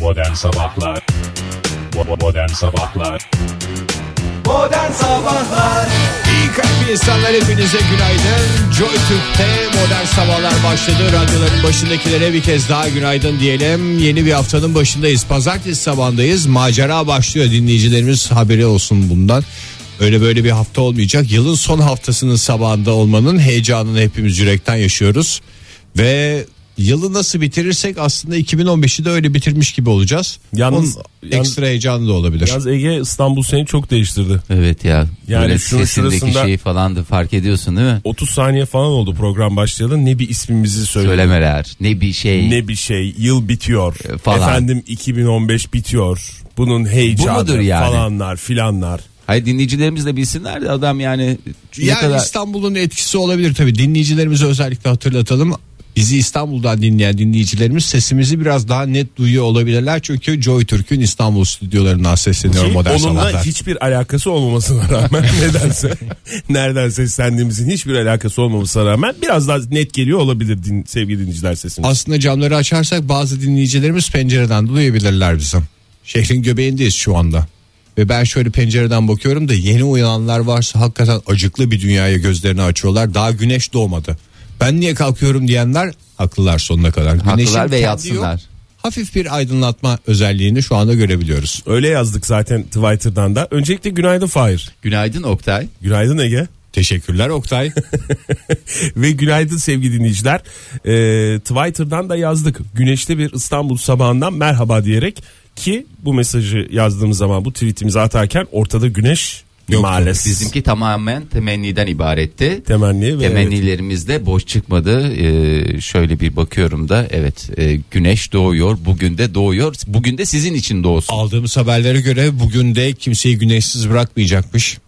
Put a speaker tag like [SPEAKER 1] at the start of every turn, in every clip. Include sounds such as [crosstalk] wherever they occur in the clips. [SPEAKER 1] Modern Sabahlar Bo- Modern Sabahlar
[SPEAKER 2] Modern Sabahlar
[SPEAKER 3] İyi kalp insanlar hepinize günaydın. Joy Türk'te modern sabahlar başladı. Radyoların başındakilere bir kez daha günaydın diyelim. Yeni bir haftanın başındayız. Pazartesi sabahındayız. Macera başlıyor. Dinleyicilerimiz haberi olsun bundan. Öyle böyle bir hafta olmayacak. Yılın son haftasının sabahında olmanın heyecanını hepimiz yürekten yaşıyoruz. Ve yılı nasıl bitirirsek aslında 2015'i de öyle bitirmiş gibi olacağız.
[SPEAKER 4] Yalnız-
[SPEAKER 3] Onun ekstra heyecanı da olabilir.
[SPEAKER 4] Yaz Ege İstanbul seni çok değiştirdi.
[SPEAKER 5] Evet ya.
[SPEAKER 4] Yani
[SPEAKER 5] Yani Böyle
[SPEAKER 4] şunun
[SPEAKER 5] sesindeki
[SPEAKER 4] şurasında-
[SPEAKER 5] şeyi falan da fark ediyorsun değil mi?
[SPEAKER 4] 30 saniye falan oldu program başlayalı. Ne bir ismimizi söyle.
[SPEAKER 5] Söylemeler. Ne bir şey.
[SPEAKER 4] Ne bir şey. Yıl bitiyor.
[SPEAKER 5] E, falan.
[SPEAKER 4] Efendim 2015 bitiyor. Bunun
[SPEAKER 5] Bu
[SPEAKER 4] heyecanı
[SPEAKER 5] mudur yani?
[SPEAKER 4] falanlar filanlar.
[SPEAKER 5] Hayır dinleyicilerimiz de bilsinler de adam yani ne
[SPEAKER 3] Yani
[SPEAKER 5] kadar
[SPEAKER 3] İstanbul'un etkisi olabilir tabii. Dinleyicilerimize özellikle hatırlatalım. Bizi İstanbul'dan dinleyen dinleyicilerimiz sesimizi biraz daha net duyuyor olabilirler. Çünkü Joy Türk'ün İstanbul stüdyolarından sesleniyor
[SPEAKER 4] Ki
[SPEAKER 3] modern
[SPEAKER 4] onunla
[SPEAKER 3] sabahlar.
[SPEAKER 4] hiçbir alakası olmamasına rağmen [laughs] nedense nereden seslendiğimizin hiçbir alakası olmamasına rağmen biraz daha net geliyor olabilir din, sevgili dinleyiciler sesimiz.
[SPEAKER 3] Aslında camları açarsak bazı dinleyicilerimiz pencereden duyabilirler bizi. Şehrin göbeğindeyiz şu anda. Ve ben şöyle pencereden bakıyorum da yeni uyananlar varsa hakikaten acıklı bir dünyaya gözlerini açıyorlar. Daha güneş doğmadı. Ben niye kalkıyorum diyenler haklılar sonuna kadar. Güneşin
[SPEAKER 5] haklılar
[SPEAKER 3] kendi
[SPEAKER 5] ve
[SPEAKER 3] yok.
[SPEAKER 5] yatsınlar.
[SPEAKER 3] hafif bir aydınlatma özelliğini şu anda görebiliyoruz.
[SPEAKER 4] Öyle yazdık zaten Twitter'dan da. Öncelikle günaydın Fahir.
[SPEAKER 5] Günaydın Oktay.
[SPEAKER 4] Günaydın Ege.
[SPEAKER 3] Teşekkürler Oktay.
[SPEAKER 4] [laughs] Ve günaydın sevgili dinleyiciler. Ee, Twitter'dan da yazdık. Güneşli bir İstanbul sabahından merhaba diyerek ki bu mesajı yazdığımız zaman bu tweetimizi atarken ortada güneş
[SPEAKER 3] Yoktu.
[SPEAKER 4] maalesef.
[SPEAKER 5] Bizimki tamamen temenniden ibaretti.
[SPEAKER 4] temenni ve evet.
[SPEAKER 5] Temennilerimiz de boş çıkmadı. Ee, şöyle bir bakıyorum da evet e, güneş doğuyor. Bugün de doğuyor. Bugün de sizin için doğsun.
[SPEAKER 3] Aldığımız haberlere göre bugün de kimseyi güneşsiz bırakmayacakmış.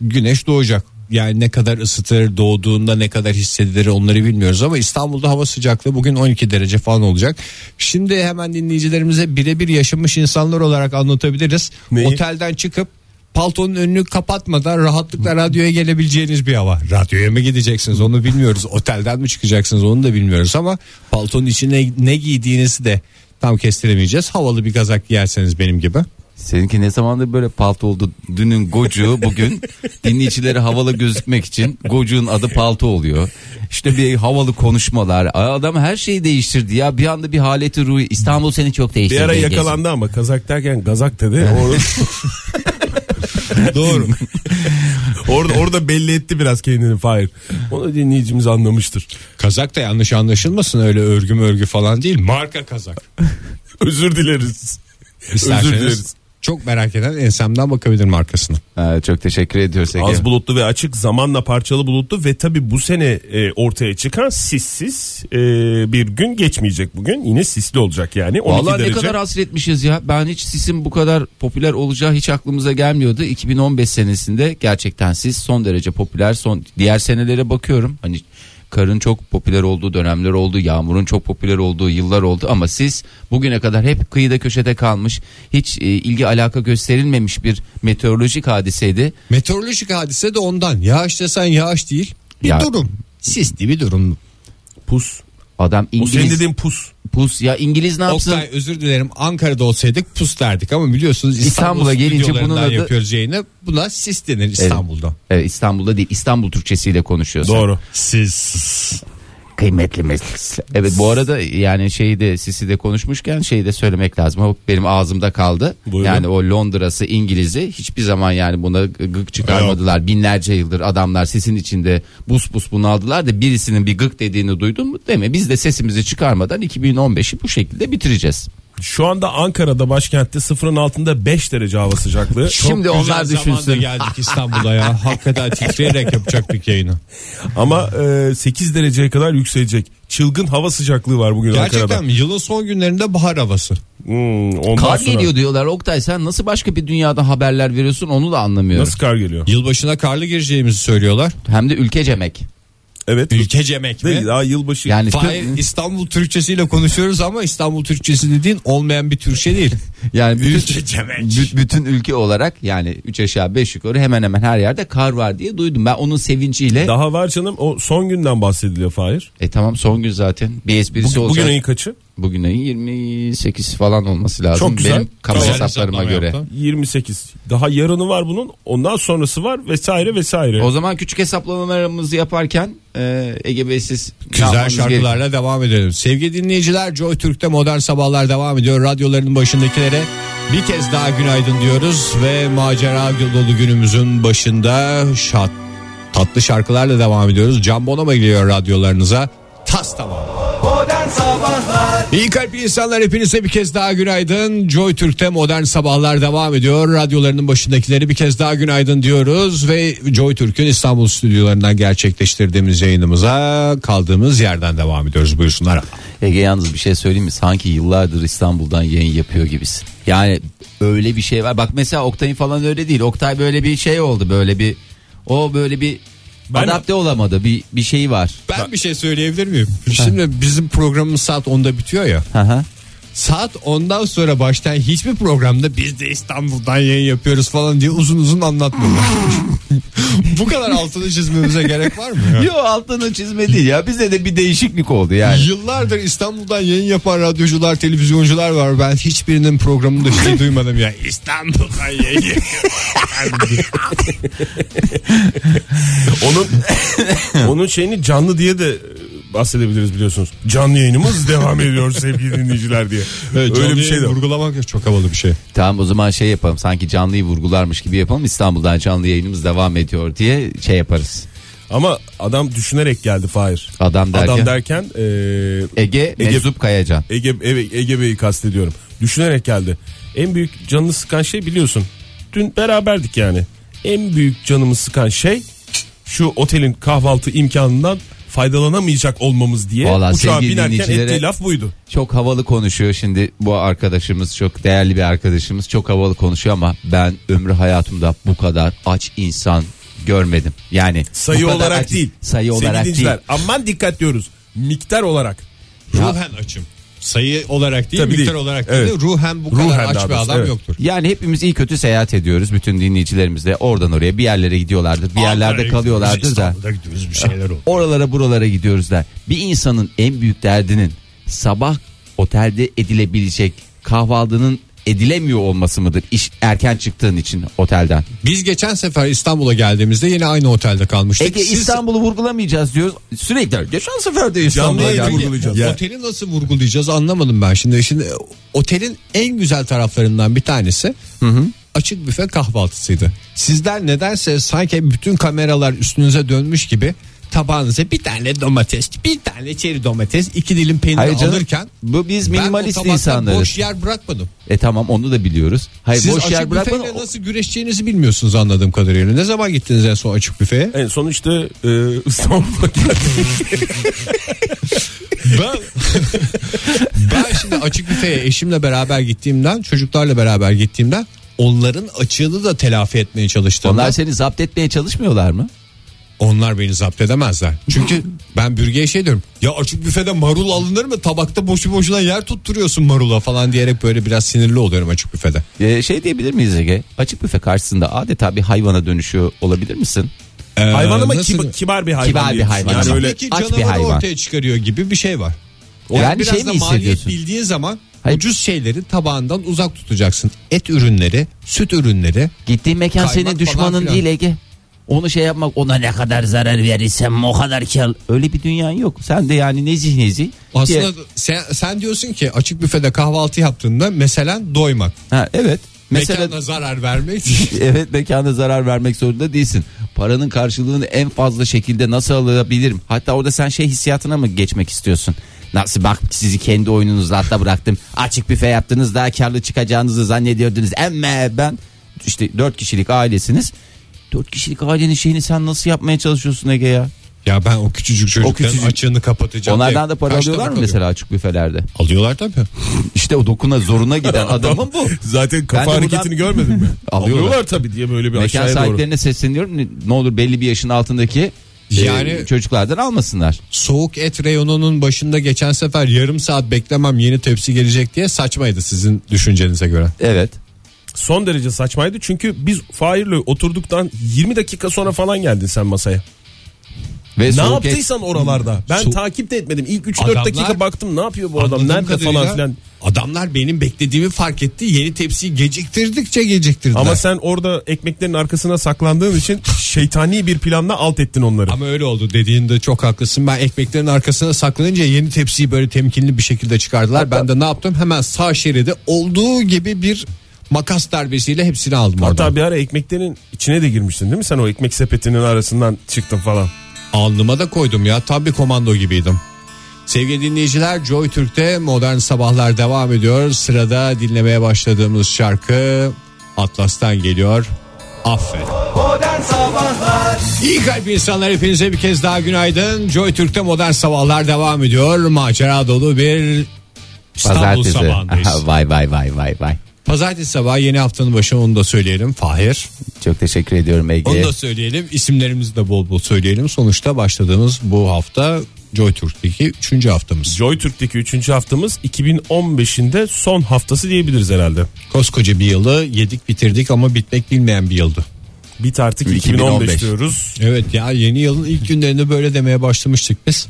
[SPEAKER 3] Güneş doğacak. Yani ne kadar ısıtır, doğduğunda ne kadar hissedilir onları bilmiyoruz ama İstanbul'da hava sıcaklığı bugün 12 derece falan olacak. Şimdi hemen dinleyicilerimize birebir yaşamış insanlar olarak anlatabiliriz.
[SPEAKER 4] Neyi?
[SPEAKER 3] Otelden çıkıp paltonun önünü kapatmadan rahatlıkla radyoya gelebileceğiniz bir hava. Radyoya mı gideceksiniz onu bilmiyoruz. Otelden mi çıkacaksınız onu da bilmiyoruz ama paltonun içine ne giydiğinizi de tam kestiremeyeceğiz. Havalı bir kazak giyerseniz benim gibi.
[SPEAKER 5] Seninki ne zamandır böyle palto oldu. Dünün gocuğu bugün
[SPEAKER 4] [laughs]
[SPEAKER 5] dinleyicilere havalı gözükmek için gocuğun adı palto oluyor. İşte bir havalı konuşmalar. Ay, Adam her şeyi değiştirdi ya. Bir anda bir haleti ruhi. İstanbul seni çok
[SPEAKER 4] Bir
[SPEAKER 5] değiştirdi.
[SPEAKER 4] ara
[SPEAKER 5] Ege'ciğim.
[SPEAKER 4] yakalandı ama kazak derken gazak dedi. Orada,
[SPEAKER 3] Doğru.
[SPEAKER 4] orada, orada belli etti biraz kendini Fahir. Onu dinleyicimiz anlamıştır. [laughs]
[SPEAKER 3] kazak da yanlış anlaşılmasın öyle örgü örgü falan değil. Marka kazak.
[SPEAKER 4] Özür dileriz. Özür dileriz.
[SPEAKER 3] İsterseniz çok merak eden ensemden bakabilir markasını.
[SPEAKER 5] Ha, çok teşekkür ediyoruz Ege.
[SPEAKER 4] Az bulutlu ve açık zamanla parçalı bulutlu ve tabi bu sene e, ortaya çıkan sissiz e, bir gün geçmeyecek bugün yine sisli olacak yani 12
[SPEAKER 5] Vallahi
[SPEAKER 4] derece.
[SPEAKER 5] ne kadar hasretmişiz ya. Ben hiç sisin bu kadar popüler olacağı hiç aklımıza gelmiyordu. 2015 senesinde gerçekten siz son derece popüler. Son diğer senelere bakıyorum. Hani karın çok popüler olduğu dönemler oldu. Yağmurun çok popüler olduğu yıllar oldu ama siz bugüne kadar hep kıyıda köşede kalmış. Hiç e, ilgi alaka gösterilmemiş bir meteorolojik hadiseydi.
[SPEAKER 3] Meteorolojik hadise de ondan. Yağış desen yağış değil. Bir
[SPEAKER 5] Ya-
[SPEAKER 3] durum. Sisli bir durum.
[SPEAKER 4] Pus.
[SPEAKER 5] Adam
[SPEAKER 4] O
[SPEAKER 5] İngiliz
[SPEAKER 4] senin dediğin pus.
[SPEAKER 5] pus ya İngiliz ne yapsın?
[SPEAKER 3] Oktay özür dilerim Ankara'da olsaydık pus derdik ama biliyorsunuz İstanbul'a
[SPEAKER 5] İstanbul'a gelince
[SPEAKER 3] gelince bunun
[SPEAKER 5] bunun adı-
[SPEAKER 3] yapıyoruz yayını. Buna sis denir İstanbul'da.
[SPEAKER 5] Evet, İstanbul'da değil İstanbul Türkçesiyle konuşuyoruz.
[SPEAKER 4] Doğru.
[SPEAKER 3] Sis.
[SPEAKER 5] kıymetli meslekler. Evet bu arada yani şeyi de Sisi de konuşmuşken şeyi de söylemek lazım. O benim ağzımda kaldı.
[SPEAKER 4] Buyurun.
[SPEAKER 5] Yani o Londra'sı İngiliz'i hiçbir zaman yani buna gık çıkarmadılar. Binlerce yıldır adamlar sesin içinde bus bus bunaldılar da birisinin bir gık dediğini duydun mu? Değil mi? Biz de sesimizi çıkarmadan 2015'i bu şekilde bitireceğiz.
[SPEAKER 4] Şu anda Ankara'da başkentte sıfırın altında 5 derece hava sıcaklığı.
[SPEAKER 5] [laughs] Şimdi
[SPEAKER 3] Güzel
[SPEAKER 5] onlar
[SPEAKER 3] zamanda
[SPEAKER 5] düşünsün. [laughs]
[SPEAKER 3] geldik İstanbul'a ya. Hakikaten titreyerek yapacaktık yayını.
[SPEAKER 4] Ama e, 8 dereceye kadar yükselecek. Çılgın hava sıcaklığı var bugün Ankara'da.
[SPEAKER 3] Gerçekten mi? Yılın son günlerinde bahar havası.
[SPEAKER 4] Hmm, ondan
[SPEAKER 5] Kar
[SPEAKER 4] sonra-
[SPEAKER 5] geliyor diyorlar Oktay sen nasıl başka bir dünyada haberler veriyorsun onu da anlamıyorum.
[SPEAKER 4] Nasıl kar geliyor?
[SPEAKER 3] Yılbaşına karlı gireceğimizi söylüyorlar.
[SPEAKER 5] Hem de ülkecemek.
[SPEAKER 4] Evet.
[SPEAKER 3] Ülkecemek mi?
[SPEAKER 4] Değil, daha yılbaşı.
[SPEAKER 5] Yani
[SPEAKER 3] Fahir,
[SPEAKER 5] tüm-
[SPEAKER 3] İstanbul Türkçesiyle konuşuyoruz ama İstanbul Türkçesi dediğin olmayan bir Türkçe değil.
[SPEAKER 5] Yani bütün,
[SPEAKER 3] Ülkecemek.
[SPEAKER 5] bü- bütün ülke olarak yani 3 aşağı 5 yukarı hemen hemen her yerde kar var diye duydum. Ben onun sevinciyle
[SPEAKER 4] Daha var canım o son günden bahsediliyor Fahir.
[SPEAKER 5] e tamam son gün zaten bir esprisi
[SPEAKER 4] Bugün,
[SPEAKER 5] olacak.
[SPEAKER 4] bugün ayın kaçı?
[SPEAKER 5] Bugün, Bugün ayın 28 falan olması lazım.
[SPEAKER 4] Çok güzel.
[SPEAKER 5] Benim kafa
[SPEAKER 4] Güzel
[SPEAKER 5] hesaplarıma göre.
[SPEAKER 4] 28. Daha yarını var bunun. Ondan sonrası var vesaire vesaire.
[SPEAKER 5] O zaman küçük hesaplamalarımızı yaparken e, Ege Bey siz ne
[SPEAKER 3] Güzel
[SPEAKER 5] yapmanız gerekiyor?
[SPEAKER 3] şarkılarla devam edelim. Sevgili dinleyiciler Joy Türk'te modern sabahlar devam ediyor. Radyoların başındakilere bir kez daha günaydın diyoruz ve macera dolu günümüzün başında şat, tatlı şarkılarla devam ediyoruz. Can Bonomo geliyor radyolarınıza. Tas tamam.
[SPEAKER 2] Modern Sabahlar
[SPEAKER 3] İyi kalpli insanlar hepinize bir kez daha günaydın. Joy Türk'te modern sabahlar devam ediyor. Radyolarının başındakileri bir kez daha günaydın diyoruz ve Joy Türk'ün İstanbul stüdyolarından gerçekleştirdiğimiz yayınımıza kaldığımız yerden devam ediyoruz. Buyursunlar.
[SPEAKER 5] Ege yalnız bir şey söyleyeyim mi? Sanki yıllardır İstanbul'dan yayın yapıyor gibisin. Yani öyle bir şey var. Bak mesela Oktay'ın falan öyle değil. Oktay böyle bir şey oldu böyle bir o böyle bir
[SPEAKER 4] Ben-
[SPEAKER 5] adapte olamadı. Bir bir şeyi var.
[SPEAKER 3] Ben bir şey söyleyebilir miyim? Şimdi bizim programımız saat 10'da bitiyor ya.
[SPEAKER 5] Hı hı.
[SPEAKER 3] Saat 10'dan sonra baştan hiçbir programda biz de İstanbul'dan yayın yapıyoruz falan diye uzun uzun [laughs] anlatmıyorlar. Bu kadar altını çizmemize gerek var mı? ya?
[SPEAKER 5] Yo altını çizme değil ya. Bizde de bir değişiklik
[SPEAKER 4] [laughs]
[SPEAKER 5] oldu yani.
[SPEAKER 3] Yıllardır İstanbul'dan yayın yapan radyocular, televizyoncular var. Ben hiçbirinin programında şey duymadım ya. İstanbul'dan yayın yapıyor.
[SPEAKER 4] Onun [laughs] onun şeyini canlı diye de e, bahsedebiliriz biliyorsunuz. Canlı yayınımız [laughs] devam ediyor sevgili dinleyiciler diye. Öyle bir şey de. var.
[SPEAKER 3] Vurgulamak ya, çok havalı bir şey.
[SPEAKER 5] Tamam o zaman şey yapalım. Sanki canlıyı vurgularmış gibi yapalım. İstanbul'dan canlı yayınımız devam ediyor diye şey yaparız.
[SPEAKER 4] Ama adam düşünerek geldi Fahir.
[SPEAKER 5] Adam derken?
[SPEAKER 4] Adam derken e,
[SPEAKER 5] Ege,
[SPEAKER 4] Ege-
[SPEAKER 5] Meczup Kayacan.
[SPEAKER 4] Ege, evet, Ege Bey'i kastediyorum. Düşünerek geldi. En büyük canını sıkan şey biliyorsun. Dün beraberdik yani. En büyük canımı sıkan şey şu otelin kahvaltı imkanından faydalanamayacak olmamız diye
[SPEAKER 5] Vallahi
[SPEAKER 4] uçağa
[SPEAKER 5] sevgili
[SPEAKER 4] binerken
[SPEAKER 5] dinleyicilere-
[SPEAKER 4] ettiği laf buydu.
[SPEAKER 5] Çok havalı konuşuyor şimdi bu arkadaşımız çok değerli bir arkadaşımız çok havalı konuşuyor ama ben ömrü hayatımda bu kadar aç insan görmedim. Yani
[SPEAKER 4] Sayı
[SPEAKER 5] bu kadar
[SPEAKER 4] olarak
[SPEAKER 5] aç-
[SPEAKER 4] değil.
[SPEAKER 5] Sayı
[SPEAKER 4] Sevgili
[SPEAKER 5] olarak değil.
[SPEAKER 4] dinleyiciler, Aman dikkat diyoruz. Miktar olarak.
[SPEAKER 3] Ruhen açım. Sayı olarak değil,
[SPEAKER 4] Tabii
[SPEAKER 3] miktar
[SPEAKER 4] değil.
[SPEAKER 3] olarak değil.
[SPEAKER 4] Evet.
[SPEAKER 3] de Ruhen bu
[SPEAKER 4] Ruhen
[SPEAKER 3] kadar
[SPEAKER 4] daha
[SPEAKER 3] aç bir
[SPEAKER 4] doğrusu,
[SPEAKER 3] adam
[SPEAKER 4] evet.
[SPEAKER 3] yoktur.
[SPEAKER 5] Yani hepimiz iyi kötü seyahat ediyoruz. Bütün dinleyicilerimiz de oradan oraya bir yerlere gidiyorlardır. Bir yerlerde kalıyorlardır da.
[SPEAKER 3] İstanbul'da gidiyoruz bir şeyler oldu.
[SPEAKER 5] oralara buralara gidiyoruz der. Bir insanın en büyük derdinin sabah otelde edilebilecek kahvaltının edilemiyor olması mıdır? İş erken çıktığın için otelden.
[SPEAKER 3] Biz geçen sefer İstanbul'a geldiğimizde yine aynı otelde kalmıştık.
[SPEAKER 5] Ege
[SPEAKER 3] Siz-
[SPEAKER 5] İstanbul'u vurgulamayacağız diyoruz. Sürekli geçen sefer de
[SPEAKER 4] İstanbul'a
[SPEAKER 5] İstanbul'a
[SPEAKER 4] yayın
[SPEAKER 5] geldik.
[SPEAKER 4] vurgulayacağız.
[SPEAKER 3] Ya. Oteli nasıl vurgulayacağız anlamadım ben şimdi. Şimdi e, otelin en güzel taraflarından bir tanesi açık büfe kahvaltısıydı. Sizler nedense sanki bütün kameralar üstünüze dönmüş gibi tabağınıza bir tane domates, bir tane çeri domates, iki dilim peynir
[SPEAKER 5] Hayır canım,
[SPEAKER 3] alırken
[SPEAKER 5] bu biz
[SPEAKER 3] ben o
[SPEAKER 5] minimalist
[SPEAKER 3] tabakta
[SPEAKER 5] insanlarız.
[SPEAKER 3] boş yer bırakmadım.
[SPEAKER 5] E tamam onu da biliyoruz. Hayır
[SPEAKER 3] Siz
[SPEAKER 5] boş yer
[SPEAKER 3] açık
[SPEAKER 5] bırakmadan
[SPEAKER 3] büfeyle nasıl güreşeceğinizi bilmiyorsunuz anladığım kadarıyla. Ne zaman gittiniz en son açık büfeye?
[SPEAKER 4] En son işte e,
[SPEAKER 5] [laughs]
[SPEAKER 4] İstanbul'a geldik.
[SPEAKER 3] Ben [laughs] ben şimdi açık büfeye eşimle beraber gittiğimden, çocuklarla beraber gittiğimden onların açığını da telafi etmeye çalıştığımda
[SPEAKER 5] onlar
[SPEAKER 3] onlar,
[SPEAKER 5] seni zapt etmeye çalışmıyorlar mı?
[SPEAKER 3] beni zapt edemezler. Çünkü ben bürgeye şey diyorum. Ya açık büfede marul alınır mı? Tabakta boşu boşuna yer tutturuyorsun marula falan diyerek böyle biraz sinirli oluyorum açık büfede.
[SPEAKER 5] E, şey diyebilir miyiz Ege? Açık büfe karşısında adeta bir hayvana dönüşüyor olabilir misin?
[SPEAKER 3] Ee,
[SPEAKER 4] hayvan ama
[SPEAKER 3] nasıl-
[SPEAKER 4] kibar, kibar bir hayvan.
[SPEAKER 5] Kibar bir
[SPEAKER 4] diye düşün.
[SPEAKER 5] hayvan
[SPEAKER 4] Yani
[SPEAKER 5] ama.
[SPEAKER 4] öyle
[SPEAKER 3] Öyle,
[SPEAKER 5] aç bir
[SPEAKER 3] canavarı
[SPEAKER 5] hayvan.
[SPEAKER 3] ortaya çıkarıyor gibi bir şey var.
[SPEAKER 5] Yani,
[SPEAKER 3] Yani biraz
[SPEAKER 5] şey
[SPEAKER 3] da
[SPEAKER 5] mi
[SPEAKER 3] maliyet
[SPEAKER 5] hissediyorsun?
[SPEAKER 3] bildiğin zaman
[SPEAKER 5] Hayır.
[SPEAKER 3] ucuz şeyleri tabağından uzak tutacaksın. Et ürünleri, süt ürünleri
[SPEAKER 5] Gittiğin mekan
[SPEAKER 3] Kaymak
[SPEAKER 5] senin
[SPEAKER 3] falan
[SPEAKER 5] düşmanın
[SPEAKER 3] filan.
[SPEAKER 5] değil Ege. Onu şey yapmak ona ne kadar zarar verirsem o kadar kar. Öyle bir dünyan yok. Sen de yani nezih nezih.
[SPEAKER 3] Aslında
[SPEAKER 5] Diye-
[SPEAKER 3] sen, sen diyorsun ki açık büfede kahvaltı yaptığında mesela doymak.
[SPEAKER 5] Ha, evet. Mesela
[SPEAKER 3] Mekana zarar vermek.
[SPEAKER 5] evet mekanda zarar vermek zorunda değilsin. Paranın karşılığını en fazla şekilde nasıl alabilirim? Hatta orada sen şey hissiyatına mı geçmek istiyorsun? Nasıl bak sizi kendi oyununuzla hatta bıraktım. Açık büfe yaptınız daha karlı çıkacağınızı zannediyordunuz. Ama ben işte dört kişilik ailesiniz. Dört kişilik ailenin şeyini sen nasıl yapmaya çalışıyorsun Ege ya?
[SPEAKER 3] [laughs] ya ben o küçücük çocukların
[SPEAKER 5] küçücük-
[SPEAKER 3] açığını kapatacağım.
[SPEAKER 5] Onlardan
[SPEAKER 3] diye
[SPEAKER 5] da para
[SPEAKER 3] kaç
[SPEAKER 5] alıyorlar mı
[SPEAKER 3] tabak alıyor?
[SPEAKER 5] mesela açık büfelerde?
[SPEAKER 3] Alıyorlar tabii.
[SPEAKER 5] İşte o dokuna zoruna [laughs] giden adamın bu.
[SPEAKER 4] zaten kafa
[SPEAKER 5] Ben de buradan-
[SPEAKER 4] hareketini görmedin mi?
[SPEAKER 5] [laughs] Alıyorlar.
[SPEAKER 4] Alıyorlar tabii diye böyle bir
[SPEAKER 5] Mekan
[SPEAKER 4] aşağıya doğru.
[SPEAKER 5] sahiplerine sesleniyorum. Ne- Ne olur belli bir yaşın altındaki yani
[SPEAKER 3] Yani-
[SPEAKER 5] çocuklardan almasınlar.
[SPEAKER 3] Soğuk et reyonunun başında geçen sefer yarım saat beklemem yeni tepsi gelecek diye saçmaydı sizin düşüncenize göre.
[SPEAKER 5] Evet.
[SPEAKER 4] Son derece saçmaydı çünkü biz Fahir'le oturduktan 20 dakika sonra falan geldin sen masaya.
[SPEAKER 3] E,
[SPEAKER 5] Ve
[SPEAKER 4] Ne
[SPEAKER 5] soğuk et-
[SPEAKER 4] yaptıysan oralarda. Ben
[SPEAKER 3] Su-
[SPEAKER 4] takip de etmedim. İlk 3-4
[SPEAKER 3] Adamlar-
[SPEAKER 4] dakika baktım ne yapıyor bu adam
[SPEAKER 3] Anladığım
[SPEAKER 4] nerede falan
[SPEAKER 3] kadarıyla
[SPEAKER 4] filan.
[SPEAKER 3] Adamlar benim beklediğimi fark etti. Yeni tepsiyi geciktirdikçe geciktirdiler.
[SPEAKER 4] Ama sen orada ekmeklerin arkasına saklandığın için şeytani bir planla alt ettin onları.
[SPEAKER 3] Ama öyle oldu dediğinde çok haklısın. Ben ekmeklerin arkasına saklanınca yeni tepsiyi böyle temkinli bir şekilde çıkardılar. Ben de ne yaptım? Hemen sağ şeride olduğu gibi bir makas darbesiyle hepsini aldım oradan.
[SPEAKER 4] Hatta bir ara ekmeklerin içine de girmiştin değil mi? Sen o ekmek sepetinin arasından çıktın falan.
[SPEAKER 3] Alnıma da koydum ya. Tam bir komando gibiydim. Sevgili dinleyiciler Joy Türk'te Modern Sabahlar devam ediyor. Sırada dinlemeye başladığımız şarkı Atlas'tan geliyor. Affet.
[SPEAKER 2] Modern Sabahlar
[SPEAKER 3] İyi kalp insanlar hepinize bir kez daha günaydın. Joy Türk'te modern sabahlar devam ediyor. Macera dolu bir İstanbul
[SPEAKER 5] Pazartesi.
[SPEAKER 3] sabahındayız.
[SPEAKER 5] [laughs] vay vay vay vay vay.
[SPEAKER 3] Pazartesi sabahı yeni haftanın başı onu da söyleyelim. Fahir.
[SPEAKER 5] Çok teşekkür ediyorum
[SPEAKER 3] Onu
[SPEAKER 5] Ege.
[SPEAKER 3] da söyleyelim. İsimlerimizi de bol bol söyleyelim. Sonuçta başladığımız bu hafta Joy Türk'teki 3. haftamız.
[SPEAKER 4] Joy Türk'teki 3. haftamız 2015'inde son haftası diyebiliriz herhalde.
[SPEAKER 3] Koskoca bir yılı yedik bitirdik ama bitmek bilmeyen bir yıldı.
[SPEAKER 4] Bit artık 2015,
[SPEAKER 5] 2015
[SPEAKER 4] diyoruz.
[SPEAKER 3] Evet ya yeni yılın ilk günlerinde böyle demeye başlamıştık biz.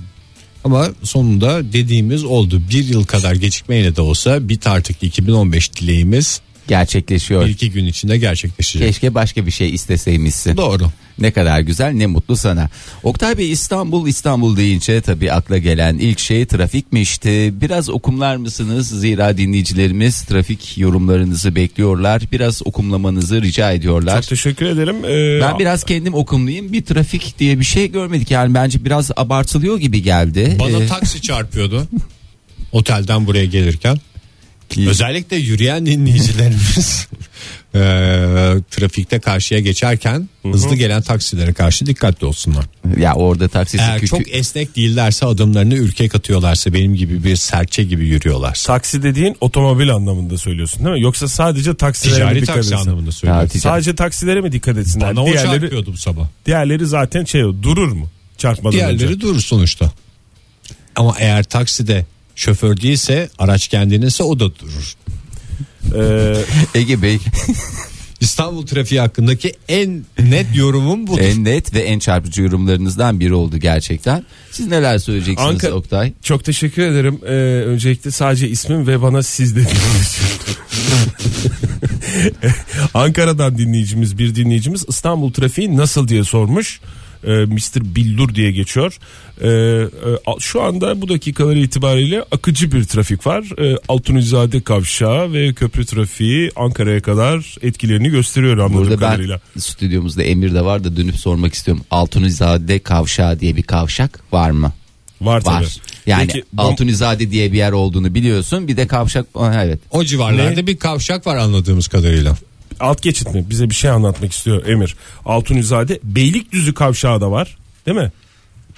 [SPEAKER 3] Ama sonunda dediğimiz oldu. Bir yıl kadar gecikmeyle de olsa bit artık 2015 dileğimiz
[SPEAKER 5] Gerçekleşiyor.
[SPEAKER 3] bir iki gün içinde gerçekleşecek.
[SPEAKER 5] Keşke başka bir şey isteseymişsin.
[SPEAKER 3] Doğru.
[SPEAKER 5] Ne kadar güzel ne mutlu sana. Oktay Bey İstanbul İstanbul deyince tabii akla gelen ilk şey trafikmişti. Biraz okumlar mısınız? Zira dinleyicilerimiz trafik yorumlarınızı bekliyorlar. Biraz okumlamanızı rica ediyorlar.
[SPEAKER 4] Çok teşekkür ederim. Ee,
[SPEAKER 5] Ben biraz kendim okumlayayım. Bir trafik diye bir şey görmedik. Yani bence biraz abartılıyor gibi geldi.
[SPEAKER 3] Bana
[SPEAKER 5] Ee,
[SPEAKER 3] taksi çarpıyordu. [laughs] Otelden buraya gelirken.
[SPEAKER 5] ki-
[SPEAKER 3] Özellikle yürüyen
[SPEAKER 5] [laughs]
[SPEAKER 3] dinleyicilerimiz eee, trafikte karşıya geçerken hızlı gelen taksilere karşı dikkatli olsunlar.
[SPEAKER 5] ya orada taksisi
[SPEAKER 3] Eğer
[SPEAKER 5] küçük.
[SPEAKER 3] Ee, çok esnek değillerse adımlarını ürkek atıyorlarsa benim gibi bir serçe gibi yürüyorlarsa.
[SPEAKER 4] taksi dediğin otomobil anlamında söylüyorsun değil mi? Yoksa sadece taksilere mi
[SPEAKER 3] Ticari
[SPEAKER 4] dikkat
[SPEAKER 3] taksi
[SPEAKER 4] etsin?
[SPEAKER 3] anlamında söylüyorum.
[SPEAKER 5] ticari.
[SPEAKER 4] Sadece taksilere mi dikkat etsinler?
[SPEAKER 3] Bana o
[SPEAKER 4] diğerleri,
[SPEAKER 3] çarpıyordu bu sabah.
[SPEAKER 4] diğerleri zaten şey durur mu? Çarpmadan önce.
[SPEAKER 3] Diğerleri durur sonuçta. Ama eğer takside şoför değilse araç kendinse o da durur.
[SPEAKER 4] Ee,
[SPEAKER 5] [laughs] Ege Bey
[SPEAKER 3] İstanbul trafiği hakkındaki en net yorumum budur.
[SPEAKER 5] en e, net ve en çarpıcı yorumlarınızdan biri oldu gerçekten. Siz neler söyleyeceksiniz
[SPEAKER 4] Ankara-
[SPEAKER 5] Oktay?
[SPEAKER 4] çok teşekkür ederim. Ee, öncelikle sadece ismim ve bana siz dediğiniz için. [laughs] Ankara'dan dinleyicimiz bir dinleyicimiz İstanbul trafiği nasıl diye sormuş. Ee, Mr. Billur diye geçiyor. Ee, e, a- şu anda bu dakikalar itibariyle akıcı bir trafik var. Ee, Altunizade kavşağı ve köprü trafiği Ankara'ya kadar etkilerini gösteriyor anladığım
[SPEAKER 5] Burada ben
[SPEAKER 4] kadarıyla.
[SPEAKER 5] stüdyomuzda Emir de var da dönüp sormak istiyorum. Altunizade Kavşağı diye bir kavşak var mı?
[SPEAKER 4] Var, tabii.
[SPEAKER 5] Var. Yani
[SPEAKER 4] Peki, bu-
[SPEAKER 5] Altunizade diye bir yer olduğunu biliyorsun. Bir de kavşak Aa, evet.
[SPEAKER 3] O civarlarda bir kavşak var anladığımız kadarıyla.
[SPEAKER 4] alt geçit mi? Bize bir şey anlatmak istiyor Emir. Altunizade Beylikdüzü kavşağı da var. Değil mi?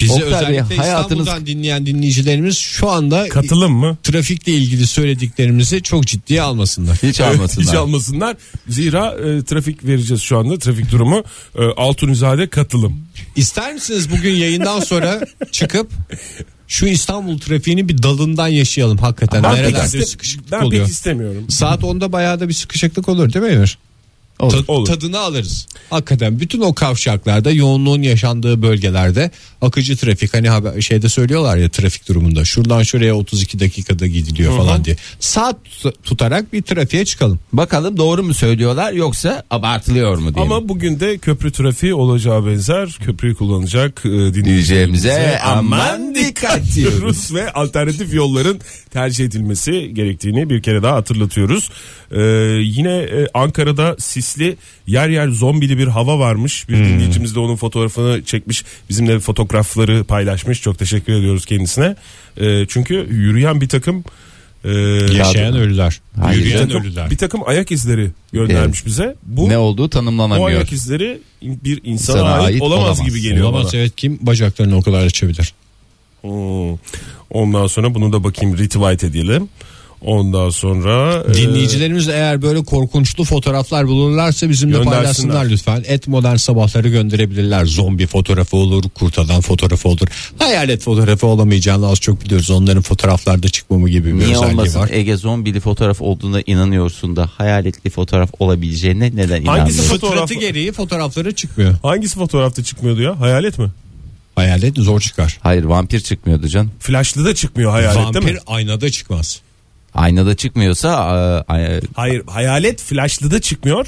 [SPEAKER 3] Bizi
[SPEAKER 5] Oktay Bey,
[SPEAKER 3] özellikle
[SPEAKER 5] hayatınız-
[SPEAKER 3] İstanbul'dan dinleyen dinleyicilerimiz şu anda
[SPEAKER 4] Katılım mı?
[SPEAKER 3] trafikle ilgili söylediklerimizi çok ciddiye almasınlar.
[SPEAKER 5] Hiç almasınlar.
[SPEAKER 4] Hiç almasınlar. Zira e, trafik vereceğiz şu anda. Trafik durumu e, Altunizade katılım.
[SPEAKER 3] İster misiniz bugün yayından sonra çıkıp şu İstanbul trafiğini bir dalından yaşayalım hakikaten.
[SPEAKER 4] Ben, pek,
[SPEAKER 3] Nerelerde
[SPEAKER 4] iste-
[SPEAKER 3] sıkışıklık
[SPEAKER 4] ben
[SPEAKER 3] oluyor.
[SPEAKER 4] pek istemiyorum.
[SPEAKER 3] Saat 10'da bayağı da bir sıkışıklık olur değil mi Emir?
[SPEAKER 4] Olur.
[SPEAKER 3] Ta- Tadını alırız. Hakikaten bütün o kavşaklarda yoğunluğun yaşandığı bölgelerde akıcı trafik hani haber- şeyde söylüyorlar ya trafik durumunda şuradan şuraya 32 dakikada gidiliyor falan diye. Saat tut- tutarak bir trafiğe çıkalım.
[SPEAKER 5] Bakalım doğru mu söylüyorlar yoksa abartılıyor mu diye.
[SPEAKER 4] Ama bugün de köprü trafiği olacağı benzer. Köprüyü kullanacak e, dinleyicilerimize
[SPEAKER 5] Dinleyicilerimize aman dikkat diyoruz.
[SPEAKER 4] diyoruz ve alternatif yolların tercih edilmesi gerektiğini bir kere daha hatırlatıyoruz. Ee, yine e, Ankara'da sisli yer yer zombili bir hava varmış.
[SPEAKER 5] Hmm.
[SPEAKER 4] Bir dinleyicimiz de onun fotoğrafını çekmiş. Bizimle fotoğrafları paylaşmış. Çok teşekkür ediyoruz kendisine. Ee, çünkü yürüyen bir takım e,
[SPEAKER 3] Yaşayan ölüler.
[SPEAKER 5] Hayır.
[SPEAKER 4] bir
[SPEAKER 3] Yürüyen
[SPEAKER 4] takım,
[SPEAKER 3] ölüler.
[SPEAKER 4] bir takım ayak izleri göndermiş bize. Bu
[SPEAKER 5] ne olduğu
[SPEAKER 4] o
[SPEAKER 5] tanımlanamıyor.
[SPEAKER 4] ayak izleri bir insana,
[SPEAKER 5] İnsana
[SPEAKER 4] ait,
[SPEAKER 5] ait
[SPEAKER 4] olamaz,
[SPEAKER 5] olamaz.
[SPEAKER 4] gibi geliyor
[SPEAKER 3] Olamaz,
[SPEAKER 4] bana.
[SPEAKER 3] evet kim bacaklarını o kadar açabilir?
[SPEAKER 4] Hmm. Ondan sonra bunu da bakayım retweet edelim. Ondan sonra e,
[SPEAKER 3] Dinleyicilerimiz eğer böyle korkunçlu fotoğraflar bulurlarsa bizimle
[SPEAKER 4] Göndersinler.
[SPEAKER 3] paylaşsınlar lütfen. Et modern sabahları gönderebilirler. Zombi fotoğrafı olur, kurt adam fotoğrafı olur. Hayalet fotoğrafı olamayacağını az çok biliyoruz. Onların fotoğraflarda çıkmamı gibi bir
[SPEAKER 5] Niye
[SPEAKER 3] özelliği
[SPEAKER 5] olmasın E,
[SPEAKER 3] var.
[SPEAKER 5] Ege zombili fotoğraf olduğuna inanıyorsun da hayaletli fotoğraf olabileceğine neden inanmıyorsun?
[SPEAKER 4] Hangisi
[SPEAKER 3] Fıtratı
[SPEAKER 4] Fotoğraf-
[SPEAKER 3] gereği fotoğrafları çıkmıyor.
[SPEAKER 4] hangisi fotoğrafta çıkmıyordu ya? Hayalet mi?
[SPEAKER 3] Hayalet zor çıkar.
[SPEAKER 5] Hayır vampir çıkmıyordu canım.
[SPEAKER 4] Flashlı da çıkmıyor hayalet değil
[SPEAKER 3] Vampir
[SPEAKER 4] mi?
[SPEAKER 3] aynada çıkmaz.
[SPEAKER 5] Aynada çıkmıyorsa a- a-
[SPEAKER 4] Hayır hayalet flashlı da çıkmıyor.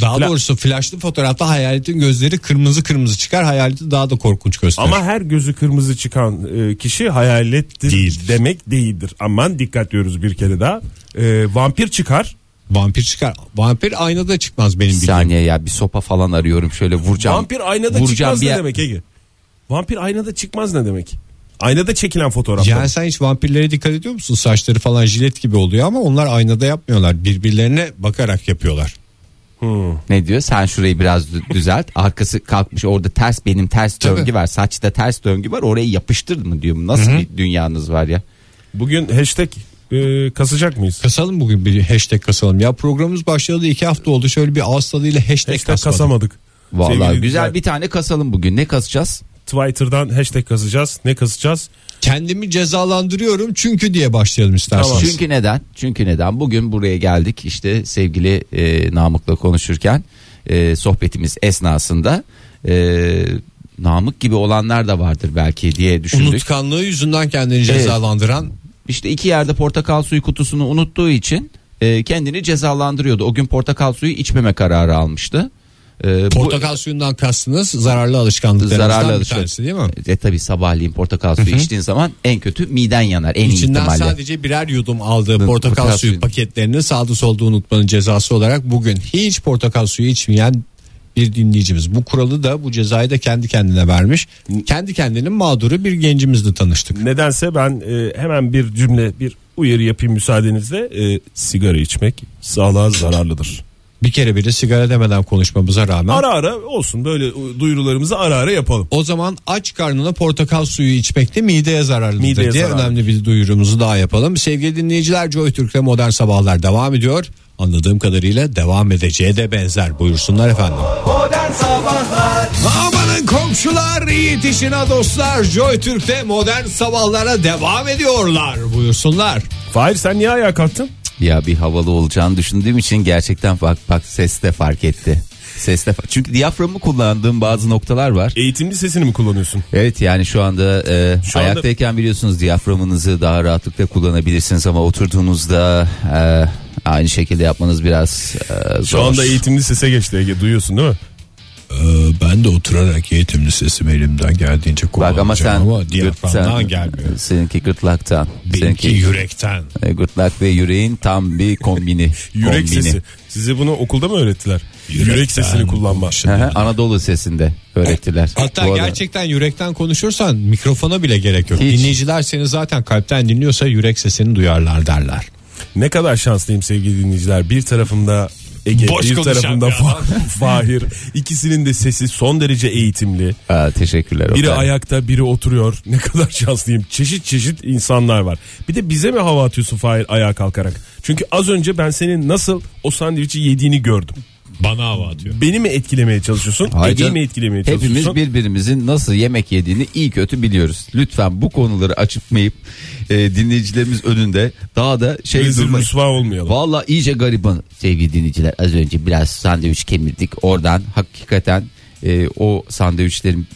[SPEAKER 3] Daha
[SPEAKER 4] Fla-
[SPEAKER 3] doğrusu flashlı fotoğrafta hayaletin gözleri kırmızı kırmızı çıkar. Hayaleti daha da korkunç gösterir.
[SPEAKER 4] Ama her gözü kırmızı çıkan e, kişi hayalettir
[SPEAKER 3] Değildir.
[SPEAKER 4] demek değildir. Aman dikkat diyoruz bir kere daha. E, vampir çıkar.
[SPEAKER 3] Vampir çıkar. Vampir aynada çıkmaz benim
[SPEAKER 5] bir
[SPEAKER 3] bildiğim.
[SPEAKER 5] saniye ya bir sopa falan arıyorum şöyle vuracağım.
[SPEAKER 4] Vampir aynada çıkmaz ne demek Ege? Vampir aynada çıkmaz ne demek? Aynada çekilen fotoğraf.
[SPEAKER 3] Yani sen hiç vampirlere dikkat ediyor musun? Saçları falan jilet gibi oluyor ama onlar aynada yapmıyorlar. Birbirlerine bakarak yapıyorlar.
[SPEAKER 5] Ne diyor? Sen şurayı biraz
[SPEAKER 4] [laughs]
[SPEAKER 5] dü- düzelt. Arkası kalkmış orada ters benim ters
[SPEAKER 3] Tabii.
[SPEAKER 5] döngü var. Saçta ters döngü var. Orayı yapıştır mı diyor. Nasıl bir dünyanız var ya?
[SPEAKER 4] Bugün hashtag e, kasacak mıyız?
[SPEAKER 3] Kasalım bugün bir hashtag kasalım. Ya programımız başladı iki hafta oldu. Şöyle bir ağız tadıyla hashtag,
[SPEAKER 4] Hashtag
[SPEAKER 3] kasmadık.
[SPEAKER 4] kasamadık.
[SPEAKER 5] Vallahi
[SPEAKER 4] Sevgili
[SPEAKER 5] güzel
[SPEAKER 4] dinleyiciler,
[SPEAKER 5] bir tane kasalım bugün. Ne kasacağız?
[SPEAKER 4] Twitter'dan hashtag kasacağız. Ne kasacağız?
[SPEAKER 3] Kendimi cezalandırıyorum çünkü diye başlayalım isterseniz.
[SPEAKER 5] Çünkü neden? Çünkü neden? Bugün buraya geldik işte sevgili e, Namık'la konuşurken e, sohbetimiz esnasında e, Namık gibi olanlar da vardır belki diye düşündük.
[SPEAKER 3] Unutkanlığı yüzünden kendini cezalandıran
[SPEAKER 5] İşte iki yerde portakal suyu kutusunu unuttuğu için e, kendini cezalandırıyordu. O gün portakal suyu içmeme kararı almıştı. E, bu-
[SPEAKER 3] portakal suyundan kastınız zararlı alışkanlıklarımızdan
[SPEAKER 5] Zararlı
[SPEAKER 3] bir
[SPEAKER 5] alışkan-
[SPEAKER 3] tanesi değil mi?
[SPEAKER 5] E tabi sabahleyin portakal suyu içtiğin zaman en kötü miden yanar en iyi
[SPEAKER 3] İçinden
[SPEAKER 5] ihtimalle.
[SPEAKER 3] sadece birer yudum aldığı portakal,
[SPEAKER 5] portakal
[SPEAKER 3] suyu
[SPEAKER 5] suyu.
[SPEAKER 3] paketlerini sağda solda unutmanın cezası olarak bugün hiç portakal suyu içmeyen bir dinleyicimiz. Bu kuralı da bu cezayı da kendi kendine vermiş. Kendi kendinin mağduru bir gencimizle tanıştık.
[SPEAKER 4] Nedense ben e, hemen bir cümle bir uyarı yapayım müsaadenizle. E, sigara içmek sağlığa zararlıdır.
[SPEAKER 3] Bir kere bile sigara demeden konuşmamıza rağmen
[SPEAKER 4] Ara ara olsun böyle e, duyurularımızı ara ara yapalım.
[SPEAKER 3] o zaman aç karnına portakal suyu içmek de mideye zararlıdır
[SPEAKER 4] Mideye
[SPEAKER 3] diye
[SPEAKER 4] zararlı.
[SPEAKER 3] önemli bir duyurumuzu daha yapalım. Sevgili dinleyiciler Joy Türk'te Modern Sabahlar devam ediyor. Anladığım kadarıyla devam edeceği de benzer. Buyursunlar efendim.
[SPEAKER 2] Modern Sabahlar
[SPEAKER 3] Amanın komşular yetişin ha dostlar Joy Türk'te modern sabahlara devam ediyorlar buyursunlar.
[SPEAKER 4] Fahir sen niye ayağa kalktın?
[SPEAKER 5] Ya bir havalı olacağını düşündüğüm için gerçekten bak bak ses de fark etti. Ses de fa- çünkü diyaframı kullandığım bazı noktalar var.
[SPEAKER 4] Eğitimli sesini mi kullanıyorsun?
[SPEAKER 5] Evet yani şu anda e,
[SPEAKER 4] Şu anda-
[SPEAKER 5] ayaktayken biliyorsunuz diyaframınızı daha rahatlıkla kullanabilirsiniz ama oturduğunuzda e, aynı şekilde yapmanız biraz e, zor.
[SPEAKER 4] Şu anda eğitimli sese geçti Ege duyuyorsun değil mi?
[SPEAKER 3] Ee, ben de oturarak eğitimli sesimi elimden geldiğince
[SPEAKER 5] Bak ama sen
[SPEAKER 3] diyaframdan
[SPEAKER 5] gırtlaktan-
[SPEAKER 3] gelmiyor.
[SPEAKER 5] Seninki gırtlaktan.
[SPEAKER 3] Benimki
[SPEAKER 5] Seninki
[SPEAKER 3] yürekten.
[SPEAKER 5] e, gırtlak ve yüreğin tam bir kombini.
[SPEAKER 4] Yürek
[SPEAKER 5] kombini.
[SPEAKER 4] sesi. Size bunu okulda mı öğrettiler? Yürek
[SPEAKER 3] Yürekten
[SPEAKER 4] sesini kullanma.
[SPEAKER 5] Hı hı, Anadolu sesinde öğrettiler.
[SPEAKER 3] Hatta
[SPEAKER 5] Bu arada-
[SPEAKER 3] gerçekten yürekten konuşursan mikrofona bile gerek yok.
[SPEAKER 5] Hiç.
[SPEAKER 3] Dinleyiciler seni zaten kalpten dinliyorsa yürek sesini duyarlar derler.
[SPEAKER 4] Ne kadar şanslıyım sevgili dinleyiciler. Bir tarafımda Ege,
[SPEAKER 3] Boş
[SPEAKER 4] bir
[SPEAKER 3] konuşan
[SPEAKER 4] tarafımda
[SPEAKER 3] bir
[SPEAKER 4] Fa- [laughs] Fahir. İkisinin de sesi son derece eğitimli.
[SPEAKER 5] Aa, e, teşekkürler.
[SPEAKER 4] Biri
[SPEAKER 5] Oktay.
[SPEAKER 4] ayakta, biri oturuyor. Ne kadar şanslıyım. Çeşit çeşit insanlar var. Bir de bize mi hava atıyorsun Fahir ayağa kalkarak? Çünkü az önce ben senin nasıl o sandviçi yediğini gördüm.
[SPEAKER 3] Bana hava atıyor.
[SPEAKER 4] Beni mi etkilemeye çalışıyorsun?
[SPEAKER 5] Hayır
[SPEAKER 4] Ege'yi
[SPEAKER 5] canım,
[SPEAKER 4] mi etkilemeye çalışıyorsun?
[SPEAKER 5] Hepimiz birbirimizin nasıl yemek yediğini iyi kötü biliyoruz. Lütfen bu konuları açıkmayıp e, dinleyicilerimiz önünde daha da şey
[SPEAKER 4] Rezil
[SPEAKER 5] durmayın.
[SPEAKER 4] rüsva olmayalım.
[SPEAKER 5] Valla iyice gariban sevgili dinleyiciler. Az önce biraz sandviç kemirdik. Oradan hakikaten e, o sandviçlerin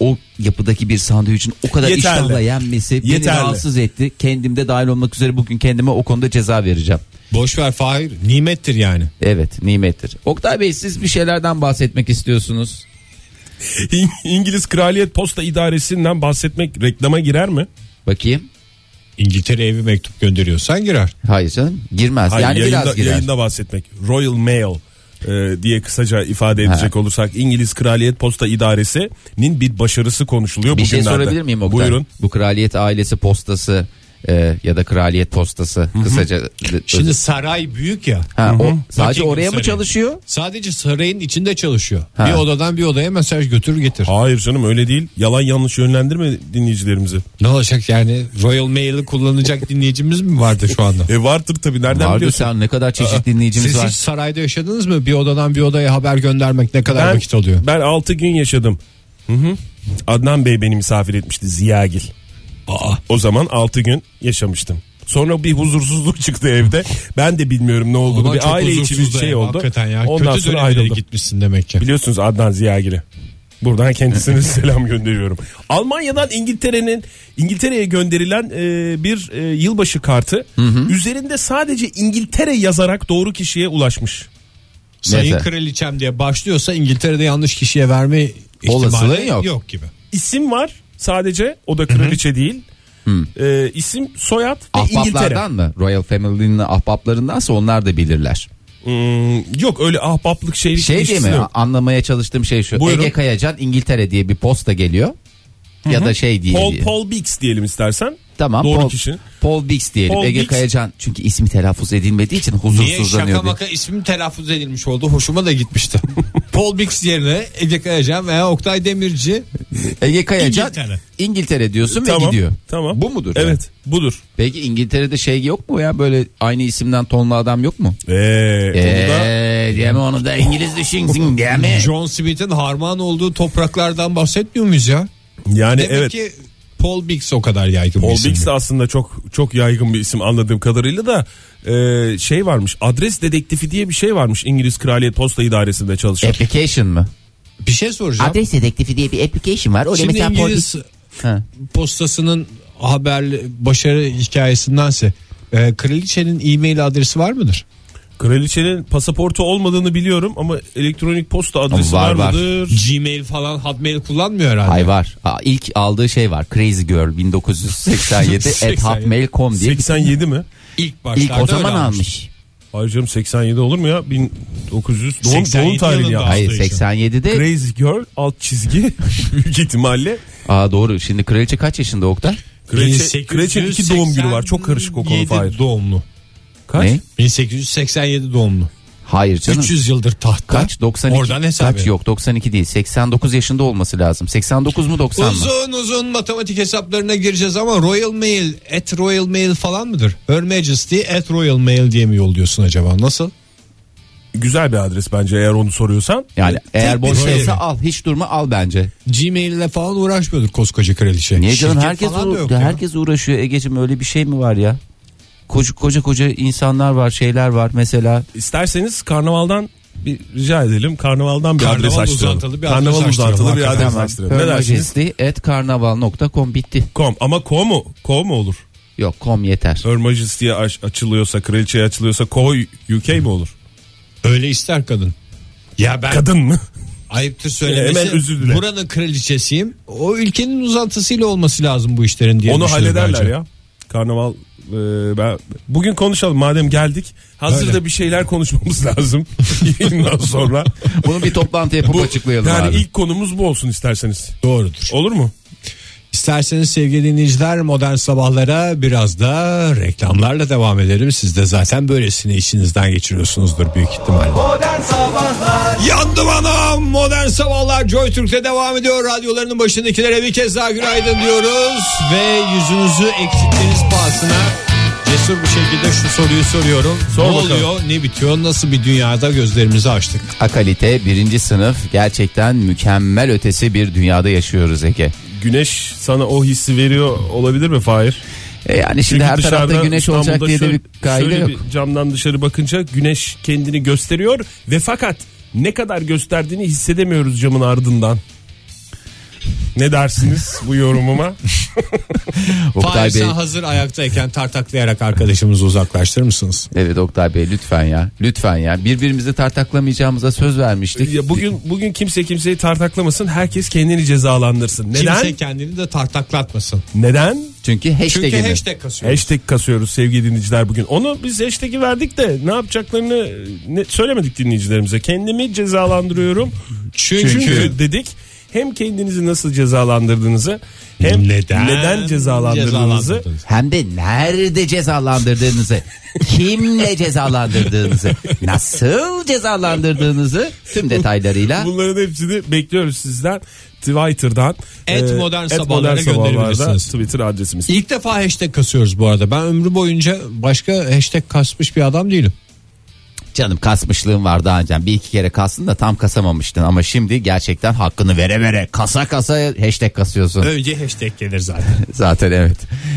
[SPEAKER 5] o yapıdaki bir sandviçin o kadar
[SPEAKER 4] Yeterli.
[SPEAKER 5] iştahla yenmesi beni
[SPEAKER 4] Yeterli.
[SPEAKER 5] rahatsız etti. Kendimde dahil olmak üzere bugün kendime o konuda ceza vereceğim.
[SPEAKER 3] Boş ver Fahir. Nimettir yani.
[SPEAKER 5] Evet nimettir. Oktay Bey siz bir şeylerden bahsetmek istiyorsunuz.
[SPEAKER 4] İng- İngiliz Kraliyet Posta İdaresi'nden bahsetmek reklama girer mi?
[SPEAKER 5] Bakayım.
[SPEAKER 3] İngiltere evi mektup gönderiyorsan girer.
[SPEAKER 5] Hayır canım girmez.
[SPEAKER 4] Hayır,
[SPEAKER 5] yani
[SPEAKER 4] yayında,
[SPEAKER 5] biraz girer.
[SPEAKER 4] yayında bahsetmek. Royal Mail e, diye kısaca ifade edecek olursak İngiliz Kraliyet Posta İdaresi'nin bir başarısı konuşuluyor
[SPEAKER 5] Bir şey
[SPEAKER 4] bugünlerde.
[SPEAKER 5] sorabilir miyim Oktay?
[SPEAKER 4] Buyurun.
[SPEAKER 5] Bu kraliyet ailesi postası e, ya da kraliyet postası kısaca.
[SPEAKER 3] Şimdi saray büyük ya.
[SPEAKER 5] Ha, o, sadece
[SPEAKER 3] Buckingham
[SPEAKER 5] oraya mı
[SPEAKER 3] Sarayı.
[SPEAKER 5] çalışıyor?
[SPEAKER 3] Sadece sarayın içinde çalışıyor.
[SPEAKER 5] Ha.
[SPEAKER 3] Bir odadan bir odaya mesaj götür getir.
[SPEAKER 4] Hayır canım öyle değil. Yalan yanlış yönlendirme dinleyicilerimizi.
[SPEAKER 3] Ne olacak yani Royal Mail'i [laughs] kullanacak dinleyicimiz mi vardı şu anda?
[SPEAKER 4] E vardır tabii nereden
[SPEAKER 5] Vardı
[SPEAKER 4] biliyorsun?
[SPEAKER 5] sen ne kadar çeşit dinleyicimiz
[SPEAKER 3] Siz
[SPEAKER 5] var.
[SPEAKER 3] hiç sarayda yaşadınız mı? Bir odadan bir odaya haber göndermek ne kadar
[SPEAKER 4] Ben,
[SPEAKER 3] vakit alıyor?
[SPEAKER 4] ben 6 gün yaşadım. Hı hı. Adnan Bey beni misafir etmişti Ziyagil.
[SPEAKER 3] Aa.
[SPEAKER 4] O zaman 6 gün yaşamıştım. Sonra bir huzursuzluk çıktı evde. Ben de bilmiyorum ne olduğunu.
[SPEAKER 3] Ama çok
[SPEAKER 4] bir aile içi bir
[SPEAKER 3] huzursuz da
[SPEAKER 4] şey
[SPEAKER 3] ya,
[SPEAKER 4] oldu.
[SPEAKER 3] Hakikaten ya.
[SPEAKER 4] Ondan
[SPEAKER 3] Kötü
[SPEAKER 4] sonra
[SPEAKER 3] dönemlere
[SPEAKER 4] ayrıldım.
[SPEAKER 3] gitmişsin demek ki.
[SPEAKER 4] Biliyorsunuz Adnan Ziyagil'i. Buradan kendisine [laughs] selam gönderiyorum. Almanya'dan İngiltere'nin İngiltere'ye gönderilen e, bir e, yılbaşı kartı üzerinde sadece İngiltere yazarak doğru kişiye ulaşmış.
[SPEAKER 3] Sayın
[SPEAKER 5] Neyse.
[SPEAKER 3] kraliçem diye başlıyorsa İngiltere'de yanlış kişiye verme
[SPEAKER 5] Olasılığı
[SPEAKER 3] ihtimali
[SPEAKER 5] yok.
[SPEAKER 3] yok. gibi.
[SPEAKER 4] İsim var sadece o da kraliçe değil. E, isim, soyad ve İngiltere.
[SPEAKER 5] Ahbaplardan mı? Royal Family'nin ahbaplarındansa onlar da bilirler.
[SPEAKER 4] Hmm, yok öyle ahbaplık şeylik
[SPEAKER 5] Şey diye
[SPEAKER 4] ilişkisi
[SPEAKER 5] mi?
[SPEAKER 4] yok.
[SPEAKER 5] Anlamaya çalıştığım şey şu.
[SPEAKER 4] Buyurun.
[SPEAKER 5] Ege Kayacan İngiltere diye bir posta geliyor. Ya da şey diye.
[SPEAKER 4] Paul,
[SPEAKER 5] diye.
[SPEAKER 4] Paul Biggs diyelim istersen.
[SPEAKER 5] Tamam.
[SPEAKER 4] Doğru
[SPEAKER 5] Paul,
[SPEAKER 4] kişi.
[SPEAKER 5] Paul Bix diyelim.
[SPEAKER 4] Paul
[SPEAKER 5] Ege
[SPEAKER 4] Bix.
[SPEAKER 5] Kayacan çünkü ismi telaffuz edilmediği için
[SPEAKER 3] Niye şaka
[SPEAKER 5] huzursuzlanıyor. diye.
[SPEAKER 3] maka ismim telaffuz edilmiş oldu hoşuma da gitmişti. Paul Bix yerine Ege Kayacan veya Oktay Demirci
[SPEAKER 5] Ege Kayacan İngiltere,
[SPEAKER 3] İngiltere.
[SPEAKER 5] diyorsun ve
[SPEAKER 4] Tamam.
[SPEAKER 5] gidiyor.
[SPEAKER 4] Tamam.
[SPEAKER 5] Bu mudur? yani?
[SPEAKER 4] Evet budur.
[SPEAKER 5] Peki İngiltere'de şey yok mu ya böyle aynı isimden tonlu adam yok mu?
[SPEAKER 4] Ee, konuda-
[SPEAKER 5] Eee deme onu da İngiliz düşünsün deme.
[SPEAKER 3] John Smith'in harman olduğu topraklardan bahsetmiyor muyuz ya?
[SPEAKER 4] yani
[SPEAKER 3] Demek
[SPEAKER 4] evet.
[SPEAKER 3] ki Paul Bix o kadar yaygın
[SPEAKER 4] Paul
[SPEAKER 3] bir isim.
[SPEAKER 4] Biggs de aslında çok çok yaygın bir isim anladığım kadarıyla da e, şey varmış adres dedektifi diye bir şey varmış İngiliz Kraliyet Posta İdaresi'nde çalışan.
[SPEAKER 5] Application mı?
[SPEAKER 3] Bir şey soracağım.
[SPEAKER 5] Adres dedektifi diye bir application var. Orada
[SPEAKER 3] Şimdi
[SPEAKER 5] mesela Paul
[SPEAKER 3] İngiliz
[SPEAKER 5] Bix- Ha.
[SPEAKER 3] postasının haberli başarı hikayesindense e, kraliçenin e-mail adresi var mıdır?
[SPEAKER 4] Kraliçenin pasaportu olmadığını biliyorum ama elektronik posta adresi
[SPEAKER 5] Var,
[SPEAKER 4] var,
[SPEAKER 5] var.
[SPEAKER 4] mıdır?
[SPEAKER 3] Gmail falan Hotmail kullanmıyor herhalde.
[SPEAKER 5] Ay var. Aa, İlk aldığı şey var. Crazy Girl 1987 at hotmail.com diye.
[SPEAKER 4] 87 mi?
[SPEAKER 3] İlk
[SPEAKER 5] İlk
[SPEAKER 3] başlarda
[SPEAKER 5] o zaman
[SPEAKER 3] öyle
[SPEAKER 5] almış.
[SPEAKER 4] Hayır canım 87 olur mu ya? 1900 doğum,
[SPEAKER 3] 87
[SPEAKER 4] doğum tarihi ya.
[SPEAKER 3] yılında.
[SPEAKER 5] Hayır
[SPEAKER 3] Hafta içi.
[SPEAKER 5] 87'de.
[SPEAKER 4] Crazy Girl alt çizgi [laughs] büyük ihtimalle.
[SPEAKER 5] Aa doğru. Şimdi kraliçe kaç yaşında Oktay?
[SPEAKER 4] Kraliçe, kraliçenin iki doğum günü var. Çok karışık o konu
[SPEAKER 3] 1887
[SPEAKER 4] Fahir.
[SPEAKER 3] doğumlu.
[SPEAKER 4] Kaç?
[SPEAKER 5] Ne?
[SPEAKER 3] 1887 doğumlu.
[SPEAKER 5] Hayır canım.
[SPEAKER 3] 300 yıldır tahtta.
[SPEAKER 5] Kaç? 92.
[SPEAKER 3] Oradan hesap
[SPEAKER 5] Kaç
[SPEAKER 3] edin.
[SPEAKER 5] yok 92 değil. 89 yaşında olması lazım. 89 mu 90 mı?
[SPEAKER 3] Uzun uzun matematik hesaplarına gireceğiz ama Royal Mail, at Royal Mail falan mıdır? Her Majesty at Royal Mail diye mi yolluyorsun acaba? Nasıl?
[SPEAKER 4] Güzel bir adres bence eğer onu soruyorsan.
[SPEAKER 5] Yani
[SPEAKER 3] bir
[SPEAKER 5] eğer boştaysa
[SPEAKER 3] şey.
[SPEAKER 5] al. Hiç durma al bence.
[SPEAKER 3] Gmail ile falan uğraşmıyordur koskoca kraliçe.
[SPEAKER 5] Niye canım
[SPEAKER 3] Şirket
[SPEAKER 5] herkes
[SPEAKER 3] falan da
[SPEAKER 5] uğra-
[SPEAKER 3] yok ya.
[SPEAKER 5] herkes uğraşıyor Egeciğim öyle bir şey mi var ya? Koca koca koca insanlar var, şeyler var mesela.
[SPEAKER 4] İsterseniz karnavaldan bir rica edelim. Karnavaldan bir
[SPEAKER 3] Karnaval
[SPEAKER 4] adres açtıralım.
[SPEAKER 3] uzantılı bir adres
[SPEAKER 4] Karnaval
[SPEAKER 3] açtıralım
[SPEAKER 4] uzantılı bir
[SPEAKER 3] hakikaten.
[SPEAKER 4] adres
[SPEAKER 5] Tamam.
[SPEAKER 4] açtıralım. Ne dersiniz?
[SPEAKER 5] Hermajesty@karnaval.com bitti.
[SPEAKER 4] Com. Ama co mu? Co mu olur?
[SPEAKER 5] Yok
[SPEAKER 3] [laughs]
[SPEAKER 5] com yeter.
[SPEAKER 4] Her Majesty'ye aç- açılıyorsa, kraliçeye açılıyorsa co UK mi olur?
[SPEAKER 3] Öyle ister kadın. Ya ben
[SPEAKER 4] Kadın mı?
[SPEAKER 3] ayıptır söylemesi.
[SPEAKER 4] Hemen özür dile.
[SPEAKER 3] Buranın kraliçesiyim. O ülkenin uzantısıyla olması lazım bu işlerin diye
[SPEAKER 4] Onu
[SPEAKER 3] düşünüyorum
[SPEAKER 4] hallederler
[SPEAKER 3] bence.
[SPEAKER 4] ya. Karnaval e, ben bugün konuşalım madem geldik. Hazırda
[SPEAKER 3] Öyle.
[SPEAKER 4] bir şeyler konuşmamız [laughs] lazım. Yayından sonra.
[SPEAKER 5] Bunu bir toplantı yapıp açıklayalım
[SPEAKER 4] yani
[SPEAKER 5] abi.
[SPEAKER 4] ilk konumuz bu olsun isterseniz.
[SPEAKER 3] Doğrudur.
[SPEAKER 4] Olur mu?
[SPEAKER 3] İsterseniz sevgili dinleyiciler modern sabahlara biraz da reklamlarla devam edelim. Siz de zaten böylesini içinizden geçiriyorsunuzdur büyük ihtimalle.
[SPEAKER 2] Modern Sabahlar
[SPEAKER 3] Yandım anam modern sabahlar Joy Türk'te devam ediyor. Radyolarının başındakilere bir kez daha günaydın diyoruz. Ve yüzünüzü eksikliğiniz pahasına cesur bir şekilde şu soruyu soruyorum.
[SPEAKER 4] Sor
[SPEAKER 3] ne
[SPEAKER 4] bakalım.
[SPEAKER 3] oluyor ne bitiyor nasıl bir dünyada gözlerimizi açtık.
[SPEAKER 5] Akalite birinci sınıf gerçekten mükemmel ötesi bir dünyada yaşıyoruz Ege.
[SPEAKER 4] Güneş sana o hissi veriyor olabilir mi Fahir?
[SPEAKER 5] E yani şimdi
[SPEAKER 4] Çünkü
[SPEAKER 5] her tarafta
[SPEAKER 4] dışarıda
[SPEAKER 5] güneş olacak
[SPEAKER 4] İstanbul'da
[SPEAKER 5] diye de bir
[SPEAKER 4] şöyle-
[SPEAKER 5] kaide
[SPEAKER 4] şöyle
[SPEAKER 5] yok.
[SPEAKER 4] bir camdan dışarı bakınca güneş kendini gösteriyor ve fakat ne kadar gösterdiğini hissedemiyoruz camın ardından. Ne dersiniz bu
[SPEAKER 5] [laughs]
[SPEAKER 4] yorumuma?
[SPEAKER 5] Oktay
[SPEAKER 3] Fahir
[SPEAKER 5] Bey,
[SPEAKER 3] sen hazır ayaktayken tartaklayarak arkadaşımızı uzaklaştırır mısınız?
[SPEAKER 5] evet Oktay Bey lütfen ya. Lütfen ya. Birbirimizi tartaklamayacağımıza söz vermiştik.
[SPEAKER 4] Ya bugün bugün kimse kimseyi tartaklamasın. Herkes kendini cezalandırsın. Neden?
[SPEAKER 3] Kimse kendini de tartaklatmasın.
[SPEAKER 4] Neden?
[SPEAKER 5] Çünkü hashtag'ini.
[SPEAKER 3] Çünkü hashtag kasıyoruz.
[SPEAKER 4] Hashtag kasıyoruz sevgili dinleyiciler bugün. Onu biz hashtag'i verdik de ne yapacaklarını ne, söylemedik dinleyicilerimize. Kendimi cezalandırıyorum. Çünkü,
[SPEAKER 3] Çünkü-
[SPEAKER 4] dedik. Hem kendinizi nasıl cezalandırdığınızı hem neden, cezalandırdığınızı
[SPEAKER 3] cezalandırdınız?
[SPEAKER 5] Hem de nerede cezalandırdığınızı, kimle cezalandırdığınızı, nasıl cezalandırdığınızı tüm detaylarıyla
[SPEAKER 4] bunların hepsini bekliyoruz sizden. Twitter'dan
[SPEAKER 3] Et
[SPEAKER 4] e,
[SPEAKER 3] modern
[SPEAKER 4] et
[SPEAKER 3] sabahlara
[SPEAKER 4] sabahlarda
[SPEAKER 3] gönderebilirsiniz.
[SPEAKER 4] Twitter adresimiz.
[SPEAKER 3] İlk defa hashtag kasıyoruz bu arada. Ben ömrü boyunca başka hashtag kasmış bir adam değilim.
[SPEAKER 5] Canım kasmışlığım var daha önce. Bir iki kere kastın da tam kasamamıştın. Ama şimdi gerçekten hakkını vere vere kasa kasa hashtag kasıyorsun.
[SPEAKER 3] Önce hashtag gelir zaten.
[SPEAKER 5] Zaten evet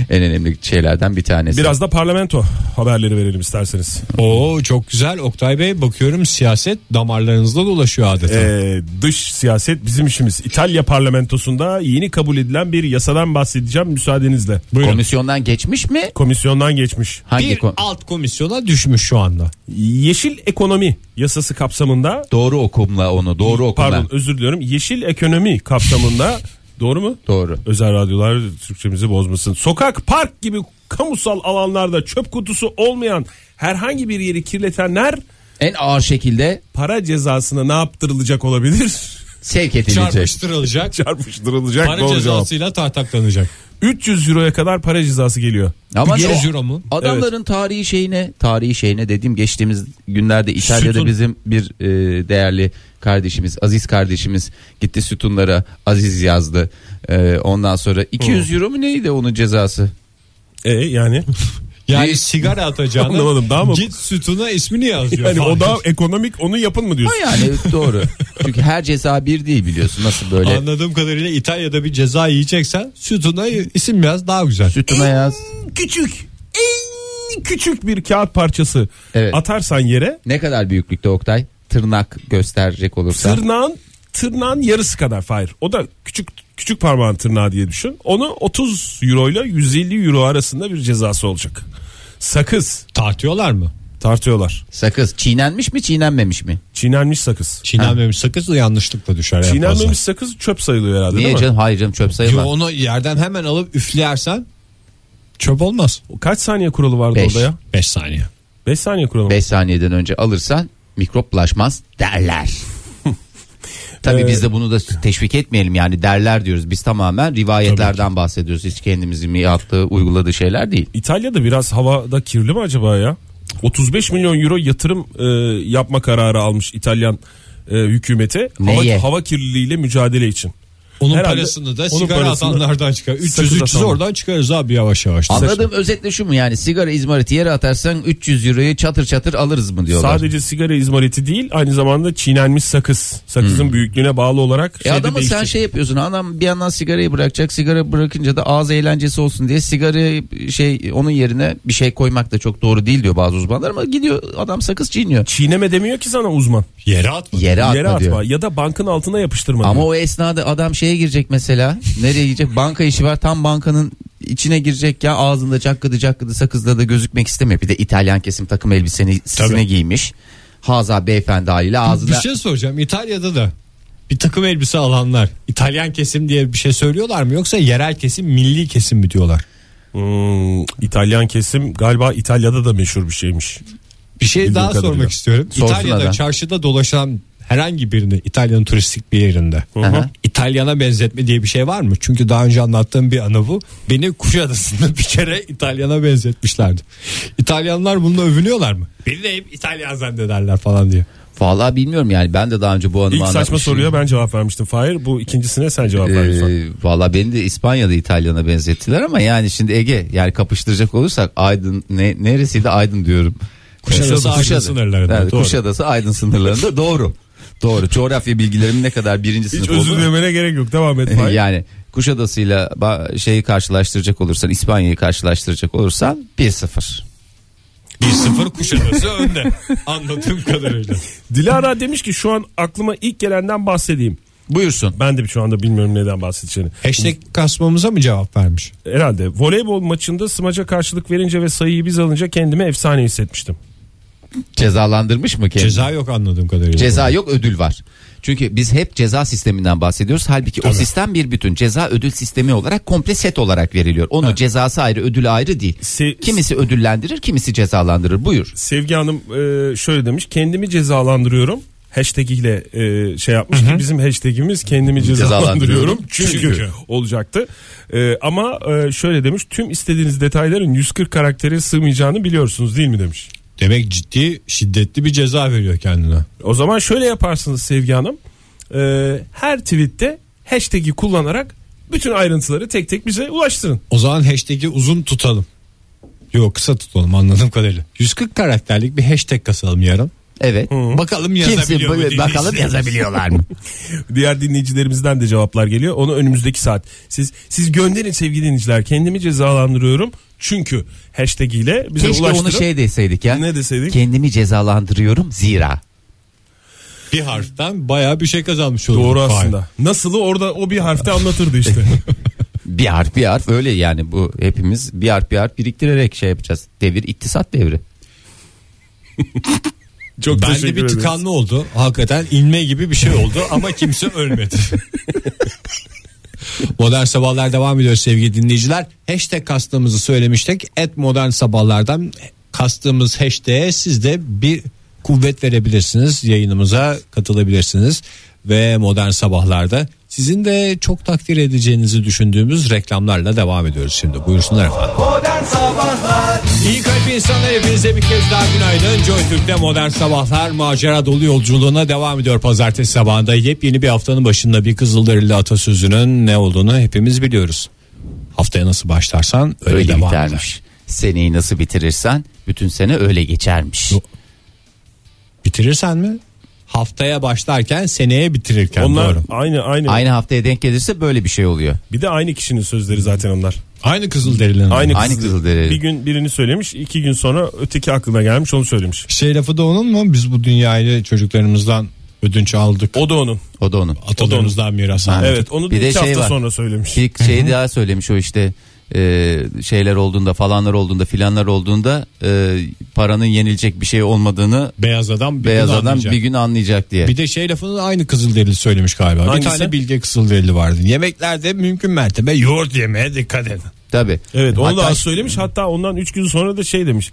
[SPEAKER 5] en önemli şeylerden bir tanesi.
[SPEAKER 4] Biraz da parlamento haberleri verelim isterseniz.
[SPEAKER 3] [laughs] Oo çok güzel Oktay Bey bakıyorum siyaset damarlarınızda dolaşıyor adeta.
[SPEAKER 4] Ee, dış siyaset bizim işimiz. İtalya parlamentosunda yeni kabul edilen bir yasadan bahsedeceğim müsaadenizle.
[SPEAKER 5] Komisyondan geçmiş mi?
[SPEAKER 4] Komisyondan geçmiş.
[SPEAKER 5] Hangi
[SPEAKER 3] bir
[SPEAKER 5] kon-
[SPEAKER 3] alt komisyona düşmüş şu anda.
[SPEAKER 4] Yeşil ekonomi yasası kapsamında
[SPEAKER 5] Doğru okumla onu doğru okumla.
[SPEAKER 4] pardon özür diliyorum. Yeşil ekonomi kapsamında doğru mu?
[SPEAKER 5] Doğru.
[SPEAKER 4] Özel radyolar Türkçemizi bozmasın. Sokak, park gibi kamusal alanlarda çöp kutusu olmayan herhangi bir yeri kirletenler
[SPEAKER 5] En ağır şekilde
[SPEAKER 4] para cezasına ne yaptırılacak olabilir? [laughs]
[SPEAKER 5] sevk edilecek.
[SPEAKER 3] Çarpıştırılacak.
[SPEAKER 4] Çarpıştırılacak.
[SPEAKER 3] Para
[SPEAKER 4] Doğru cevap.
[SPEAKER 3] cezasıyla tahtaklanacak.
[SPEAKER 4] 300 euroya kadar para cezası geliyor.
[SPEAKER 5] Ama
[SPEAKER 3] Yüz
[SPEAKER 5] o-
[SPEAKER 3] euro mu?
[SPEAKER 5] Adamların tarihi şeyine, tarihi şeyine dediğim geçtiğimiz günlerde İtalya'da
[SPEAKER 4] Sütun.
[SPEAKER 5] bizim bir e, değerli kardeşimiz, Aziz kardeşimiz gitti sütunlara Aziz yazdı. E, ondan sonra 200
[SPEAKER 4] Oh.
[SPEAKER 5] euro mu neydi onun cezası?
[SPEAKER 4] E yani
[SPEAKER 3] Yani
[SPEAKER 5] Bir-
[SPEAKER 3] sigara atacağına
[SPEAKER 4] Anlamadım, daha mı?
[SPEAKER 3] git sütuna ismini yazıyor.
[SPEAKER 4] yani o
[SPEAKER 3] Hayır.
[SPEAKER 4] da ekonomik onu yapın mı diyorsun?
[SPEAKER 5] Yani
[SPEAKER 4] [laughs]
[SPEAKER 5] doğru. Çünkü her ceza bir değil biliyorsun nasıl böyle.
[SPEAKER 3] Anladığım kadarıyla İtalya'da bir ceza yiyeceksen sütuna isim yaz daha güzel.
[SPEAKER 5] Sütuna yaz.
[SPEAKER 4] Küçük. En küçük bir kağıt parçası
[SPEAKER 5] Evet.
[SPEAKER 4] atarsan yere
[SPEAKER 5] Ne kadar büyüklükte Oktay? Tırnak gösterecek olursa.
[SPEAKER 4] tırnağın tırnağın yarısı kadar Fahir. O da küçük küçük parmağın tırnağı diye düşün. Onu 30 euro ile 150 euro arasında bir cezası olacak. Sakız
[SPEAKER 3] Tartıyorlar mı?
[SPEAKER 4] tartıyorlar.
[SPEAKER 5] Sakız çiğnenmiş mi çiğnenmemiş mi?
[SPEAKER 4] Çiğnenmiş sakız.
[SPEAKER 3] Çiğnenmemiş sakız da yanlışlıkla düşer. en fazla.
[SPEAKER 4] Çiğnenmemiş sakız çöp sayılıyor herhalde
[SPEAKER 5] Şey Niye
[SPEAKER 4] değil mi?
[SPEAKER 5] canım? Hayır canım çöp
[SPEAKER 3] Yo,
[SPEAKER 5] sayılmaz.
[SPEAKER 3] onu yerden hemen alıp üflersen çöp olmaz.
[SPEAKER 4] Kaç saniye kuralı vardı
[SPEAKER 5] Beş.
[SPEAKER 4] orada ya?
[SPEAKER 3] 5 saniye.
[SPEAKER 4] 5 saniye kuralı.
[SPEAKER 5] 5 saniyeden önce alırsan mikrop bulaşmaz
[SPEAKER 4] [laughs]
[SPEAKER 5] derler. Tabii
[SPEAKER 4] Ee,
[SPEAKER 5] biz de bunu da teşvik etmeyelim yani derler diyoruz. Biz tamamen rivayetlerden bahsediyoruz. Hiç kendimizin mi yaptığı, uyguladığı şeyler değil.
[SPEAKER 4] İtalya'da biraz havada kirli mi acaba ya? 35 milyon euro yatırım e, yapma kararı almış İtalyan e, hükümeti
[SPEAKER 5] Neye?
[SPEAKER 4] hava, hava kirliliğiyle mücadele için.
[SPEAKER 3] Onun
[SPEAKER 4] Herhalde
[SPEAKER 3] parasını da
[SPEAKER 4] onun
[SPEAKER 3] sigara
[SPEAKER 4] parasını-
[SPEAKER 3] atanlardan çıkar. 300
[SPEAKER 4] Sakız
[SPEAKER 3] 300
[SPEAKER 4] atanlar.
[SPEAKER 3] oradan çıkarız abi yavaş yavaş.
[SPEAKER 5] Anladığım özetle şu mu yani sigara izmariti yere atarsan 300 euroyu çatır çatır alırız mı diyorlar. E
[SPEAKER 4] Sadece sigara izmariti değil aynı zamanda çiğnenmiş sakız. Sakızın büyüklüğüne bağlı olarak
[SPEAKER 5] E
[SPEAKER 4] şeyde
[SPEAKER 5] adamı Hmm. sen
[SPEAKER 4] değişecek.
[SPEAKER 5] şey yapıyorsun adam bir yandan sigarayı bırakacak sigara bırakınca da ağız eğlencesi olsun diye sigara şey onun yerine bir şey koymak da çok doğru değil diyor bazı uzmanlar ama gidiyor adam sakız çiğniyor.
[SPEAKER 4] Çiğneme demiyor ki sana uzman.
[SPEAKER 3] Yere atma.
[SPEAKER 5] Yere atma,
[SPEAKER 4] Yere atma
[SPEAKER 5] diyor.
[SPEAKER 4] ya da bankın altına yapıştırma
[SPEAKER 5] Ama
[SPEAKER 4] diyor.
[SPEAKER 5] o esnada adam şeye girecek mesela. Nereye gidecek? Banka işi var. Tam bankanın içine girecek ya ağzında cakkıdı cakkıdı sakızla da gözükmek istemiyor. Bir de İtalyan kesim takım elbiseni sisine
[SPEAKER 3] Tabii.
[SPEAKER 5] giymiş. Haza beyefendi haliyle
[SPEAKER 3] Bir
[SPEAKER 5] ağzında
[SPEAKER 3] şey soracağım. İtalya'da da bir takım elbise alanlar İtalyan kesim diye bir şey söylüyorlar mı yoksa yerel kesim milli kesim mi diyorlar?
[SPEAKER 4] Hmm, İtalyan kesim galiba İtalya'da da meşhur bir şeymiş.
[SPEAKER 3] Bir şey
[SPEAKER 4] Bildiğim
[SPEAKER 3] daha
[SPEAKER 4] kadarıyla.
[SPEAKER 3] sormak istiyorum.
[SPEAKER 5] Sorsun
[SPEAKER 3] İtalya'da
[SPEAKER 5] adam.
[SPEAKER 3] çarşıda dolaşan herhangi birini İtalya'nın turistik bir yerinde
[SPEAKER 5] hı.
[SPEAKER 3] İtalyana benzetme diye bir şey var mı? Çünkü daha önce anlattığım bir anı bu. Beni Kuşadası'nda [laughs] bir kere İtalyana benzetmişlerdi. İtalyanlar bununla övünüyorlar mı? Beni de hep İtalyan zannederler falan diye.
[SPEAKER 5] Vallahi bilmiyorum yani ben de daha önce bu hanıma
[SPEAKER 4] İlk saçma
[SPEAKER 5] anlatmıştım.
[SPEAKER 4] soruya ben cevap vermiştim Fahir. Bu ikincisine sen cevap vermiştin.
[SPEAKER 5] şey- Ee, Valla beni de İspanya'da İtalyan'a benzettiler ama yani şimdi Ege yani kapıştıracak olursak Aydın ne, neresiydi Aydın diyorum.
[SPEAKER 3] Kuşadası, Aydın sınırlarında,
[SPEAKER 5] Evet,
[SPEAKER 3] doğru.
[SPEAKER 5] Kuşadası Aydın sınırlarında doğru. Doğru coğrafya bilgilerimin ne kadar birinci
[SPEAKER 4] Hiç
[SPEAKER 5] sınıf
[SPEAKER 4] özür
[SPEAKER 5] olduğunu
[SPEAKER 4] dilemene gerek yok devam
[SPEAKER 5] [laughs]
[SPEAKER 4] et Fahir.
[SPEAKER 5] yani Kuşadası'yla ba- şeyi karşılaştıracak olursan İspanya'yı karşılaştıracak olursan 1-0.
[SPEAKER 3] 1-0 Kuşadası
[SPEAKER 5] [laughs]
[SPEAKER 3] önde. Anladığım kadarıyla.
[SPEAKER 4] Dilara demiş ki şu an aklıma ilk gelenden bahsedeyim.
[SPEAKER 5] Buyursun.
[SPEAKER 4] Ben de şu anda bilmiyorum neden bahsedeceğini.
[SPEAKER 3] Hashtag kasmamıza mı cevap vermiş?
[SPEAKER 4] Herhalde voleybol maçında smaca karşılık verince ve sayıyı biz alınca kendimi efsane hissetmiştim.
[SPEAKER 5] Cezalandırmış mı kendini?
[SPEAKER 3] Ceza yok anladığım kadarıyla.
[SPEAKER 5] Ceza yok ödül var. Çünkü biz hep ceza sisteminden bahsediyoruz. Halbuki o sistem bir bütün. Ceza ödül sistemi olarak komple set olarak veriliyor. Onu cezası ayrı ödülü ayrı değil.
[SPEAKER 4] Se-
[SPEAKER 5] kimisi ödüllendirir kimisi cezalandırır. Buyur.
[SPEAKER 4] Sevgi Hanım e, şöyle demiş kendimi cezalandırıyorum. Hashtag ile e, şey yapmış ki bizim hashtagimiz kendimi cezalandırıyorum.
[SPEAKER 5] Cezalandırıyorum.
[SPEAKER 4] Çünkü,
[SPEAKER 5] Çünkü.
[SPEAKER 4] olacaktı. E, ama e, şöyle demiş tüm istediğiniz detayların 140 karaktere sığmayacağını biliyorsunuz değil mi demiş.
[SPEAKER 3] Demek ciddi şiddetli bir ceza veriyor kendine.
[SPEAKER 4] O zaman şöyle yaparsınız Sevgi Hanım. Ee, her tweette hashtag'i kullanarak bütün ayrıntıları tek tek bize ulaştırın.
[SPEAKER 3] O zaman hashtag'i uzun tutalım. Yok kısa tutalım anladığım kadarıyla. 140 karakterlik bir hashtag kasalım yarın.
[SPEAKER 5] Evet.
[SPEAKER 3] Bakalım
[SPEAKER 5] Kimse
[SPEAKER 3] yazabiliyor mu
[SPEAKER 5] bu- bakalım
[SPEAKER 3] dinleyicilerimiz?
[SPEAKER 5] yazabiliyorlar mı?
[SPEAKER 4] Diğer dinleyicilerimizden de cevaplar geliyor. Onu önümüzdeki saat. Siz siz gönderin sevgili dinleyiciler. Kendimi cezalandırıyorum. Çünkü hashtag ile bize
[SPEAKER 5] Keşke
[SPEAKER 4] ulaştırın.
[SPEAKER 5] onu şey deseydik ya.
[SPEAKER 4] Ne deseydik?
[SPEAKER 5] Kendimi cezalandırıyorum zira.
[SPEAKER 3] Bir harften bayağı bir şey kazanmış olduk.
[SPEAKER 4] Doğru
[SPEAKER 3] Fahir.
[SPEAKER 4] aslında. Nasılı orada o bir harfte anlatırdı
[SPEAKER 3] [laughs]
[SPEAKER 4] işte.
[SPEAKER 5] Bir harf bir harf öyle yani bu hepimiz bir harf bir harf biriktirerek şey yapacağız. Devir iktisat devri.
[SPEAKER 4] Çok
[SPEAKER 3] Bende
[SPEAKER 4] teşekkür
[SPEAKER 3] bir
[SPEAKER 4] ederiz.
[SPEAKER 3] tıkanma oldu. Hakikaten inme gibi bir şey
[SPEAKER 4] [laughs]
[SPEAKER 3] oldu ama kimse ölmedi. Modern Sabahlar devam ediyor sevgili dinleyiciler. Hashtag kastığımızı söylemiştik. Et Modern Sabahlar'dan kastığımız hashtag'e siz de bir kuvvet verebilirsiniz. Yayınımıza katılabilirsiniz. Ve Modern Sabahlar'da sizin de çok takdir edeceğinizi düşündüğümüz reklamlarla devam ediyoruz şimdi. Buyursunlar efendim.
[SPEAKER 2] Modern Sabahlar
[SPEAKER 3] İyi kalp insanlar hepinize bir kez daha günaydın. Joy Türk'te modern sabahlar macera dolu yolculuğuna devam ediyor. Pazartesi sabahında yepyeni bir haftanın başında bir Kızılderili atasözünün ne olduğunu hepimiz biliyoruz. Haftaya nasıl başlarsan öyle,
[SPEAKER 5] Öyle
[SPEAKER 3] devam eder.
[SPEAKER 5] bitermiş. Seneyi nasıl bitirirsen bütün sene öyle geçermiş.
[SPEAKER 3] Bitirirsen mi? Haftaya başlarken seneye bitirirken
[SPEAKER 4] Onlar
[SPEAKER 3] doğru.
[SPEAKER 4] aynı aynı.
[SPEAKER 5] Aynı haftaya denk gelirse böyle bir şey oluyor.
[SPEAKER 4] Bir de aynı kişinin sözleri zaten onlar.
[SPEAKER 3] Aynı Kızılderili'nin.
[SPEAKER 4] Aynı,
[SPEAKER 5] Aynı
[SPEAKER 4] kızıl-
[SPEAKER 5] Kızılderili.
[SPEAKER 4] Bir gün birini söylemiş, iki gün sonra öteki aklına gelmiş onu söylemiş.
[SPEAKER 3] Şey lafı da onun mu? Biz bu dünyayı çocuklarımızdan ödünç aldık.
[SPEAKER 4] O da onun.
[SPEAKER 5] O da onun.
[SPEAKER 3] Atalarımızdan miras aldık.
[SPEAKER 4] Evet, onu da
[SPEAKER 5] Bir de
[SPEAKER 4] iki
[SPEAKER 5] şey
[SPEAKER 4] hafta
[SPEAKER 5] var.
[SPEAKER 4] sonra söylemiş.
[SPEAKER 5] Bir şey daha söylemiş o işte e, şeyler olduğunda falanlar olduğunda filanlar olduğunda e, paranın yenilecek bir şey olmadığını
[SPEAKER 3] Beyaz adam bir
[SPEAKER 5] beyaz
[SPEAKER 3] gün
[SPEAKER 5] adam
[SPEAKER 3] anlayacak.
[SPEAKER 5] bir gün anlayacak diye.
[SPEAKER 3] Bir de şey lafını aynı Kızılderili söylemiş galiba.
[SPEAKER 4] Hangisi?
[SPEAKER 3] Bir tane bilge Kızılderili vardı. Yemeklerde mümkün mertebe yoğurt yemeye dikkat edin.
[SPEAKER 5] Tabii.
[SPEAKER 4] Evet onu da
[SPEAKER 5] Hatta Hmm.
[SPEAKER 4] az söylemiş hatta ondan 3 gün sonra da şey demiş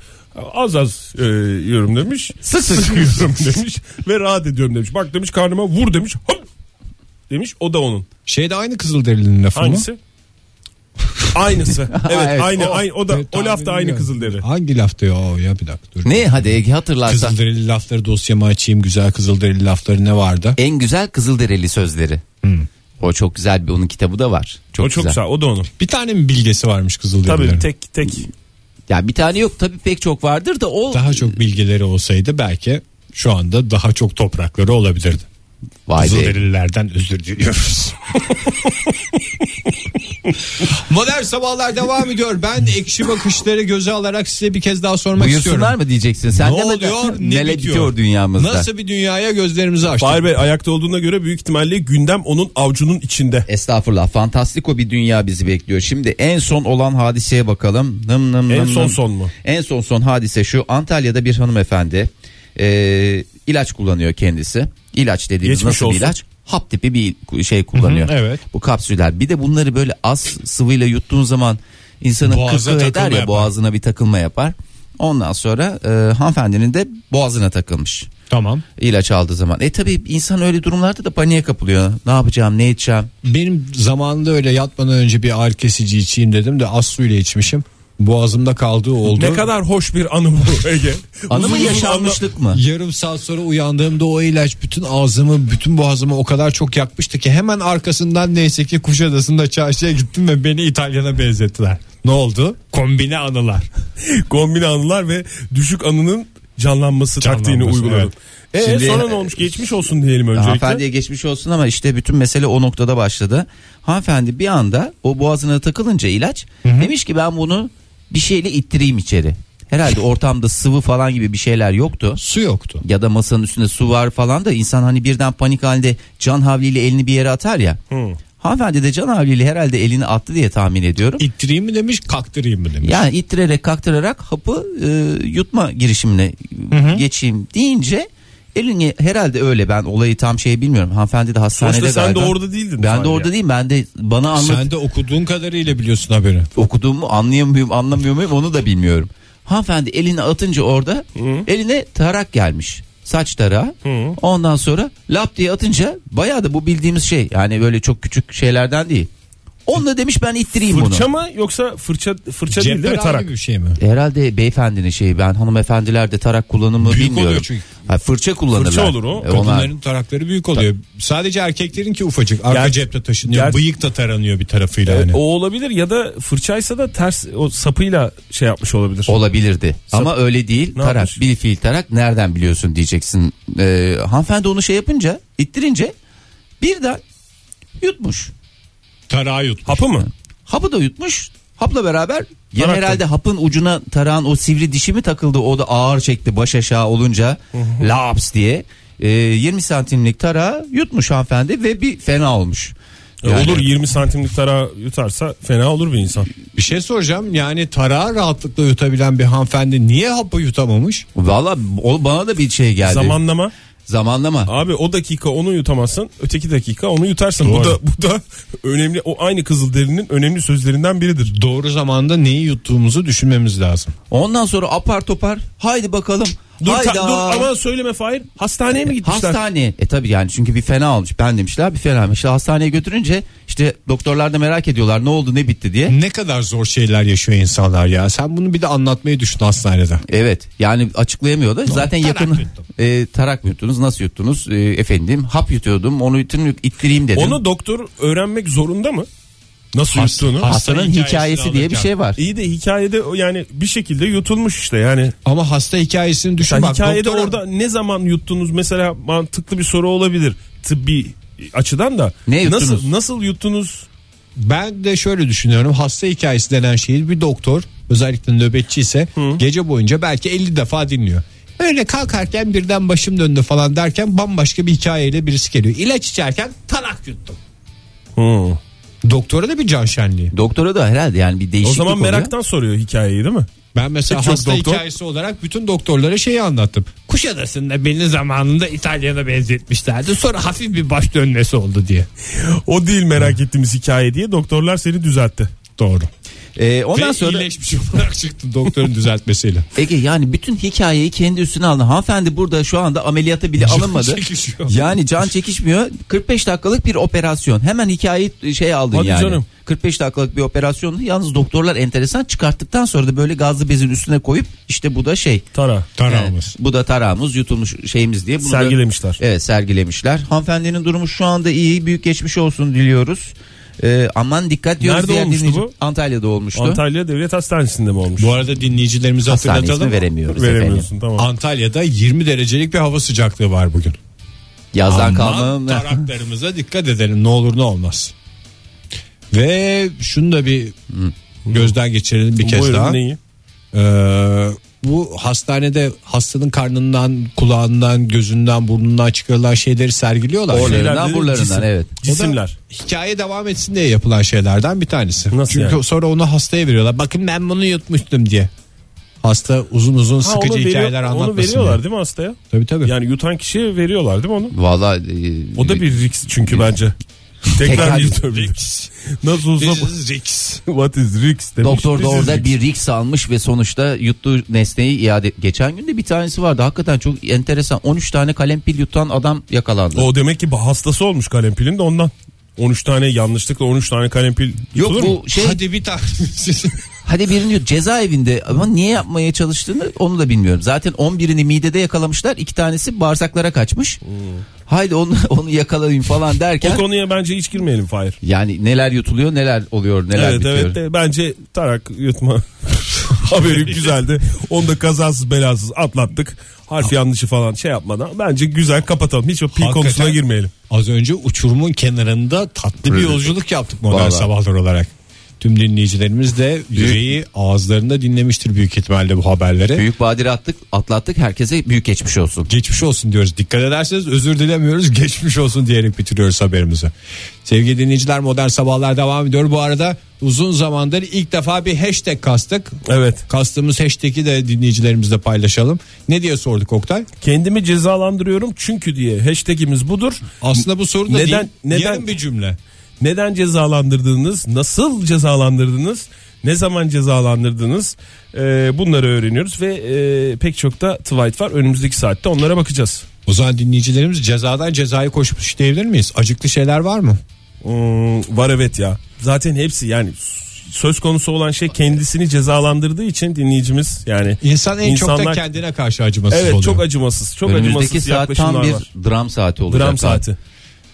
[SPEAKER 4] az az e, yiyorum demiş
[SPEAKER 5] Sık sık.
[SPEAKER 4] yiyorum demiş ve rahat ediyorum demiş bak demiş karnıma vur demiş hop demiş o da onun
[SPEAKER 3] Şey de aynı Kızılderili'nin lafı mı?
[SPEAKER 4] hangisi?
[SPEAKER 5] [laughs]
[SPEAKER 4] Aynısı evet,
[SPEAKER 5] Evet,
[SPEAKER 4] aynı
[SPEAKER 3] Oh,
[SPEAKER 5] o.
[SPEAKER 4] aynı o da
[SPEAKER 3] Evet,
[SPEAKER 4] o laf da
[SPEAKER 3] tahmin
[SPEAKER 4] aynı
[SPEAKER 3] ediyorum.
[SPEAKER 4] kızılderi.
[SPEAKER 3] Hangi lafta ya? O ya bir dakika dur.
[SPEAKER 5] Ne hadi Ege hatırlarsa
[SPEAKER 3] Kızılderili lafları dosyama açayım güzel Kızılderili lafları ne vardı?
[SPEAKER 5] en güzel Kızılderili sözleri.
[SPEAKER 3] Hmm.
[SPEAKER 5] O çok güzel bir onun kitabı da var. Çok
[SPEAKER 4] O çok
[SPEAKER 5] güzel.
[SPEAKER 4] sağ o da onun.
[SPEAKER 3] Bir tane mi bilgesi varmış
[SPEAKER 4] Tabii
[SPEAKER 3] Kızılderililerin?
[SPEAKER 4] tek tek
[SPEAKER 5] Ya bir tane yok tabii pek çok vardır da o
[SPEAKER 3] Daha çok bilgileri olsaydı belki şu anda daha çok toprakları olabilirdi.
[SPEAKER 5] vay be.
[SPEAKER 3] Kızılderililerden özür diliyoruz. [laughs] Modern sabahlar devam ediyor. Ben ekşi bakışları göze alarak size bir kez daha sormak
[SPEAKER 5] Buyursunlar
[SPEAKER 3] istiyorum.
[SPEAKER 5] mı diyeceksin? Sen
[SPEAKER 3] ne
[SPEAKER 5] de-
[SPEAKER 3] oluyor, ne
[SPEAKER 5] neler
[SPEAKER 3] bitiyor?
[SPEAKER 5] bitiyor dünyamızda?
[SPEAKER 3] Nasıl bir dünyaya gözlerimizi açtık?
[SPEAKER 4] Fahir Bey ayakta olduğuna göre büyük ihtimalle gündem onun avucunun içinde.
[SPEAKER 5] Estağfurullah. Fantastiko bir dünya bizi bekliyor. Şimdi en son olan hadiseye bakalım. Nım nım
[SPEAKER 4] En
[SPEAKER 5] nım
[SPEAKER 4] son
[SPEAKER 5] nım.
[SPEAKER 4] son mu?
[SPEAKER 5] En son son hadise şu. Antalya'da bir hanımefendi e, ilaç kullanıyor kendisi. İlaç dediğimiz
[SPEAKER 4] Geçmiş
[SPEAKER 5] nasıl
[SPEAKER 4] olsun.
[SPEAKER 5] bir ilaç? Hap tipi bir şey kullanıyor.
[SPEAKER 3] Hı hı, evet.
[SPEAKER 5] Bu kapsüller. Bir de bunları böyle az sıvıyla yuttuğun zaman insanın
[SPEAKER 3] Boğaza
[SPEAKER 5] kıkı eder
[SPEAKER 3] takılma
[SPEAKER 5] ya
[SPEAKER 3] yapar.
[SPEAKER 5] boğazına bir takılma yapar. Ondan sonra e, hanımefendinin de boğazına takılmış
[SPEAKER 3] Tamam.
[SPEAKER 5] ilaç aldığı zaman. E tabi insan öyle durumlarda da paniğe kapılıyor. Ne yapacağım ne edeceğim.
[SPEAKER 3] Benim zamanında öyle yatmadan önce bir ağrı kesici içeyim dedim de az suyla içmişim. Boğazımda kaldığı oldu.
[SPEAKER 4] Ne kadar hoş bir anı bu [laughs] Ege.
[SPEAKER 5] Anı
[SPEAKER 4] Uzun
[SPEAKER 5] mı
[SPEAKER 4] uzun
[SPEAKER 5] yaşanmışlık mı?
[SPEAKER 3] Yarım saat sonra uyandığımda o ilaç bütün ağzımı bütün boğazımı o kadar çok yakmıştı ki hemen arkasından neyse ki Kuşadası'nda çarşıya gittim ve beni İtalyan'a benzettiler. Ne oldu? Kombine anılar.
[SPEAKER 4] anla- kombine anılar ve düşük anının canlanması, taktiğini
[SPEAKER 3] Canlanması,
[SPEAKER 4] uyguladım.
[SPEAKER 5] evet.
[SPEAKER 4] E,
[SPEAKER 5] Şimdi-
[SPEAKER 4] sonra ne olmuş? Geçmiş olsun diyelim öncelikle.
[SPEAKER 5] Hanımefendiye geçmiş olsun ama işte bütün mesele o noktada başladı. Hanımefendi bir anda o boğazına takılınca ilaç demiş ki ben bunu bir şeyle ittireyim içeri. Herhalde ortamda sıvı falan gibi bir şeyler yoktu.
[SPEAKER 3] Su yoktu.
[SPEAKER 5] Ya da masanın üstünde su var falan da insan hani birden panik halinde can havliyle elini bir yere atar ya. Hanımefendi de can havliyle herhalde elini attı diye tahmin ediyorum.
[SPEAKER 3] İttireyim mi demiş kaktırayım mı demiş.
[SPEAKER 5] Yani ittirerek kaktırarak hapı e, yutma girişimine geçeyim deyince elini herhalde öyle ben olayı tam şey bilmiyorum. Hanımefendi de hastanede
[SPEAKER 4] Sonuçta sen de
[SPEAKER 5] galiba.
[SPEAKER 4] orada değildin.
[SPEAKER 5] Ben de
[SPEAKER 4] Fahri
[SPEAKER 5] orada
[SPEAKER 4] ya.
[SPEAKER 5] değilim. Ben de bana anlat
[SPEAKER 3] Sen de okuduğun kadarıyla biliyorsun haberi.
[SPEAKER 5] okuduğumu anlayamıyorum anlamıyor muyum onu da bilmiyorum. Hanımefendi elini atınca orada eline tarak gelmiş. Saç tarağı. Ondan sonra lap diye atınca bayağı da bu bildiğimiz şey. Yani böyle çok küçük şeylerden değil. Onunla demiş ben ittireyim bunu.
[SPEAKER 4] Fırça mı yoksa fırça fırça değil değil mi
[SPEAKER 3] Cepler
[SPEAKER 4] tarak?
[SPEAKER 3] gibi bir şey mi?
[SPEAKER 5] Herhalde beyefendinin şeyi ben hanımefendilerde tarak kullanımı
[SPEAKER 3] Büyük
[SPEAKER 5] bilmiyorum.
[SPEAKER 3] oluyor çünkü.
[SPEAKER 5] Ha, fırça kullanırlar.
[SPEAKER 4] Fırça olur o.
[SPEAKER 5] E, ona-
[SPEAKER 3] Kadınların tarakları büyük oluyor. Sadece erkeklerin ki ufacık. Arka
[SPEAKER 4] Ger-
[SPEAKER 3] cepte taşınıyor.
[SPEAKER 4] Ger-
[SPEAKER 3] Bıyık da taranıyor bir tarafıyla hani. yani.
[SPEAKER 4] O olabilir ya da fırçaysa da ters o sapıyla şey yapmış olabilir.
[SPEAKER 5] Olabilirdi. Ama öyle değil.
[SPEAKER 4] Ne
[SPEAKER 5] tarak.
[SPEAKER 4] yapmış?
[SPEAKER 5] Bir fiil tarak. Nereden biliyorsun diyeceksin. Ee, hanımefendi onu şey yapınca, ittirince birden yutmuş.
[SPEAKER 3] Tarağı yut.
[SPEAKER 4] Hapı mı?
[SPEAKER 5] Hapı da yutmuş. Hapla beraber ya
[SPEAKER 4] Tarak da-
[SPEAKER 5] herhalde hapın ucuna tarağın o sivri dişi mi takıldı o da ağır çekti baş aşağı olunca laps diye Ee, 20 santimlik tarağı yutmuş hanımefendi ve bir fena olmuş.
[SPEAKER 4] E,
[SPEAKER 5] Yani-
[SPEAKER 4] Olur 20 santimlik tara yutarsa fena olur bir insan.
[SPEAKER 3] Bir şey soracağım. Yani tarağı rahatlıkla yutabilen bir hanımefendi niye hapı yutamamış?
[SPEAKER 5] Valla o- bana da bir şey geldi.
[SPEAKER 4] Zamanlama.
[SPEAKER 5] Zamanlama.
[SPEAKER 4] Abi o dakika onu yutamazsın, öteki dakika onu yutarsın. Bu
[SPEAKER 3] Doğru.
[SPEAKER 4] da bu da önemli o aynı Kızılderinin önemli sözlerinden biridir.
[SPEAKER 3] Doğru zamanda neyi yuttuğumuzu düşünmemiz lazım.
[SPEAKER 5] Ondan sonra apar topar haydi bakalım.
[SPEAKER 4] Dur, ta-
[SPEAKER 5] hayda.
[SPEAKER 4] dur ama söyleme Fahir. Hastaneye mi gitmişler?
[SPEAKER 5] Hastane. E tabi yani çünkü bir fena olmuş. Ben demişler bir fena olmuş. İşte hastaneye götürünce işte doktorlar da merak ediyorlar ne oldu ne bitti diye.
[SPEAKER 3] Ne kadar zor şeyler yaşıyor insanlar ya. Sen bunu bir de anlatmayı düşün hastanede.
[SPEAKER 5] Evet yani açıklayamıyor da zaten
[SPEAKER 3] tarak
[SPEAKER 5] yakın
[SPEAKER 3] yuttum.
[SPEAKER 5] [laughs] e, tarak mı yuttunuz nasıl yuttunuz E, efendim hap yutuyordum onu yuttum ittireyim dedim.
[SPEAKER 4] Onu doktor öğrenmek zorunda mı? Nasıl
[SPEAKER 3] Hast-
[SPEAKER 4] yuttuğunu?
[SPEAKER 3] hast-
[SPEAKER 5] hastanın
[SPEAKER 3] hastane
[SPEAKER 5] hikayesi
[SPEAKER 3] hikayesini
[SPEAKER 5] diye bir
[SPEAKER 3] alırken.
[SPEAKER 5] şey var.
[SPEAKER 4] İyi de hikayede o yani bir şekilde yutulmuş işte yani.
[SPEAKER 3] Ama hasta hikayesini düşün.
[SPEAKER 4] Sen
[SPEAKER 3] Bak,
[SPEAKER 4] hikayede
[SPEAKER 3] doktora-
[SPEAKER 4] orada ne zaman yuttunuz mesela mantıklı bir soru olabilir tıbbi açıdan da.
[SPEAKER 5] Ne yuttunuz?
[SPEAKER 4] Nasıl, nasıl yuttunuz?
[SPEAKER 3] Ben de şöyle düşünüyorum. Hasta hikayesi denen şeyi bir doktor özellikle nöbetçi ise gece boyunca belki 50 defa dinliyor. Öyle kalkarken birden başım döndü falan derken bambaşka bir hikayeyle birisi geliyor. İlaç içerken tarak yuttum.
[SPEAKER 4] Hı.
[SPEAKER 3] Doktora da bir can şenliği.
[SPEAKER 5] Doktora da herhalde yani bir
[SPEAKER 4] O
[SPEAKER 5] değişiklik
[SPEAKER 4] zaman
[SPEAKER 5] oluyor.
[SPEAKER 4] meraktan soruyor hikayeyi değil mi?
[SPEAKER 3] Ben mesela
[SPEAKER 4] Pek çok
[SPEAKER 3] hasta
[SPEAKER 4] doktor-
[SPEAKER 3] hikayesi olarak bütün doktorlara şeyi anlattım. Kuşadası'nda beni zamanında İtalya'da benzetmişlerdi. Sonra hafif bir baş dönmesi oldu diye.
[SPEAKER 4] O değil merak ettiğimiz hikaye diye doktorlar seni düzeltti.
[SPEAKER 3] Doğru.
[SPEAKER 5] E, ondan
[SPEAKER 3] Ve
[SPEAKER 5] sonra
[SPEAKER 3] iyileşmiş olarak çıktım doktorun düzeltmesiyle.
[SPEAKER 5] Ege yani bütün hikayeyi kendi üstüne aldı. Hanımefendi burada şu anda ameliyata bile alınmadı.
[SPEAKER 3] çekişiyor.
[SPEAKER 5] Yani can çekişmiyor. 45 dakikalık bir operasyon. Hemen hikayeyi şey aldın
[SPEAKER 4] Hadi
[SPEAKER 5] yani.
[SPEAKER 4] canım.
[SPEAKER 5] 45 dakikalık bir operasyon. Yalnız doktorlar enteresan çıkarttıktan sonra da böyle gazlı bezin üstüne koyup işte bu da şey.
[SPEAKER 4] Tara.
[SPEAKER 3] Tarağımız.
[SPEAKER 5] Evet, bu da tarağımız yutulmuş şeyimiz diye. Bunu da-
[SPEAKER 4] Sergilemişler.
[SPEAKER 5] evet sergilemişler. Hanımefendinin durumu şu anda iyi. Büyük geçmiş olsun diliyoruz. Ee, aman dikkat diyoruz.
[SPEAKER 4] Nerede
[SPEAKER 5] diğer
[SPEAKER 4] olmuştu
[SPEAKER 5] dinleyici-
[SPEAKER 4] bu?
[SPEAKER 5] Antalya'da olmuştu.
[SPEAKER 4] Antalya Devlet Hastanesi'nde mi olmuş?
[SPEAKER 3] Bu arada dinleyicilerimize
[SPEAKER 5] Hastane ismi
[SPEAKER 3] hatırlatalım.
[SPEAKER 5] veremiyoruz efendim.
[SPEAKER 4] Veremiyorsun tamam.
[SPEAKER 3] Antalya'da 20 derecelik bir hava sıcaklığı var bugün. Aman
[SPEAKER 5] Yazdan kalma.
[SPEAKER 3] taraklarımıza dikkat edelim ne olur ne olmaz. Ve şunu da bir gözden geçirelim bir kez
[SPEAKER 4] Buyurun,
[SPEAKER 3] daha.
[SPEAKER 4] neyi?
[SPEAKER 3] Ee, bu hastanede hastanın karnından, kulağından, gözünden, burnundan çıkarılan şeyleri sergiliyorlar.
[SPEAKER 5] Orada.
[SPEAKER 3] O da
[SPEAKER 4] Şeyler dedi,
[SPEAKER 5] buralarından, evet.
[SPEAKER 4] Cisimler.
[SPEAKER 3] hikaye devam etsin diye yapılan şeylerden bir tanesi.
[SPEAKER 4] Nasıl
[SPEAKER 3] Çünkü
[SPEAKER 4] yani?
[SPEAKER 3] sonra onu hastaya veriyorlar. Bakın ben bunu yutmuştum diye. Hasta uzun uzun
[SPEAKER 4] Ha,
[SPEAKER 3] sıkıcı
[SPEAKER 4] onu veriyor-
[SPEAKER 3] hikayeler anlatmasın.
[SPEAKER 4] Onu veriyorlar
[SPEAKER 3] diye.
[SPEAKER 4] değil mi hastaya?
[SPEAKER 3] Tabii tabii.
[SPEAKER 4] Yani yutan kişiye veriyorlar değil mi onu?
[SPEAKER 5] Valla
[SPEAKER 4] O da bir risk çünkü bence. Tekrar
[SPEAKER 5] [laughs] Tekrar
[SPEAKER 4] yutabilir. Nasıl olsa
[SPEAKER 3] This is Ricks.
[SPEAKER 4] what is risk demiş.
[SPEAKER 5] Doktor da
[SPEAKER 4] This is
[SPEAKER 5] orada
[SPEAKER 4] risk.
[SPEAKER 5] bir riks almış ve sonuçta yuttuğu nesneyi iade geçen gün de bir tanesi vardı. Hakikaten çok enteresan. 13 tane kalem pil yutan adam yakalandı.
[SPEAKER 4] O demek ki hastası olmuş kalem pilin de ondan. 13 tane yanlışlıkla 13 tane kalem pil
[SPEAKER 5] Yok
[SPEAKER 4] yutulur
[SPEAKER 5] bu
[SPEAKER 4] mu?
[SPEAKER 5] şey hadi,
[SPEAKER 3] Hadi [laughs] bir tanesi.
[SPEAKER 5] birini yut cezaevinde ama niye yapmaya çalıştığını onu da bilmiyorum. Zaten 11'ini midede yakalamışlar. iki tanesi bağırsaklara kaçmış.
[SPEAKER 4] Hmm.
[SPEAKER 5] Haydi onu [laughs] onu yakalayın falan
[SPEAKER 4] Bu
[SPEAKER 5] derken
[SPEAKER 4] konuya bence hiç girmeyelim Fahir.
[SPEAKER 5] yani neler yutuluyor neler oluyor neler
[SPEAKER 4] evet
[SPEAKER 5] bitiyor.
[SPEAKER 4] evet de bence tarak
[SPEAKER 5] [laughs]
[SPEAKER 4] yutma haberi güzeldi. Onu da kazasız belasız atlattık.
[SPEAKER 5] Ah.
[SPEAKER 4] Harf yanlışı falan şey yapmadan bence güzel kapatalım. Hiç o pil
[SPEAKER 3] Hakikaten.
[SPEAKER 4] konusuna girmeyelim.
[SPEAKER 3] Az önce uçurumun kenarında tatlı bir yolculuk yaptık modern
[SPEAKER 5] Vallahi.
[SPEAKER 3] sabahlar olarak. Tüm dinleyicilerimiz de yüreği ağızlarında dinlemiştir büyük ihtimalle bu haberleri.
[SPEAKER 5] Büyük badire attık atlattık herkese büyük geçmiş olsun.
[SPEAKER 3] Geçmiş olsun diyoruz. Dikkat ederseniz özür dilemiyoruz. [laughs] Geçmiş olsun diyerek bitiriyoruz haberimizi. Sevgili dinleyiciler modern sabahlar devam ediyor. Bu arada uzun zamandır ilk defa bir hashtag kastık.
[SPEAKER 4] Evet.
[SPEAKER 3] Kastığımız hashtag'i de dinleyicilerimizle paylaşalım. Ne diye sorduk Oktay?
[SPEAKER 4] Kendimi cezalandırıyorum çünkü diye hashtagimiz budur.
[SPEAKER 3] Aslında bu soru da
[SPEAKER 4] Neden-
[SPEAKER 3] değil.
[SPEAKER 4] neden-
[SPEAKER 3] Yarım bir cümle.
[SPEAKER 4] Neden cezalandırdığınız, nasıl cezalandırdınız, ne zaman cezalandırdınız e, bunları öğreniyoruz ve e, pek çok da tweet var. Önümüzdeki saatte onlara bakacağız.
[SPEAKER 3] O zaman dinleyicilerimiz cezadan cezayı koşmuş diyebilir miyiz? Acıklı şeyler var mı?
[SPEAKER 4] Hmm, var evet ya. Zaten hepsi yani s- söz konusu olan şey kendisini cezalandırdığı için dinleyicimiz yani
[SPEAKER 3] İnsan en çok da
[SPEAKER 4] insanlar-
[SPEAKER 3] kendine karşı acımasız
[SPEAKER 4] Evet
[SPEAKER 3] oluyor.
[SPEAKER 4] çok acımasız. Çok
[SPEAKER 5] Önümüzdeki
[SPEAKER 4] acımasız
[SPEAKER 5] saat tam
[SPEAKER 4] yaklaşımlar
[SPEAKER 5] bir
[SPEAKER 4] var.
[SPEAKER 5] dram saati olacak.
[SPEAKER 4] Dram
[SPEAKER 5] zaten.
[SPEAKER 4] saati.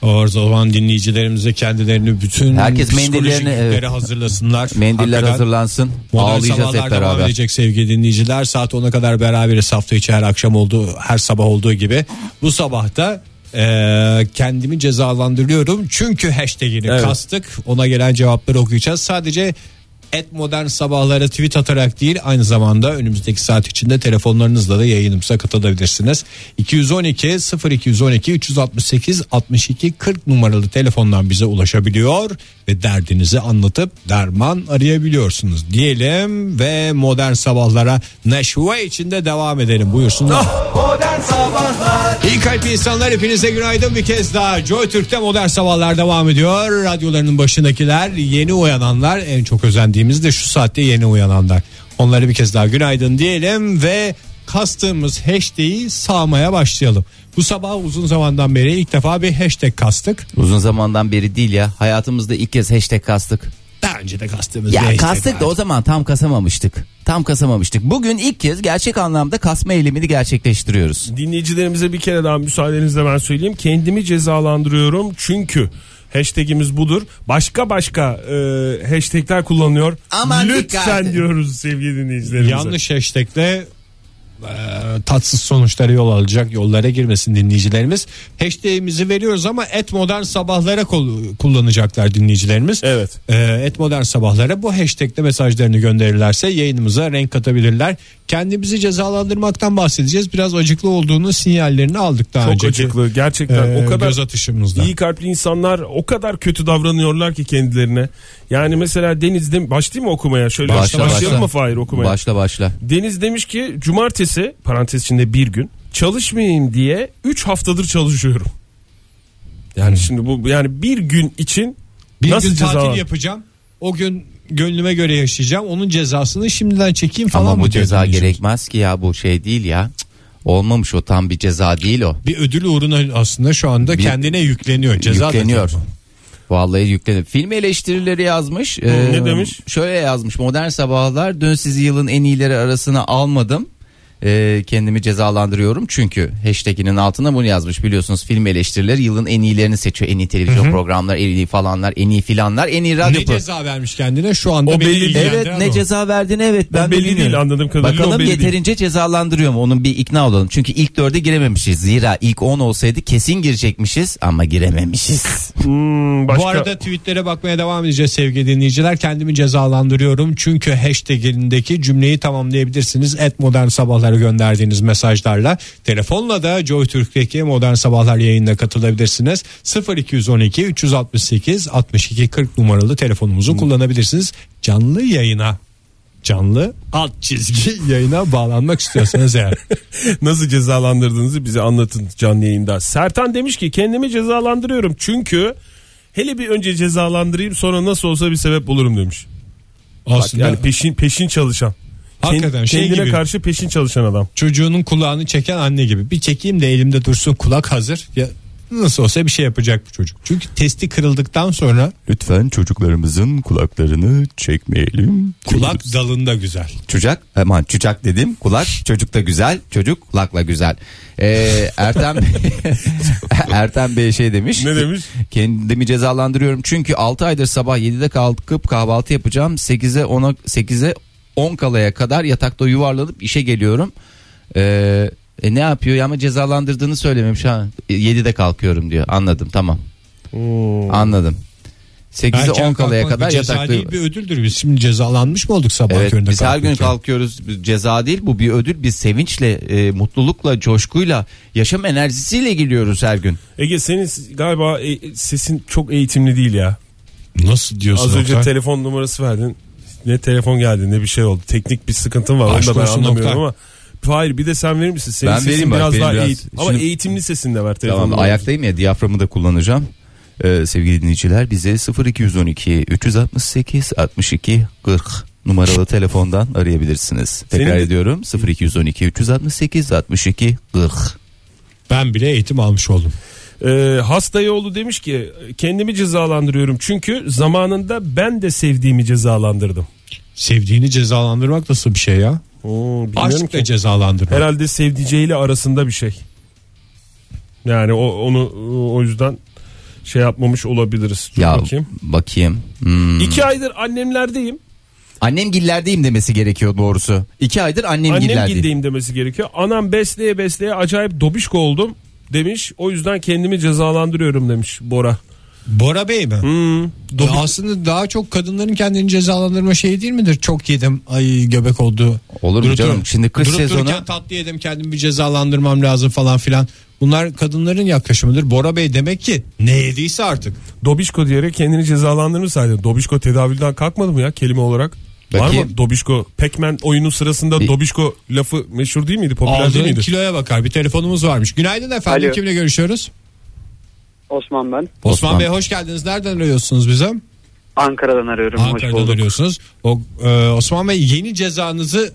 [SPEAKER 3] O zaman dinleyicilerimize kendilerini bütün
[SPEAKER 5] Herkes
[SPEAKER 3] psikolojik
[SPEAKER 5] mendillerini,
[SPEAKER 3] yükleri
[SPEAKER 5] evet.
[SPEAKER 3] hazırlasınlar.
[SPEAKER 5] Mendiller
[SPEAKER 3] Hakikaten
[SPEAKER 5] hazırlansın.
[SPEAKER 3] Modern
[SPEAKER 5] Ağlayacağız
[SPEAKER 3] Sabahlar
[SPEAKER 5] hep
[SPEAKER 3] devam
[SPEAKER 5] beraber.
[SPEAKER 3] edecek sevgili dinleyiciler. Saat 10'a kadar beraberiz hafta içi her akşam olduğu, her sabah olduğu gibi. Bu sabah da eee, kendimi cezalandırıyorum. Çünkü hashtagini
[SPEAKER 4] Evet.
[SPEAKER 3] kastık. Ona gelen cevapları okuyacağız. Sadece et modern sabahlara tweet atarak değil aynı zamanda önümüzdeki saat içinde telefonlarınızla da yayınımıza katılabilirsiniz. 212 0212 368 62 40 numaralı telefondan bize ulaşabiliyor ve derdinizi anlatıp derman arayabiliyorsunuz diyelim ve modern sabahlara neşve içinde devam edelim buyursunlar.
[SPEAKER 2] Modern Sabahlar
[SPEAKER 3] İyi kalp insanlar hepinize günaydın bir kez daha. Joy Türk'te modern sabahlar devam ediyor. Radyolarının başındakiler yeni uyananlar en çok özendiğimiz de şu saatte yeni uyananlar. Onlara bir kez daha günaydın diyelim ve kastığımız hashtag'i sağmaya başlayalım. Bu sabah uzun zamandan beri ilk defa bir hashtag kastık.
[SPEAKER 5] Uzun zamandan beri değil ya. Hayatımızda ilk kez hashtag kastık.
[SPEAKER 3] Daha önce de kastığımız bir
[SPEAKER 5] Ya
[SPEAKER 3] hashtag
[SPEAKER 5] kastık da
[SPEAKER 3] var.
[SPEAKER 5] o zaman tam kasamamıştık. Tam kasamamıştık. Bugün ilk kez gerçek anlamda kasma eylemini gerçekleştiriyoruz.
[SPEAKER 4] Dinleyicilerimize bir kere daha müsaadenizle ben söyleyeyim. Kendimi cezalandırıyorum çünkü hashtagimiz budur. Başka başka e, hashtagler kullanıyor.
[SPEAKER 5] Aman
[SPEAKER 4] Lütfen
[SPEAKER 5] dikkat.
[SPEAKER 4] diyoruz sevgili dinleyicilerimize.
[SPEAKER 3] Yanlış hashtagle e, tatsız sonuçlara yol alacak yollara girmesin dinleyicilerimiz. Hashtag'imizi veriyoruz ama et modern sabahlara kol- kullanacaklar dinleyicilerimiz.
[SPEAKER 4] Evet.
[SPEAKER 3] E, et modern sabahlara bu hashtagle mesajlarını gönderirlerse yayınımıza renk katabilirler. Kendimizi cezalandırmaktan bahsedeceğiz. Biraz acıklı olduğunu sinyallerini aldık daha
[SPEAKER 4] Çok
[SPEAKER 3] önceki,
[SPEAKER 4] acıklı
[SPEAKER 3] e,
[SPEAKER 4] gerçekten. o kadar
[SPEAKER 3] göz atışımızda.
[SPEAKER 4] İyi kalpli insanlar o kadar kötü davranıyorlar ki kendilerine. Yani mesela Deniz dem başlayayım mı okumaya? Şöyle
[SPEAKER 5] Başla,
[SPEAKER 4] başlayalım
[SPEAKER 5] başla.
[SPEAKER 4] mı Fahir okumaya?
[SPEAKER 5] Başla başla.
[SPEAKER 4] Deniz demiş ki cumartesi parantez içinde bir gün çalışmayayım diye 3 haftadır çalışıyorum. Yani şimdi bu yani bir gün için
[SPEAKER 3] Hmm. Bir
[SPEAKER 4] nasıl
[SPEAKER 3] gün
[SPEAKER 4] ceza
[SPEAKER 3] tatil
[SPEAKER 4] var?
[SPEAKER 3] yapacağım. O gün gönlüme göre yaşayacağım. Onun cezasını şimdiden çekeyim falan
[SPEAKER 5] Ama
[SPEAKER 3] mı
[SPEAKER 5] bu
[SPEAKER 3] diyor
[SPEAKER 5] ceza
[SPEAKER 3] dinleyicimiz?
[SPEAKER 5] gerekmez ki ya bu şey değil ya. Cık, Olmamış o tam bir ceza değil o.
[SPEAKER 3] bir ödül uğruna aslında şu anda kendine yükleniyor. Ceza da
[SPEAKER 5] yükleniyor.
[SPEAKER 3] değil.
[SPEAKER 5] Vallahi yükleniyor. Film eleştirileri yazmış. Ee,
[SPEAKER 4] ne demiş?
[SPEAKER 5] Şöyle yazmış. Modern sabahlar dön sizi yılın en iyileri arasına almadım. Ee, kendimi cezalandırıyorum çünkü hashtaginin altına bunu yazmış biliyorsunuz film eleştirileri yılın en iyilerini seçiyor en iyi televizyon programlar en iyi falanlar en iyi filanlar en iyi radyo
[SPEAKER 3] Ne
[SPEAKER 5] pro-
[SPEAKER 3] ceza vermiş kendine şu anda
[SPEAKER 4] O
[SPEAKER 3] beni
[SPEAKER 4] belli değil.
[SPEAKER 3] ilgilendiren
[SPEAKER 5] Evet ne
[SPEAKER 3] o.
[SPEAKER 5] ceza verdiğini evet ben de
[SPEAKER 4] belli
[SPEAKER 5] bilmiyorum.
[SPEAKER 4] değil anladığım kadarıyla o
[SPEAKER 5] Bakalım
[SPEAKER 4] belli
[SPEAKER 5] yeterince cezalandırıyor mu onun bir ikna olalım. Çünkü ilk dörde girememişiz. Zira ilk 10 olsaydı kesin girecekmişiz ama girememişiz.
[SPEAKER 4] Hmm, başka
[SPEAKER 3] Bu arada tweetlere bakmaya devam edeceğiz sevgili dinleyiciler. Kendimi cezalandırıyorum çünkü hashtag'indeki cümleyi tamamlayabilirsiniz. Et modern sabahları gönderdiğiniz mesajlarla. Telefonla da Joy Türk'teki modern sabahlar yayınına katılabilirsiniz. 0212 368 62 40 numaralı telefonumuzu kullanabilirsiniz. Canlı yayına canlı alt çizgi [laughs] yayına bağlanmak istiyorsanız eğer.
[SPEAKER 4] nasıl cezalandırdığınızı bize anlatın canlı yayında. Sertan demiş ki kendimi cezalandırıyorum çünkü hele bir önce cezalandırayım sonra nasıl olsa bir sebep bulurum demiş.
[SPEAKER 3] Aslında
[SPEAKER 4] Yani peşin peşin çalışan.
[SPEAKER 3] Hakikaten şey
[SPEAKER 4] kendine
[SPEAKER 3] gibi.
[SPEAKER 4] karşı peşin çalışan adam.
[SPEAKER 3] çocuğunun kulağını çeken anne gibi. Bir çekeyim de elimde dursun kulak hazır. Ya nasıl olsa bir şey yapacak bu çocuk. Çünkü testi kırıldıktan sonra
[SPEAKER 5] Lütfen çocuklarımızın kulaklarını çekmeyelim.
[SPEAKER 3] kulak dalında güzel.
[SPEAKER 5] Çocuk aman çocuk dedim kulak çocuk da güzel çocuk kulakla güzel. Ee, Ertem [laughs] Ertem Bey şey demiş.
[SPEAKER 4] Ne demiş?
[SPEAKER 5] Kendimi cezalandırıyorum çünkü 6 aydır sabah 7'de kalkıp kahvaltı yapacağım. 8'e 10'a 8'e 10 kalaya kadar yatakta yuvarlanıp işe geliyorum. Ee, e, ne yapıyor ya ama cezalandırdığını söylememiş ha. 7'de kalkıyorum diyor. Anladım tamam. Anladım. 8'e 10 kalaya
[SPEAKER 3] kalkmak
[SPEAKER 5] kadar
[SPEAKER 3] bir ceza
[SPEAKER 5] yatakta
[SPEAKER 3] değil bir ödüldür. Biz şimdi cezalanmış mı olduk sabah
[SPEAKER 5] Evet
[SPEAKER 3] köründe
[SPEAKER 5] biz her gün
[SPEAKER 3] kalkınca?
[SPEAKER 5] kalkıyoruz Biz ceza değil bu bir ödül biz sevinçle e, mutlulukla coşkuyla yaşam enerjisiyle geliyoruz her gün.
[SPEAKER 4] Ege senin galiba e, sesin çok eğitimli değil ya.
[SPEAKER 3] Nasıl diyorsun?
[SPEAKER 4] Az önce
[SPEAKER 3] Oktay?
[SPEAKER 4] telefon numarası verdin. Ne telefon geldi ne bir şey oldu. Teknik bir sıkıntın var.
[SPEAKER 3] Aşk
[SPEAKER 4] Onu da ben
[SPEAKER 3] olsun
[SPEAKER 4] anlamıyorum
[SPEAKER 3] Oktay.
[SPEAKER 4] ama. Hayır bir de sen verir misin? Senin
[SPEAKER 5] Ben
[SPEAKER 4] sesin
[SPEAKER 5] vereyim bak,
[SPEAKER 4] biraz
[SPEAKER 5] benim
[SPEAKER 4] daha
[SPEAKER 5] biraz-
[SPEAKER 4] eğit- Ama
[SPEAKER 5] Şimdi-
[SPEAKER 4] eğitimli sesin de ver telefon.
[SPEAKER 5] Tamam
[SPEAKER 4] numarası.
[SPEAKER 5] ayaktayım ya diyaframı da kullanacağım. Ee, sevgili dinleyiciler bize 0212 368 62 40 numaralı telefondan arayabilirsiniz. Tekrar
[SPEAKER 4] Senin de-
[SPEAKER 5] ediyorum 0212 368 62 40.
[SPEAKER 3] Ben bile eğitim almış oldum.
[SPEAKER 4] Ee, hasta yolu demiş ki kendimi cezalandırıyorum çünkü zamanında ben de sevdiğimi cezalandırdım.
[SPEAKER 3] Sevdiğini cezalandırmak nasıl bir şey ya?
[SPEAKER 4] Oo, bilmiyorum
[SPEAKER 3] Aşkla cezalandırmak.
[SPEAKER 4] Herhalde sevdiceğiyle arasında bir şey. Yani o onu o yüzden şey yapmamış olabiliriz. Dur
[SPEAKER 5] Ya
[SPEAKER 4] bakayım.
[SPEAKER 5] bakayım. Hmm.
[SPEAKER 4] İki aydır annemlerdeyim.
[SPEAKER 5] Annem gillerdeyim demesi gerekiyor doğrusu. İki aydır annem,
[SPEAKER 4] Annem
[SPEAKER 5] gillerdeyim.
[SPEAKER 4] gildeyim demesi gerekiyor. Anam besleye besleye acayip dobişko oldum demiş. O yüzden kendimi cezalandırıyorum demiş Bora.
[SPEAKER 3] Bora Bey mi?
[SPEAKER 5] Hmm.
[SPEAKER 3] Ya aslında daha çok kadınların kendini cezalandırma şeyi değil midir? Çok yedim ay göbek oldu.
[SPEAKER 5] Olur mu canım? Şimdi kış
[SPEAKER 3] durup
[SPEAKER 5] sezonu-
[SPEAKER 3] dururken tatlı yedim kendimi bir cezalandırmam lazım falan filan. Bunlar kadınların yaklaşımıdır. Bora Bey demek ki ne yediyse artık.
[SPEAKER 4] Dobişko diyerek kendini cezalandırmışsaydın. Dobişko tedavülden kalkmadı mı ya kelime olarak? Var
[SPEAKER 5] Bakayım.
[SPEAKER 4] mı Dobişko? Pac-Man oyunu sırasında
[SPEAKER 5] Bir-
[SPEAKER 4] Dobişko lafı meşhur değil miydi? Popüler değil
[SPEAKER 3] Aldığın
[SPEAKER 4] miydi?
[SPEAKER 3] kiloya bakar. Bir telefonumuz varmış. Günaydın efendim.
[SPEAKER 6] Alo.
[SPEAKER 3] Kimle görüşüyoruz?
[SPEAKER 6] Osman ben.
[SPEAKER 3] Osman,
[SPEAKER 5] Osman.
[SPEAKER 3] Bey hoş geldiniz. Nereden arıyorsunuz bize?
[SPEAKER 6] Ankara'dan arıyorum. Hoş
[SPEAKER 3] Ankara'dan
[SPEAKER 6] bulduk.
[SPEAKER 3] arıyorsunuz. O, e, Osman Bey yeni cezanızı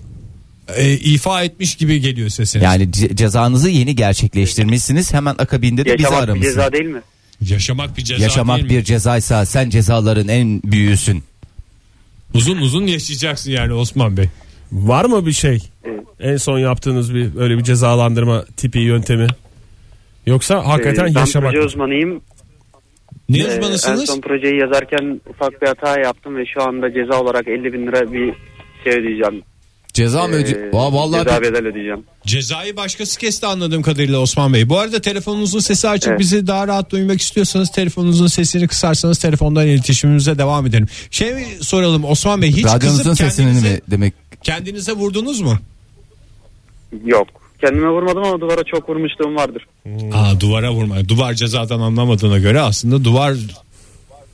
[SPEAKER 3] e, ifa etmiş gibi geliyor sesiniz.
[SPEAKER 5] Yani ce- cezanızı yeni gerçekleştirmişsiniz. Hemen akabinde de bizi
[SPEAKER 6] Yaşamak bir
[SPEAKER 5] aramışsınız.
[SPEAKER 6] ceza değil mi?
[SPEAKER 3] Yaşamak bir ceza
[SPEAKER 5] Yaşamak
[SPEAKER 3] değil mi?
[SPEAKER 5] bir cezaysa sen cezaların en büyüğüsün.
[SPEAKER 3] Uzun uzun yaşayacaksın yani Osman Bey.
[SPEAKER 4] Var mı bir şey? En son yaptığınız bir öyle bir cezalandırma tipi yöntemi? Yoksa hakikaten
[SPEAKER 6] Ee, ben
[SPEAKER 4] yaşamak.
[SPEAKER 6] proje
[SPEAKER 4] mı?
[SPEAKER 6] uzmanıyım.
[SPEAKER 3] Ne
[SPEAKER 6] Ee, en
[SPEAKER 3] uzmanısınız?
[SPEAKER 6] son projeyi yazarken ufak bir hata yaptım ve şu anda ceza olarak 50 bin lira bir şey ödeyeceğim.
[SPEAKER 5] Ceza mı öde-
[SPEAKER 6] Ee,
[SPEAKER 5] Aa, vallahi
[SPEAKER 6] Ceza bedel ödeyeceğim.
[SPEAKER 3] Cezayı başkası kesti anladığım kadarıyla Osman Bey. Bu arada telefonunuzun sesi açık.
[SPEAKER 6] Evet.
[SPEAKER 3] Bizi daha rahat duymak istiyorsanız telefonunuzun sesini kısarsanız telefondan iletişimimize devam edelim. Şey mi soralım Osman Bey hiç
[SPEAKER 5] radyonuzun
[SPEAKER 3] kızıp
[SPEAKER 5] sesini
[SPEAKER 3] kendinize,
[SPEAKER 5] mi demek?
[SPEAKER 3] kendinize vurdunuz mu?
[SPEAKER 6] Yok. Kendime vurmadım ama duvara çok vurmuşluğum vardır.
[SPEAKER 3] Aa, duvara vurma. Duvar cezadan anlamadığına göre aslında duvar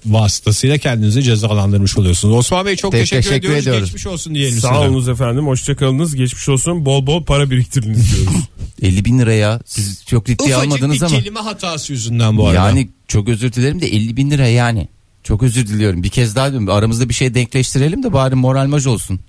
[SPEAKER 3] vasıtasıyla kendinizi cezalandırmış oluyorsunuz. Osman Bey çok
[SPEAKER 5] Te-
[SPEAKER 3] teşekkür,
[SPEAKER 5] teşekkür
[SPEAKER 3] ediyoruz.
[SPEAKER 5] ediyoruz.
[SPEAKER 3] Geçmiş olsun diyelim
[SPEAKER 4] Sağ
[SPEAKER 3] size.
[SPEAKER 4] olunuz efendim. Hoşçakalınız. Geçmiş olsun. Bol bol para biriktiriniz diyoruz.
[SPEAKER 5] 50 bin liraya siz çok ciddiye
[SPEAKER 3] Ufacık
[SPEAKER 5] almadınız
[SPEAKER 3] bir
[SPEAKER 5] ama.
[SPEAKER 3] kelime hatası yüzünden bu arada.
[SPEAKER 5] Yani çok özür dilerim de 50 bin lira yani. Çok özür diliyorum. Bir kez daha diyorum. Aramızda bir şey denkleştirelim de bari moralmaj olsun.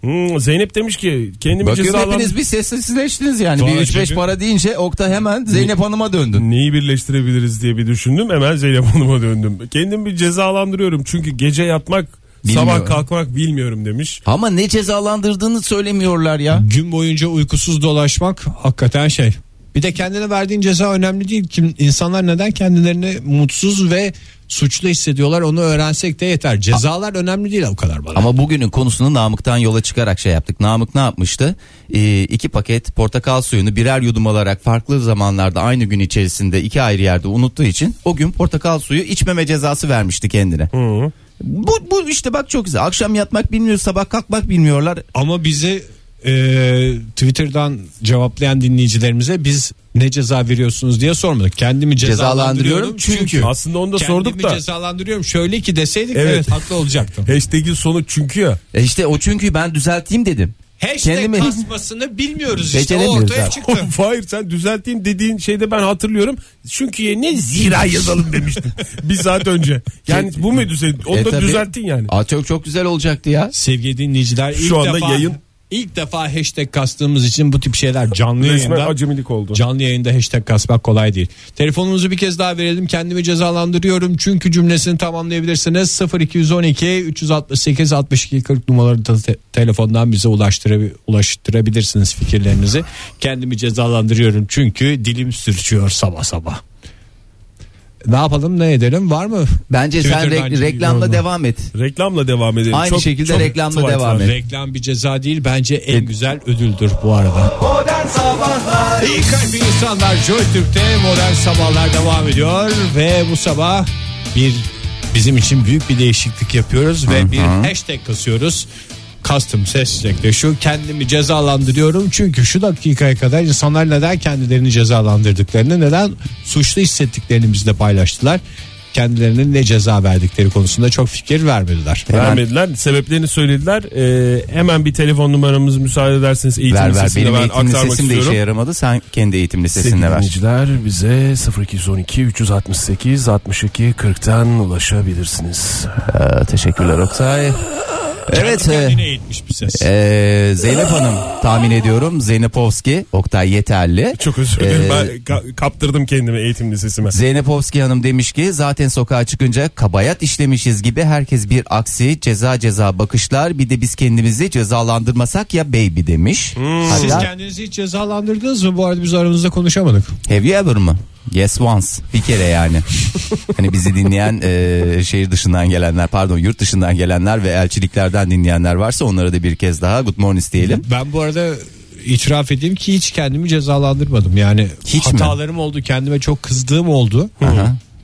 [SPEAKER 4] Hmm, Zeynep demiş ki kendimi
[SPEAKER 5] Bakıyorum
[SPEAKER 4] cezalandır...
[SPEAKER 5] hepiniz bir sessizleştiniz yani.
[SPEAKER 3] Vay
[SPEAKER 5] bir 3-5
[SPEAKER 3] çünkü-
[SPEAKER 5] para deyince Okta hemen Zeynep Hanım'a döndün.
[SPEAKER 4] Neyi birleştirebiliriz diye bir düşündüm. Hemen Zeynep Hanım'a döndüm. Kendimi bir cezalandırıyorum. Çünkü gece yatmak
[SPEAKER 5] Bilmiyorum.
[SPEAKER 4] sabah kalkmak bilmiyorum demiş.
[SPEAKER 5] Ama ne cezalandırdığını söylemiyorlar ya.
[SPEAKER 3] Gün boyunca uykusuz dolaşmak hakikaten şey. Bir de kendine verdiğin ceza önemli değil. Kim, insanlar neden kendilerini mutsuz ve suçlu hissediyorlar onu öğrensek de yeter. Cezalar önemli değil o kadar bana.
[SPEAKER 5] Ama bugünün konusunu Namık'tan yola çıkarak şey yaptık. Namık ne yapmıştı? Ee, iki paket portakal suyunu birer yudum alarak farklı zamanlarda aynı gün içerisinde iki ayrı yerde unuttuğu için o gün portakal suyu içmeme cezası vermişti kendine. Bu, bu işte bak çok güzel. Akşam yatmak bilmiyor, sabah kalkmak bilmiyorlar.
[SPEAKER 3] Ama bizi e, Twitter'dan cevaplayan dinleyicilerimize biz ne ceza veriyorsunuz diye sormadık. Kendimi cezalandırıyorum,
[SPEAKER 5] Cezalandırıyorum çünkü.
[SPEAKER 4] Aslında onu da
[SPEAKER 3] Kendimi
[SPEAKER 4] sorduk da.
[SPEAKER 3] cezalandırıyorum şöyle ki deseydik
[SPEAKER 4] Evet.
[SPEAKER 3] evet, haklı olacaktım.
[SPEAKER 4] Hashtag'in sonu çünkü ya.
[SPEAKER 5] E işte o çünkü ben düzelteyim dedim.
[SPEAKER 3] Hashtag
[SPEAKER 5] Kendimi-
[SPEAKER 3] kasmasını bilmiyoruz işte o
[SPEAKER 5] Beceremiyoruz
[SPEAKER 3] ortaya
[SPEAKER 5] abi.
[SPEAKER 3] çıktı.
[SPEAKER 4] [laughs] Hayır sen düzelteyim dediğin şeyde ben hatırlıyorum. Çünkü ne zira yazalım demiştin. [laughs] bir saat önce. Yani bu muydu senin? Onu
[SPEAKER 5] E
[SPEAKER 4] da
[SPEAKER 5] tabii.
[SPEAKER 4] düzelttin yani.
[SPEAKER 5] Aa, çok çok güzel olacaktı ya.
[SPEAKER 3] Sevgili dinleyiciler ilk
[SPEAKER 4] Şu anda
[SPEAKER 3] defa
[SPEAKER 4] yayın-
[SPEAKER 3] ilk defa hashtag kastığımız için bu tip şeyler canlı
[SPEAKER 4] Resmen
[SPEAKER 3] yayında
[SPEAKER 4] acemilik oldu.
[SPEAKER 3] canlı yayında hashtag kasmak kolay değil. Telefonumuzu bir kez daha verelim. Kendimi cezalandırıyorum çünkü cümlesini tamamlayabilirsiniz. 0212 368 62 40 numaralı te- telefondan bize ulaştıra- ulaştırabilirsiniz fikirlerinizi. Kendimi cezalandırıyorum çünkü dilim sürçüyor sabah sabah. Ne yapalım ne edelim var mı?
[SPEAKER 5] Bence sen
[SPEAKER 3] Twitter'dan
[SPEAKER 5] re- reklamla
[SPEAKER 3] yorumlar.
[SPEAKER 5] devam et.
[SPEAKER 4] Reklamla devam edelim.
[SPEAKER 5] Aynı şekilde reklamla
[SPEAKER 4] Twitter
[SPEAKER 5] devam et.
[SPEAKER 3] Reklam bir ceza değil bence en güzel ödüldür bu arada.
[SPEAKER 2] Modern Sabahlar
[SPEAKER 3] İyi kalp insanlar Joy Türk'te modern sabahlar devam ediyor ve bu sabah bir bizim için büyük bir değişiklik yapıyoruz ve bir hashtag kasıyoruz. Kastım hashtag de şu kendimi cezalandırıyorum çünkü şu dakikaya kadar insanlar neden kendilerini cezalandırdıklarını neden suçlu hissettiklerini bizle paylaştılar. Kendilerine ne ceza verdikleri konusunda çok fikir vermediler.
[SPEAKER 4] Vermediler. Sebeplerini söylediler. Ee, hemen bir telefon numaramız müsaade ederseniz eğitim
[SPEAKER 5] Ver ver
[SPEAKER 4] sesinde
[SPEAKER 5] benim
[SPEAKER 4] ben
[SPEAKER 5] eğitimli
[SPEAKER 4] aktarmak
[SPEAKER 5] sesim de
[SPEAKER 4] istiyorum.
[SPEAKER 5] işe yaramadı. Sen kendi eğitimli sesinle ver.
[SPEAKER 4] dinleyiciler bize 0212 368 62 40'tan ulaşabilirsiniz.
[SPEAKER 5] Ee, teşekkürler Oktay. Evet. e,
[SPEAKER 3] Yine eğitmiş bir ses.
[SPEAKER 5] e, Zeynep Hanım tahmin ediyorum. Zeynepovski. Oktay yeterli.
[SPEAKER 4] Çok özür dilerim
[SPEAKER 5] E,
[SPEAKER 4] ben ka- kaptırdım kendimi eğitim lisesime.
[SPEAKER 5] Zeynepovski Hanım demiş ki zaten sokağa çıkınca kabayat işlemişiz gibi herkes bir aksi ceza ceza bakışlar bir de biz kendimizi cezalandırmasak ya baby
[SPEAKER 4] Hmm.
[SPEAKER 5] demiş.
[SPEAKER 3] Siz
[SPEAKER 5] Hatta
[SPEAKER 3] kendinizi hiç cezalandırdınız mı? Bu arada biz aramızda konuşamadık.
[SPEAKER 5] have you ever mı? Yes once bir kere yani. hani bizi dinleyen e, şehir dışından gelenler pardon yurt dışından gelenler ve elçiliklerden dinleyenler varsa onlara da bir kez daha good morning diyelim.
[SPEAKER 3] Ben bu arada itiraf edeyim ki hiç kendimi cezalandırmadım. Yani
[SPEAKER 5] Hiç mi?
[SPEAKER 3] hatalarım oldu. Kendime çok kızdığım oldu.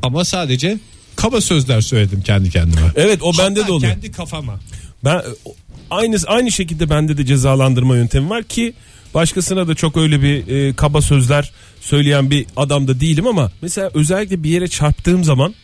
[SPEAKER 3] Ama sadece kaba sözler söyledim kendi kendime.
[SPEAKER 4] Evet o bende de
[SPEAKER 3] Hatta
[SPEAKER 4] oluyor.
[SPEAKER 3] Kendi kafama.
[SPEAKER 4] Ben aynı aynı şekilde bende de cezalandırma yöntemi var ki başkasına da çok öyle bir e, kaba sözler söyleyen bir adam da değilim ama mesela özellikle bir yere çarptığım zaman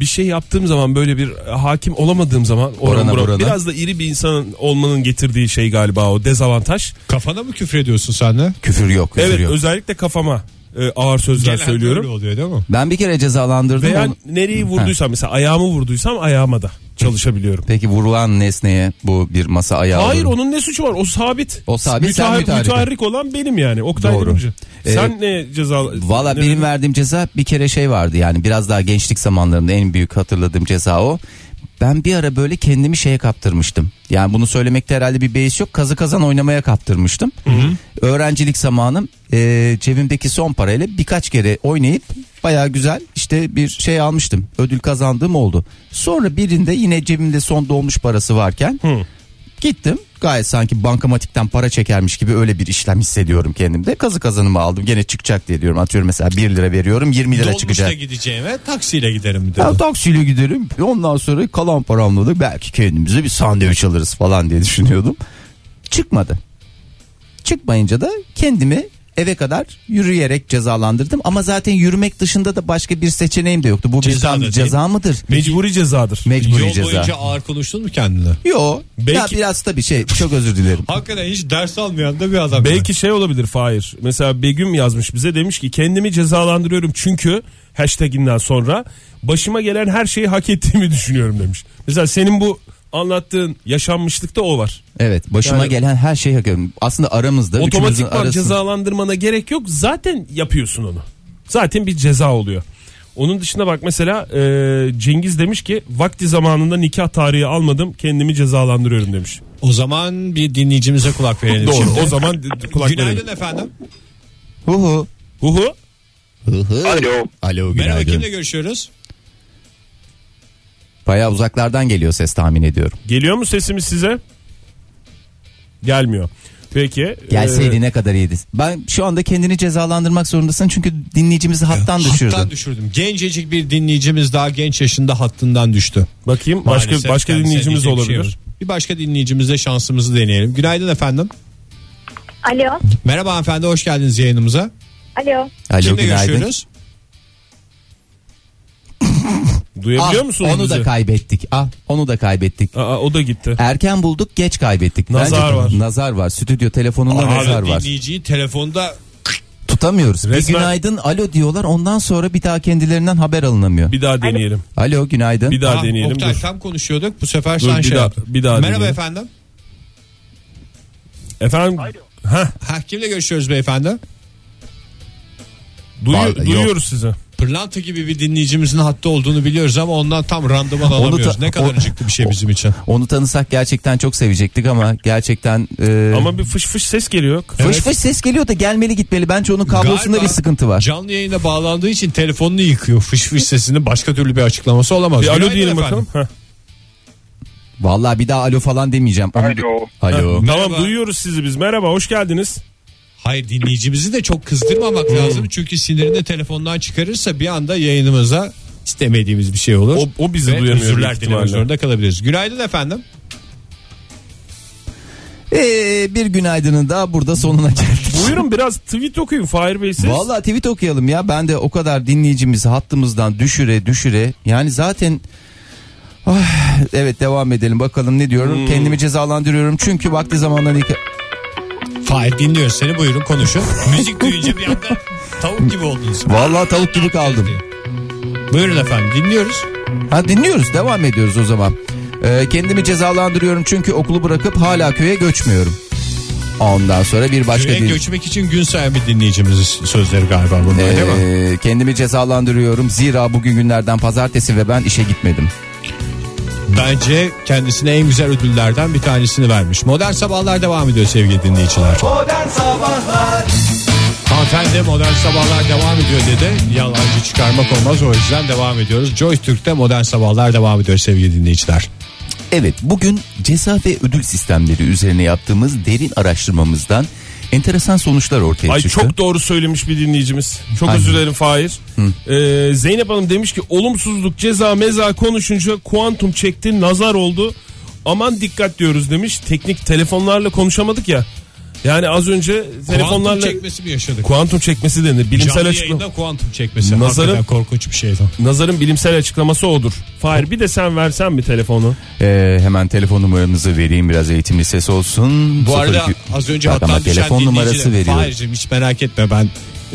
[SPEAKER 4] bir şey yaptığım zaman böyle bir e, hakim olamadığım zaman oran
[SPEAKER 5] Orana
[SPEAKER 4] buran-
[SPEAKER 5] burana.
[SPEAKER 4] biraz da iri bir insan olmanın getirdiği şey galiba o dezavantaj.
[SPEAKER 3] Kafana mı küfür ediyorsun sen de?
[SPEAKER 5] Küfür yok küfür
[SPEAKER 4] evet
[SPEAKER 5] yok.
[SPEAKER 4] özellikle kafama e, ağır sözler
[SPEAKER 3] Genelde
[SPEAKER 4] söylüyorum.
[SPEAKER 3] öyle oluyor değil mi?
[SPEAKER 5] Ben bir kere cezalandırdım.
[SPEAKER 4] Veya
[SPEAKER 5] onu-
[SPEAKER 4] nereyi vurduysam mesela ayağımı vurduysam ayağıma da çalışabiliyorum.
[SPEAKER 5] Peki vurulan nesneye bu bir masa ayağı.
[SPEAKER 4] Hayır
[SPEAKER 5] olur mu?
[SPEAKER 4] onun ne suçu var? O sabit.
[SPEAKER 5] O sabit, sen
[SPEAKER 4] Mütehar-
[SPEAKER 5] müteharrik.
[SPEAKER 4] müteharrik olan benim yani. Oktay
[SPEAKER 5] Doğru.
[SPEAKER 4] Doğru.
[SPEAKER 5] Ee,
[SPEAKER 4] Sen ne ceza...
[SPEAKER 5] Valla
[SPEAKER 4] ne-
[SPEAKER 5] benim verdiğim ceza bir kere şey vardı yani biraz daha gençlik zamanlarında en büyük hatırladığım ceza o. Ben bir ara böyle kendimi şeye kaptırmıştım. Yani bunu söylemekte herhalde bir beis yok. Kazı kazan oynamaya kaptırmıştım. Öğrencilik zamanım e, cebimdeki son parayla birkaç kere oynayıp baya güzel işte bir şey almıştım. Ödül kazandığım oldu. Sonra birinde yine cebimde son dolmuş parası varken Gittim gayet sanki bankamatikten para çekermiş gibi öyle bir işlem hissediyorum kendimde. Kazı kazanımı aldım gene çıkacak diye diyorum. Atıyorum mesela 1 lira veriyorum 20 lira çıkacak.
[SPEAKER 3] Dolmuşla gideceğime taksiyle giderim dedi.
[SPEAKER 5] Ya taksiyle giderim ondan sonra kalan paramla da belki kendimize bir sandviç alırız falan diye düşünüyordum. Çıkmadı. Çıkmayınca da kendimi eve kadar yürüyerek cezalandırdım. Ama zaten yürümek dışında da başka bir seçeneğim de yoktu. Bu bir
[SPEAKER 3] Ceza da
[SPEAKER 5] zam-
[SPEAKER 3] değil.
[SPEAKER 5] ceza mıdır?
[SPEAKER 4] Mecburi cezadır.
[SPEAKER 5] Mecburi
[SPEAKER 3] Yol
[SPEAKER 5] ceza.
[SPEAKER 3] boyunca ağır konuştun mu kendine?
[SPEAKER 5] Yo. Ya
[SPEAKER 4] Belki-
[SPEAKER 5] biraz da bir şey. Çok özür dilerim.
[SPEAKER 3] Hakikaten hiç ders almayan da bir adam.
[SPEAKER 4] Belki şey olabilir Fahir. Mesela Begüm yazmış bize demiş ki kendimi cezalandırıyorum çünkü hashtaginden sonra başıma gelen her şeyi hak ettiğimi [laughs] düşünüyorum demiş. Mesela senin bu anlattığın yaşanmışlıkta o var.
[SPEAKER 5] Evet başıma
[SPEAKER 4] Yani-
[SPEAKER 5] gelen her şey hakim. Aslında aramızda üçümüzün
[SPEAKER 4] Otomatikman
[SPEAKER 5] arasında.
[SPEAKER 4] cezalandırmana gerek yok. Zaten yapıyorsun onu. Zaten bir ceza oluyor. Onun dışında bak mesela e, Cengiz demiş ki vakti zamanında nikah tarihi almadım kendimi cezalandırıyorum demiş.
[SPEAKER 3] O zaman bir dinleyicimize kulak
[SPEAKER 4] [laughs]
[SPEAKER 3] verelim
[SPEAKER 4] Doğru
[SPEAKER 3] şimdi.
[SPEAKER 4] o
[SPEAKER 3] [laughs]
[SPEAKER 4] zaman d- d- kulak verelim.
[SPEAKER 3] Günaydın efendim.
[SPEAKER 5] Huhu.
[SPEAKER 4] Huhu
[SPEAKER 5] Huhu.
[SPEAKER 6] Alo.
[SPEAKER 5] Alo
[SPEAKER 3] Merhaba
[SPEAKER 5] günaydın.
[SPEAKER 3] kimle görüşüyoruz?
[SPEAKER 5] Baya uzaklardan geliyor ses tahmin ediyorum.
[SPEAKER 4] geliyor mu sesimiz size? Gelmiyor. Peki.
[SPEAKER 5] Gelseydi
[SPEAKER 4] e,
[SPEAKER 5] ne kadar iyiydi. Ben şu anda kendini cezalandırmak zorundasın çünkü dinleyicimizi hattan düşürdün.
[SPEAKER 3] Hattan düşürdüm. Gencecik bir dinleyicimiz daha genç yaşında hattından düştü.
[SPEAKER 4] bakayım başka
[SPEAKER 3] Maalesef
[SPEAKER 4] başka
[SPEAKER 3] kendisine
[SPEAKER 4] dinleyicimiz de
[SPEAKER 3] diyecek bir şey
[SPEAKER 4] olabilir.
[SPEAKER 3] yok. bir başka dinleyicimizle şansımızı deneyelim. Günaydın efendim.
[SPEAKER 7] Alo.
[SPEAKER 3] Merhaba hanımefendi hoş geldiniz yayınımıza.
[SPEAKER 7] Alo.
[SPEAKER 5] Alo
[SPEAKER 3] Kimle
[SPEAKER 5] günaydın.
[SPEAKER 3] görüşüyoruz?
[SPEAKER 4] Duyabiliyor
[SPEAKER 5] Ah,
[SPEAKER 4] musunuz
[SPEAKER 5] onu
[SPEAKER 4] bizi?
[SPEAKER 5] da kaybettik. Ah onu da kaybettik.
[SPEAKER 4] Aa, o da gitti.
[SPEAKER 5] Erken bulduk geç kaybettik.
[SPEAKER 4] Nazar var.
[SPEAKER 5] Nazar var. Stüdyo telefonunda
[SPEAKER 3] Abi
[SPEAKER 5] nazar var.
[SPEAKER 3] dinleyiciyi telefonda
[SPEAKER 5] Tutamıyoruz. Bir
[SPEAKER 4] Resmen-
[SPEAKER 5] günaydın alo diyorlar ondan sonra bir daha kendilerinden haber alınamıyor.
[SPEAKER 4] Bir daha deneyelim.
[SPEAKER 5] Alo günaydın.
[SPEAKER 4] Bir daha
[SPEAKER 3] Ah,
[SPEAKER 4] deneyelim.
[SPEAKER 3] Oktay
[SPEAKER 4] Dur.
[SPEAKER 3] tam konuşuyorduk. Bu sefer
[SPEAKER 4] Dur,
[SPEAKER 3] sen
[SPEAKER 4] bir
[SPEAKER 3] şey
[SPEAKER 4] daha-
[SPEAKER 3] yaptın.
[SPEAKER 4] bir daha
[SPEAKER 3] Merhaba
[SPEAKER 4] dinleyelim.
[SPEAKER 3] efendim.
[SPEAKER 4] Efendim ha
[SPEAKER 3] Ha, kimle görüşüyoruz beyefendi?
[SPEAKER 5] Var-
[SPEAKER 4] duyu,
[SPEAKER 5] yok.
[SPEAKER 4] duyuyoruz sizi.
[SPEAKER 3] Pırlanta gibi bir dinleyicimizin hatta olduğunu biliyoruz ama ondan tam randıman
[SPEAKER 5] ta-
[SPEAKER 3] alamıyoruz. ne kadar
[SPEAKER 5] o-
[SPEAKER 3] acıklı bir şey bizim için.
[SPEAKER 5] Onu tanısak gerçekten çok sevecektik ama gerçekten e,
[SPEAKER 4] Ama bir fış fış ses geliyor.
[SPEAKER 5] fış fış ses geliyor da gelmeli gitmeli. Bence onun kablosunda
[SPEAKER 3] Galiba-
[SPEAKER 5] bir sıkıntı var.
[SPEAKER 3] Canlı yayına bağlandığı için telefonunu yıkıyor. Fış fış sesini başka türlü bir açıklaması olamaz.
[SPEAKER 4] Bir alo
[SPEAKER 3] Günaydın
[SPEAKER 4] diyelim
[SPEAKER 3] efendim.
[SPEAKER 4] bakalım. Heh.
[SPEAKER 5] Vallahi bir daha alo falan demeyeceğim. Onu-
[SPEAKER 6] Alo.
[SPEAKER 5] Alo.
[SPEAKER 4] Tamam
[SPEAKER 3] Merhaba.
[SPEAKER 4] duyuyoruz sizi biz. Merhaba hoş geldiniz.
[SPEAKER 3] Hayır dinleyicimizi de çok kızdırmamak
[SPEAKER 4] Hmm.
[SPEAKER 3] lazım. Çünkü sinirini telefondan çıkarırsa bir anda yayınımıza istemediğimiz bir şey olur.
[SPEAKER 4] O, o bizi
[SPEAKER 3] Ve
[SPEAKER 4] duyamıyor. büyük
[SPEAKER 3] özürler dilemek
[SPEAKER 4] ihtimalle.
[SPEAKER 3] zorunda kalabiliriz. Günaydın efendim.
[SPEAKER 5] Ee, bir günaydının daha burada sonuna geldik.
[SPEAKER 4] Buyurun biraz tweet okuyun Fahir Bey siz.
[SPEAKER 5] Vallahi tweet okuyalım ya. Ben de o kadar dinleyicimizi hattımızdan düşüre düşüre. Yani zaten Ah, evet devam edelim bakalım ne diyorum.
[SPEAKER 4] Hmm.
[SPEAKER 5] Kendimi cezalandırıyorum çünkü vakti zamandan ilk...
[SPEAKER 3] Fahir dinliyoruz seni buyurun konuşun. Müzik duyunca bir anda tavuk gibi oldunuz.
[SPEAKER 5] Vallahi tavuk gibi kaldım.
[SPEAKER 3] Buyurun efendim dinliyoruz.
[SPEAKER 5] Ha dinliyoruz devam ediyoruz o zaman. Ee, kendimi cezalandırıyorum çünkü okulu bırakıp hala köye göçmüyorum. Ondan sonra bir başka
[SPEAKER 3] Köye
[SPEAKER 5] din-
[SPEAKER 3] göçmek için gün sayan bir dinleyicimiz sözleri galiba bunlar değil mi?
[SPEAKER 5] Ee, kendimi cezalandırıyorum zira bugün günlerden pazartesi ve ben işe gitmedim.
[SPEAKER 3] Bence kendisine en güzel ödüllerden bir tanesini vermiş. Modern Sabahlar devam ediyor sevgili dinleyiciler.
[SPEAKER 2] Modern Sabahlar
[SPEAKER 3] Hanımefendi modern sabahlar devam ediyor dedi. Yalancı çıkarmak olmaz o yüzden devam ediyoruz. Joy Türk'te modern sabahlar devam ediyor sevgili dinleyiciler.
[SPEAKER 5] Evet bugün ceza ve ödül sistemleri üzerine yaptığımız derin araştırmamızdan enteresan sonuçlar ortaya
[SPEAKER 4] Ay
[SPEAKER 5] çıktı.
[SPEAKER 4] çok doğru söylemiş bir dinleyicimiz. Çok
[SPEAKER 5] Hangi?
[SPEAKER 4] özür dilerim Fahir. Ee, Zeynep Hanım demiş ki olumsuzluk ceza meza konuşunca kuantum çekti nazar oldu. Aman dikkat diyoruz demiş. Teknik telefonlarla konuşamadık ya. Yani az önce telefonlarla
[SPEAKER 3] Kuantum
[SPEAKER 4] kuantum,
[SPEAKER 3] çekmesi mi yaşadık?
[SPEAKER 4] çekmesi denir. Bilimsel
[SPEAKER 3] Canlı
[SPEAKER 4] açıklama.
[SPEAKER 3] yayında kuantum çekmesi.
[SPEAKER 4] Nazarı-
[SPEAKER 3] Nazarı... korkunç bir şeydi.
[SPEAKER 4] Nazarın bilimsel açıklaması odur. Fahir bir de sen versen mi telefonu?
[SPEAKER 5] Ee, hemen telefon numaranızı vereyim biraz eğitimli ses olsun.
[SPEAKER 3] Bu arada
[SPEAKER 5] 02
[SPEAKER 3] az önce
[SPEAKER 5] Bak ama
[SPEAKER 3] hatta
[SPEAKER 5] telefon numarası veriyorum.
[SPEAKER 3] Hayırcığım hiç merak etme ben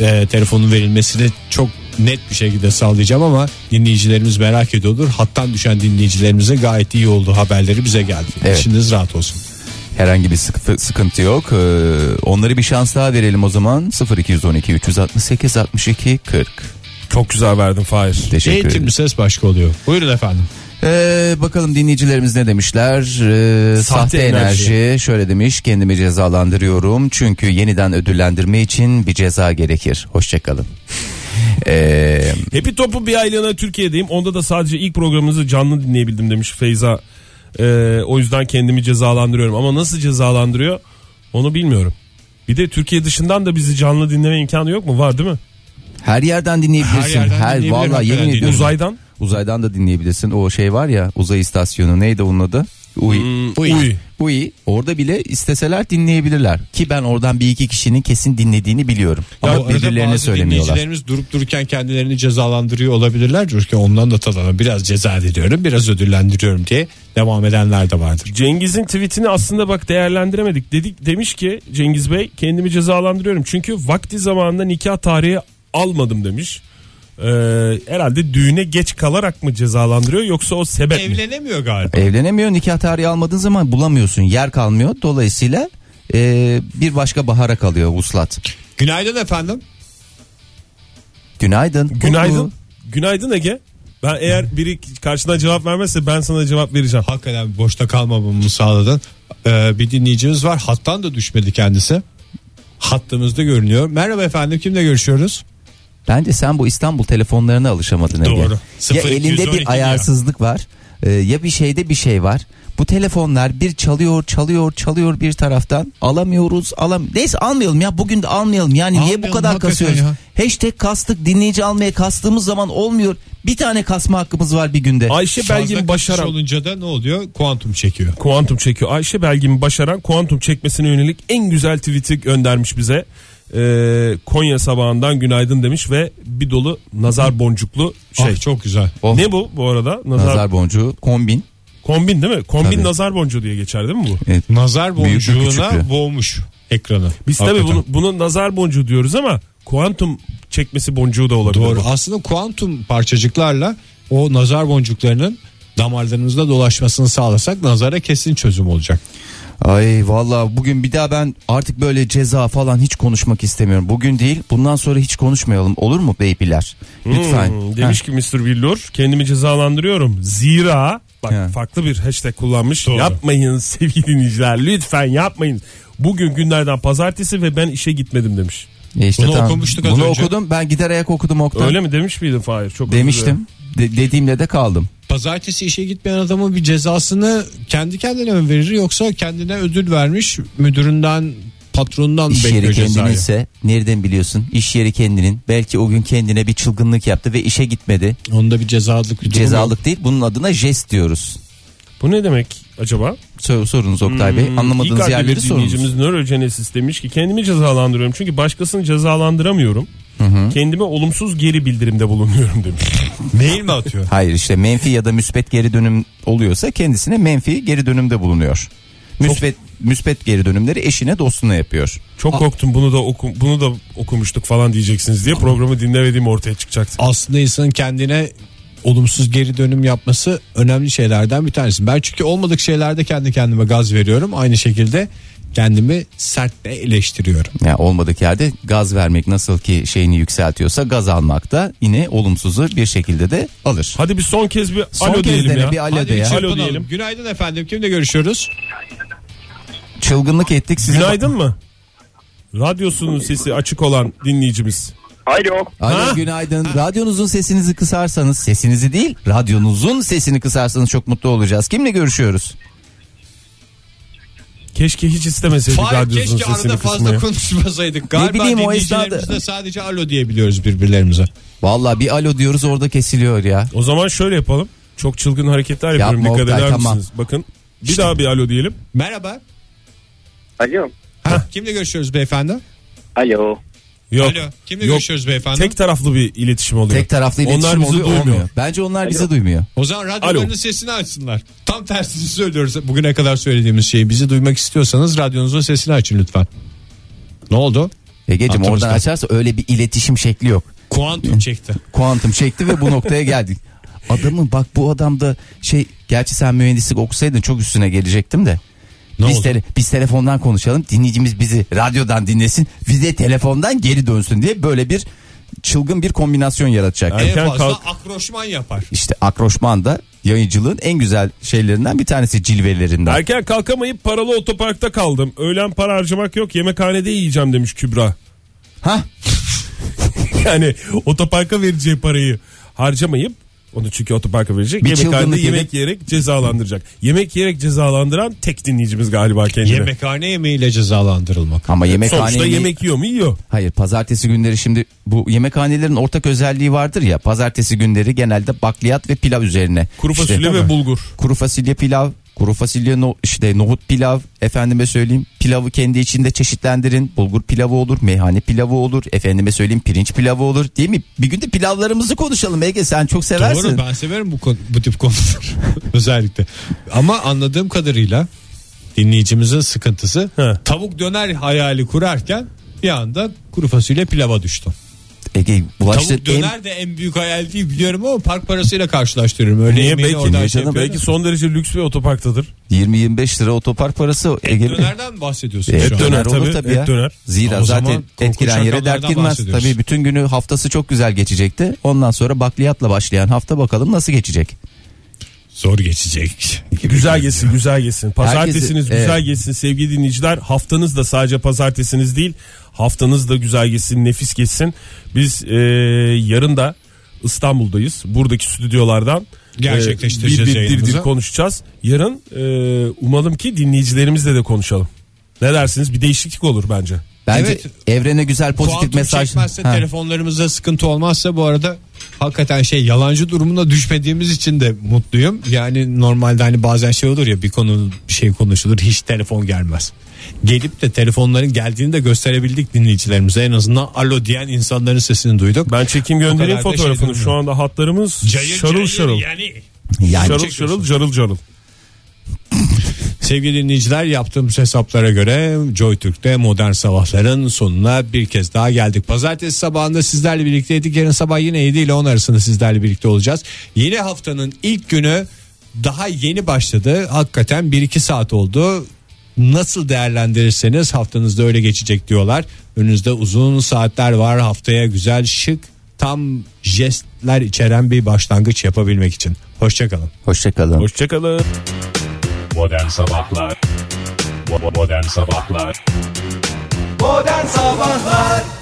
[SPEAKER 3] e, telefonun verilmesini çok net bir şekilde sağlayacağım ama dinleyicilerimiz merak ediyordur. Hattan düşen dinleyicilerimize gayet iyi olduğu haberleri bize geldi.
[SPEAKER 5] Evet.
[SPEAKER 3] İşiniz rahat olsun.
[SPEAKER 5] Herhangi bir sıkıntı, sıkıntı yok. Ee, onları bir şans daha verelim o zaman. 0212 368 62 40.
[SPEAKER 4] Çok güzel verdin Fahir.
[SPEAKER 5] Teşekkür ederim.
[SPEAKER 3] Eğitimli ses başka oluyor. Buyurun efendim.
[SPEAKER 5] Ee, bakalım dinleyicilerimiz ne demişler? Ee, sahte, enerji. şöyle demiş. Kendimi cezalandırıyorum çünkü yeniden ödüllendirme için bir ceza gerekir. Hoşçakalın. Ee,
[SPEAKER 4] Hepi Topu bir aylığına Türkiye'deyim. Onda da sadece ilk programınızı canlı dinleyebildim demiş Feyza. Ee, o yüzden kendimi cezalandırıyorum. Ama nasıl cezalandırıyor onu bilmiyorum. Bir de Türkiye dışından da bizi canlı dinleme imkanı yok mu? Var değil mi?
[SPEAKER 5] her yerden dinleyebilirsin.
[SPEAKER 3] Her yerden dinleyebilirim,
[SPEAKER 5] vallahi
[SPEAKER 3] hakikaten
[SPEAKER 5] yemin ediyorum.
[SPEAKER 3] dinleyebilirim.
[SPEAKER 4] Uzaydan.
[SPEAKER 5] Uzaydan da dinleyebilirsin. O şey var ya uzay istasyonu neydi onun adı? UI.
[SPEAKER 3] Hmm,
[SPEAKER 4] Uy.
[SPEAKER 5] UI. Orada bile isteseler dinleyebilirler. Ki ben oradan bir iki kişinin kesin dinlediğini biliyorum.
[SPEAKER 3] Ya
[SPEAKER 5] Ama
[SPEAKER 3] arada
[SPEAKER 5] birbirlerine
[SPEAKER 3] bazı
[SPEAKER 5] söylemiyorlar.
[SPEAKER 3] Dinleyicilerimiz durup dururken kendilerini cezalandırıyor olabilirler. Çünkü ondan da tadana biraz ceza ediyorum biraz ödüllendiriyorum diye devam edenler de vardır.
[SPEAKER 4] Cengiz'in tweetini aslında bak değerlendiremedik. Dedik demiş ki Cengiz Bey kendimi cezalandırıyorum. Çünkü vakti zamanında nikah tarihi almadım demiş. Ee, herhalde düğüne geç kalarak mı cezalandırıyor yoksa o sebep mi?
[SPEAKER 3] Evlenemiyor galiba.
[SPEAKER 5] Evlenemiyor nikah tarihi almadığın zaman bulamıyorsun. Yer kalmıyor. Dolayısıyla e, bir başka bahara kalıyor vuslat.
[SPEAKER 3] Günaydın efendim.
[SPEAKER 5] Günaydın.
[SPEAKER 4] Günaydın. Günaydın Ege. Ben eğer biri karşına cevap vermezse ben sana cevap vereceğim.
[SPEAKER 3] Hakikaten boşta kalmamamı sağladın. Ee, bir dinleyicimiz var. Hattan da düşmedi kendisi. Hattımızda görünüyor. Merhaba efendim kimle görüşüyoruz?
[SPEAKER 5] Bence sen bu İstanbul telefonlarına alışamadın Ege.
[SPEAKER 3] Doğru.
[SPEAKER 5] Ya
[SPEAKER 3] 0212
[SPEAKER 5] elinde
[SPEAKER 3] ya.
[SPEAKER 5] bir ayarsızlık var. e, ya bir şeyde bir şey var. Bu telefonlar bir çalıyor, çalıyor, çalıyor bir taraftan. Alamıyoruz, alam. Neyse almayalım ya. Bugün de almayalım. Yani niye bu
[SPEAKER 3] Almayalım,
[SPEAKER 5] kadar
[SPEAKER 3] hakikaten
[SPEAKER 5] kasıyoruz?
[SPEAKER 3] ya.
[SPEAKER 5] Hashtag kastık dinleyici almaya kastığımız zaman olmuyor. Bir tane kasma hakkımız var bir günde.
[SPEAKER 4] Ayşe Belgin
[SPEAKER 3] Fazla kaçış
[SPEAKER 4] Başaran
[SPEAKER 3] olunca da ne oluyor? Kuantum çekiyor.
[SPEAKER 4] kuantum çekiyor. Ayşe Belgin Başaran kuantum çekmesine yönelik en güzel tweet'i göndermiş bize. Ee, Konya sabahından günaydın demiş ve bir dolu nazar boncuklu şey.
[SPEAKER 3] Şey çok güzel.
[SPEAKER 5] Oh,
[SPEAKER 4] Ne bu bu arada? Nazar,
[SPEAKER 5] Nazar boncuğu kombin.
[SPEAKER 4] kombin değil mi? Kombin
[SPEAKER 5] Tabii.
[SPEAKER 4] nazar boncuğu diye geçer değil mi bu?
[SPEAKER 5] Evet.
[SPEAKER 3] Nazar
[SPEAKER 5] Büyüklü,
[SPEAKER 3] boncuğuna
[SPEAKER 5] küçüklü.
[SPEAKER 3] boğmuş ekranı.
[SPEAKER 4] Biz tabii
[SPEAKER 3] Hakikaten.
[SPEAKER 4] bunu, bunu nazar boncuğu diyoruz ama kuantum çekmesi boncuğu da olabilir.
[SPEAKER 3] Doğru.
[SPEAKER 4] bu.
[SPEAKER 3] Aslında kuantum parçacıklarla o nazar boncuklarının damarlarımızda dolaşmasını sağlasak nazara kesin çözüm olacak.
[SPEAKER 5] Ay vallahi bugün bir daha ben artık böyle ceza falan hiç konuşmak istemiyorum. Bugün değil bundan sonra hiç konuşmayalım olur mu beybiler? Lütfen.
[SPEAKER 4] Hmm, demiş ki Mr. Billur kendimi cezalandırıyorum. Zira bak
[SPEAKER 5] He.
[SPEAKER 4] farklı bir hashtag kullanmış. Yapmayın [laughs] sevgili dinleyiciler lütfen yapmayın. Bugün günlerden pazartesi ve ben işe gitmedim demiş.
[SPEAKER 5] Heh, e işte
[SPEAKER 3] Bunu
[SPEAKER 5] tamam.
[SPEAKER 3] okumuştuk az
[SPEAKER 5] Bunu
[SPEAKER 3] önce.
[SPEAKER 5] okudum ben gider ayak okudum Oktay.
[SPEAKER 4] Öyle mi demiş miydin Fahir? Çok özür dilerim.
[SPEAKER 5] Demiştim. De- dediğimle de kaldım.
[SPEAKER 3] Pazartesi işe gitmeyen adamın bir cezasını kendi kendine mi verir yoksa kendine ödül vermiş müdüründen patronundan
[SPEAKER 5] İş yeri
[SPEAKER 3] bekliyor cezayı.
[SPEAKER 5] kendininse nereden biliyorsun? İş yeri kendinin. Belki o gün kendine bir çılgınlık yaptı ve işe gitmedi.
[SPEAKER 3] Onda bir cezalık bir durum yok.
[SPEAKER 5] Cezalık değil bunun adına jest diyoruz.
[SPEAKER 4] Bu ne demek acaba?
[SPEAKER 5] Sor- Sorunuz Oktay Bey.
[SPEAKER 3] Hmm,
[SPEAKER 4] İlk
[SPEAKER 5] Hmm. Anlamadığınız
[SPEAKER 4] adlı bir
[SPEAKER 5] yerleri sorunuz.
[SPEAKER 4] dinleyicimiz nörogenesis demiş ki kendimi cezalandırıyorum çünkü başkasını cezalandıramıyorum. Kendime olumsuz geri bildirimde bulunuyorum
[SPEAKER 5] [laughs]
[SPEAKER 4] demiş.
[SPEAKER 3] Mail mi atıyor?
[SPEAKER 5] Hayır işte menfi ya da müspet geri dönüm oluyorsa kendisine menfi geri dönümde bulunuyor. Müspet müspet geri dönümleri eşine dostuna yapıyor.
[SPEAKER 4] Çok korktum bunu da oku, bunu da okumuştuk falan diyeceksiniz diye programı dinlemediğim ortaya çıkacaktı.
[SPEAKER 3] Aslında insanın kendine olumsuz geri dönüm yapması önemli şeylerden bir tanesi. Ben çünkü olmadık şeylerde kendi kendime gaz veriyorum. Aynı şekilde kendimi sert de eleştiriyorum.
[SPEAKER 5] Ya olmadık yerde gaz vermek nasıl ki şeyini yükseltiyorsa gaz almak da yine olumsuzu bir şekilde de alır.
[SPEAKER 4] Hadi bir son kez bir
[SPEAKER 5] Son
[SPEAKER 4] alo
[SPEAKER 5] kez
[SPEAKER 4] diyelim
[SPEAKER 5] dene,
[SPEAKER 4] ya.
[SPEAKER 5] bir alo de ya.
[SPEAKER 4] Alo
[SPEAKER 3] Çırpınalım.
[SPEAKER 4] diyelim.
[SPEAKER 3] Günaydın efendim. Kimle görüşüyoruz?
[SPEAKER 5] Çılgınlık ettik size.
[SPEAKER 4] Günaydın mı? Radyosunun sesi açık olan dinleyicimiz.
[SPEAKER 6] Alo.
[SPEAKER 5] Alo
[SPEAKER 4] Ha?
[SPEAKER 5] günaydın. Radyonuzun sesinizi kısarsanız, sesinizi değil, radyonuzun sesini kısarsanız çok mutlu olacağız. Kimle görüşüyoruz?
[SPEAKER 4] Keşke hiç istemeseydik
[SPEAKER 3] Fahir
[SPEAKER 4] radyosunun
[SPEAKER 3] keşke
[SPEAKER 4] sesini
[SPEAKER 3] arada fazla
[SPEAKER 4] kısmaya.
[SPEAKER 3] konuşmasaydık. Galiba
[SPEAKER 5] bileyim o
[SPEAKER 3] dinleyicilerimiz
[SPEAKER 5] esnada-
[SPEAKER 3] de sadece alo diyebiliyoruz birbirlerimize.
[SPEAKER 5] Vallahi bir alo diyoruz orada kesiliyor ya.
[SPEAKER 4] O zaman şöyle yapalım. Çok çılgın hareketler yapıyorum.
[SPEAKER 5] Yapma
[SPEAKER 4] Dikkat
[SPEAKER 5] Oktay,
[SPEAKER 4] eder
[SPEAKER 5] tamam.
[SPEAKER 4] misiniz? Bakın. Bir daha bir alo diyelim.
[SPEAKER 3] Merhaba.
[SPEAKER 6] Alo.
[SPEAKER 3] Ha, kimle görüşüyoruz beyefendi?
[SPEAKER 6] Alo.
[SPEAKER 4] Yok.
[SPEAKER 3] Alo. Kimle
[SPEAKER 4] Yok.
[SPEAKER 3] görüşüyoruz beyefendi?
[SPEAKER 4] Tek taraflı bir iletişim oluyor.
[SPEAKER 5] Tek taraflı iletişim
[SPEAKER 4] Onlar bizi
[SPEAKER 5] oluyor,
[SPEAKER 4] duymuyor.
[SPEAKER 5] olmuyor. Bence onlar bizi duymuyor.
[SPEAKER 3] O zaman radyolarının
[SPEAKER 4] Alo.
[SPEAKER 3] sesini açsınlar. Tam tersini söylüyoruz. Bugüne kadar söylediğimiz şeyi bizi duymak istiyorsanız radyonuzun sesini açın lütfen. Ne oldu?
[SPEAKER 5] Egeciğim
[SPEAKER 3] Aklımızda.
[SPEAKER 5] E, oradan açarsa öyle bir iletişim şekli yok.
[SPEAKER 3] Kuantum çekti.
[SPEAKER 5] Kuantum çekti ve bu
[SPEAKER 4] [laughs]
[SPEAKER 5] noktaya geldik. Adamın bak bu adamda şey gerçi sen mühendislik okusaydın çok üstüne gelecektim de.
[SPEAKER 3] Ne
[SPEAKER 5] biz,
[SPEAKER 3] oldu?
[SPEAKER 5] tele- biz telefondan konuşalım dinleyicimiz bizi radyodan dinlesin bize telefondan geri dönsün diye böyle bir çılgın bir kombinasyon yaratacak.
[SPEAKER 4] Evet.
[SPEAKER 3] en
[SPEAKER 4] Erken
[SPEAKER 3] fazla
[SPEAKER 4] kalk.
[SPEAKER 3] akroşman yapar.
[SPEAKER 5] İşte akroşman da yayıncılığın en güzel şeylerinden bir tanesi cilvelerinden.
[SPEAKER 4] Erken kalkamayıp paralı otoparkta kaldım. Öğlen para harcamak yok yemekhanede yiyeceğim demiş Kübra.
[SPEAKER 5] Ha?
[SPEAKER 4] [laughs] Yani otoparka vereceği parayı harcamayıp onu çünkü otoparka verecek.
[SPEAKER 5] Bir
[SPEAKER 4] yemekhanede
[SPEAKER 5] çılgınlık
[SPEAKER 4] yemek
[SPEAKER 5] edip-
[SPEAKER 4] yiyerek cezalandıracak. Yemek yiyerek cezalandıran tek dinleyicimiz galiba kendini.
[SPEAKER 3] Yemekhane yemeğiyle cezalandırılmak.
[SPEAKER 5] Ama
[SPEAKER 4] Sonuçta
[SPEAKER 5] yemekhane
[SPEAKER 4] yemek yiyor mu yiyor.
[SPEAKER 5] Hayır pazartesi günleri şimdi bu yemekhanelerin ortak özelliği vardır ya pazartesi günleri genelde bakliyat ve pilav üzerine.
[SPEAKER 4] Kuru
[SPEAKER 5] İşte-
[SPEAKER 4] fasulye ve bulgur.
[SPEAKER 5] kuru fasulye pilav, kuru fasulye no, işte nohut pilav, efendime söyleyeyim pilavı kendi içinde çeşitlendirin. Bulgur pilavı olur, meyhane pilavı olur, efendime söyleyeyim pirinç pilavı olur değil mi? Bir gün de pilavlarımızı konuşalım Ege sen çok seversin.
[SPEAKER 3] Doğru ben severim bu, konu- bu tip konuları [laughs] özellikle. Ama anladığım kadarıyla dinleyicimizin sıkıntısı
[SPEAKER 4] He.
[SPEAKER 3] tavuk döner hayali kurarken bir anda kuru fasulye pilava düştü.
[SPEAKER 5] Ege bulaştı
[SPEAKER 3] Tavuk döner de en büyük hayal değil biliyorum ama park parasıyla karşılaştırıyorum. Öyle
[SPEAKER 4] Niye
[SPEAKER 3] yemeğini
[SPEAKER 4] belki,
[SPEAKER 3] oradan şey
[SPEAKER 5] niye canım?
[SPEAKER 3] yapıyorum.
[SPEAKER 4] Belki son derece lüks bir otoparktadır.
[SPEAKER 5] 20-25 lira otopark parası Ege.
[SPEAKER 3] Dönerden mi bahsediyorsun
[SPEAKER 5] Et
[SPEAKER 3] şu an?
[SPEAKER 4] döner
[SPEAKER 5] döner olur
[SPEAKER 4] tabii,
[SPEAKER 5] tabii
[SPEAKER 4] et
[SPEAKER 5] ya.
[SPEAKER 4] döner.
[SPEAKER 5] Zira
[SPEAKER 3] O zaman
[SPEAKER 5] zaten et
[SPEAKER 3] korkunç
[SPEAKER 5] giren yere dert
[SPEAKER 3] rakamlardan
[SPEAKER 5] girmez.
[SPEAKER 3] bahsediyoruz.
[SPEAKER 5] Tabii bütün günü haftası çok güzel geçecekti. Ondan sonra bakliyatla başlayan hafta bakalım nasıl geçecek.
[SPEAKER 3] Zor geçecek.
[SPEAKER 4] Güzel geçsin güzel geçsin. Pazartesiniz
[SPEAKER 5] Herkesi-
[SPEAKER 4] güzel
[SPEAKER 5] evet.
[SPEAKER 4] geçsin sevgili dinleyiciler. Haftanız da sadece pazartesiniz değil. Haftanız da güzel geçsin nefis geçsin. Biz e, yarın da İstanbul'dayız. Buradaki stüdyolardan e,
[SPEAKER 3] Gerçekleştireceğiz
[SPEAKER 4] bir, bir, bir,
[SPEAKER 3] yayınımızı.
[SPEAKER 4] bir konuşacağız. Yarın e, umalım ki dinleyicilerimizle de konuşalım. Ne dersiniz? Bir değişiklik olur bence.
[SPEAKER 5] Bence
[SPEAKER 3] Evet.
[SPEAKER 5] evrene güzel pozitif
[SPEAKER 3] Kuantum
[SPEAKER 5] mesaj.
[SPEAKER 3] çekmezse
[SPEAKER 5] Ha.
[SPEAKER 3] telefonlarımızda sıkıntı olmazsa bu arada hakikaten şey yalancı durumuna düşmediğimiz için de mutluyum. Yani normalde hani bazen şey olur ya bir konu bir şey konuşulur hiç telefon gelmez. Gelip de telefonların geldiğini de gösterebildik dinleyicilerimize. En azından alo diyen insanların sesini duyduk.
[SPEAKER 4] Ben çekim
[SPEAKER 3] kadar
[SPEAKER 4] göndereyim
[SPEAKER 3] da
[SPEAKER 4] fotoğrafını.
[SPEAKER 3] şey
[SPEAKER 4] Şu anda hatlarımız şarıl şarıl.
[SPEAKER 3] Yani.
[SPEAKER 5] Yani
[SPEAKER 4] Şarıl şarıl carıl carıl.
[SPEAKER 3] Sevgili dinleyiciler yaptığımız hesaplara göre JoyTürk'te modern sabahların sonuna bir kez daha geldik. Pazartesi sabahında sizlerle birlikteydik. Yarın sabah yine 7 ile 10 arasında sizlerle birlikte olacağız. Yeni haftanın ilk günü daha yeni başladı. Hakikaten 1-2 saat oldu. Nasıl değerlendirirseniz haftanızda öyle geçecek diyorlar. Önünüzde uzun saatler var haftaya güzel şık tam jestler içeren bir başlangıç yapabilmek için. Hoşçakalın.
[SPEAKER 5] Hoşçakalın.
[SPEAKER 4] Hoşçakalın.
[SPEAKER 1] Modern Sabahlar Bo- bo- Modern Sabahlar
[SPEAKER 2] Modern Sabahlar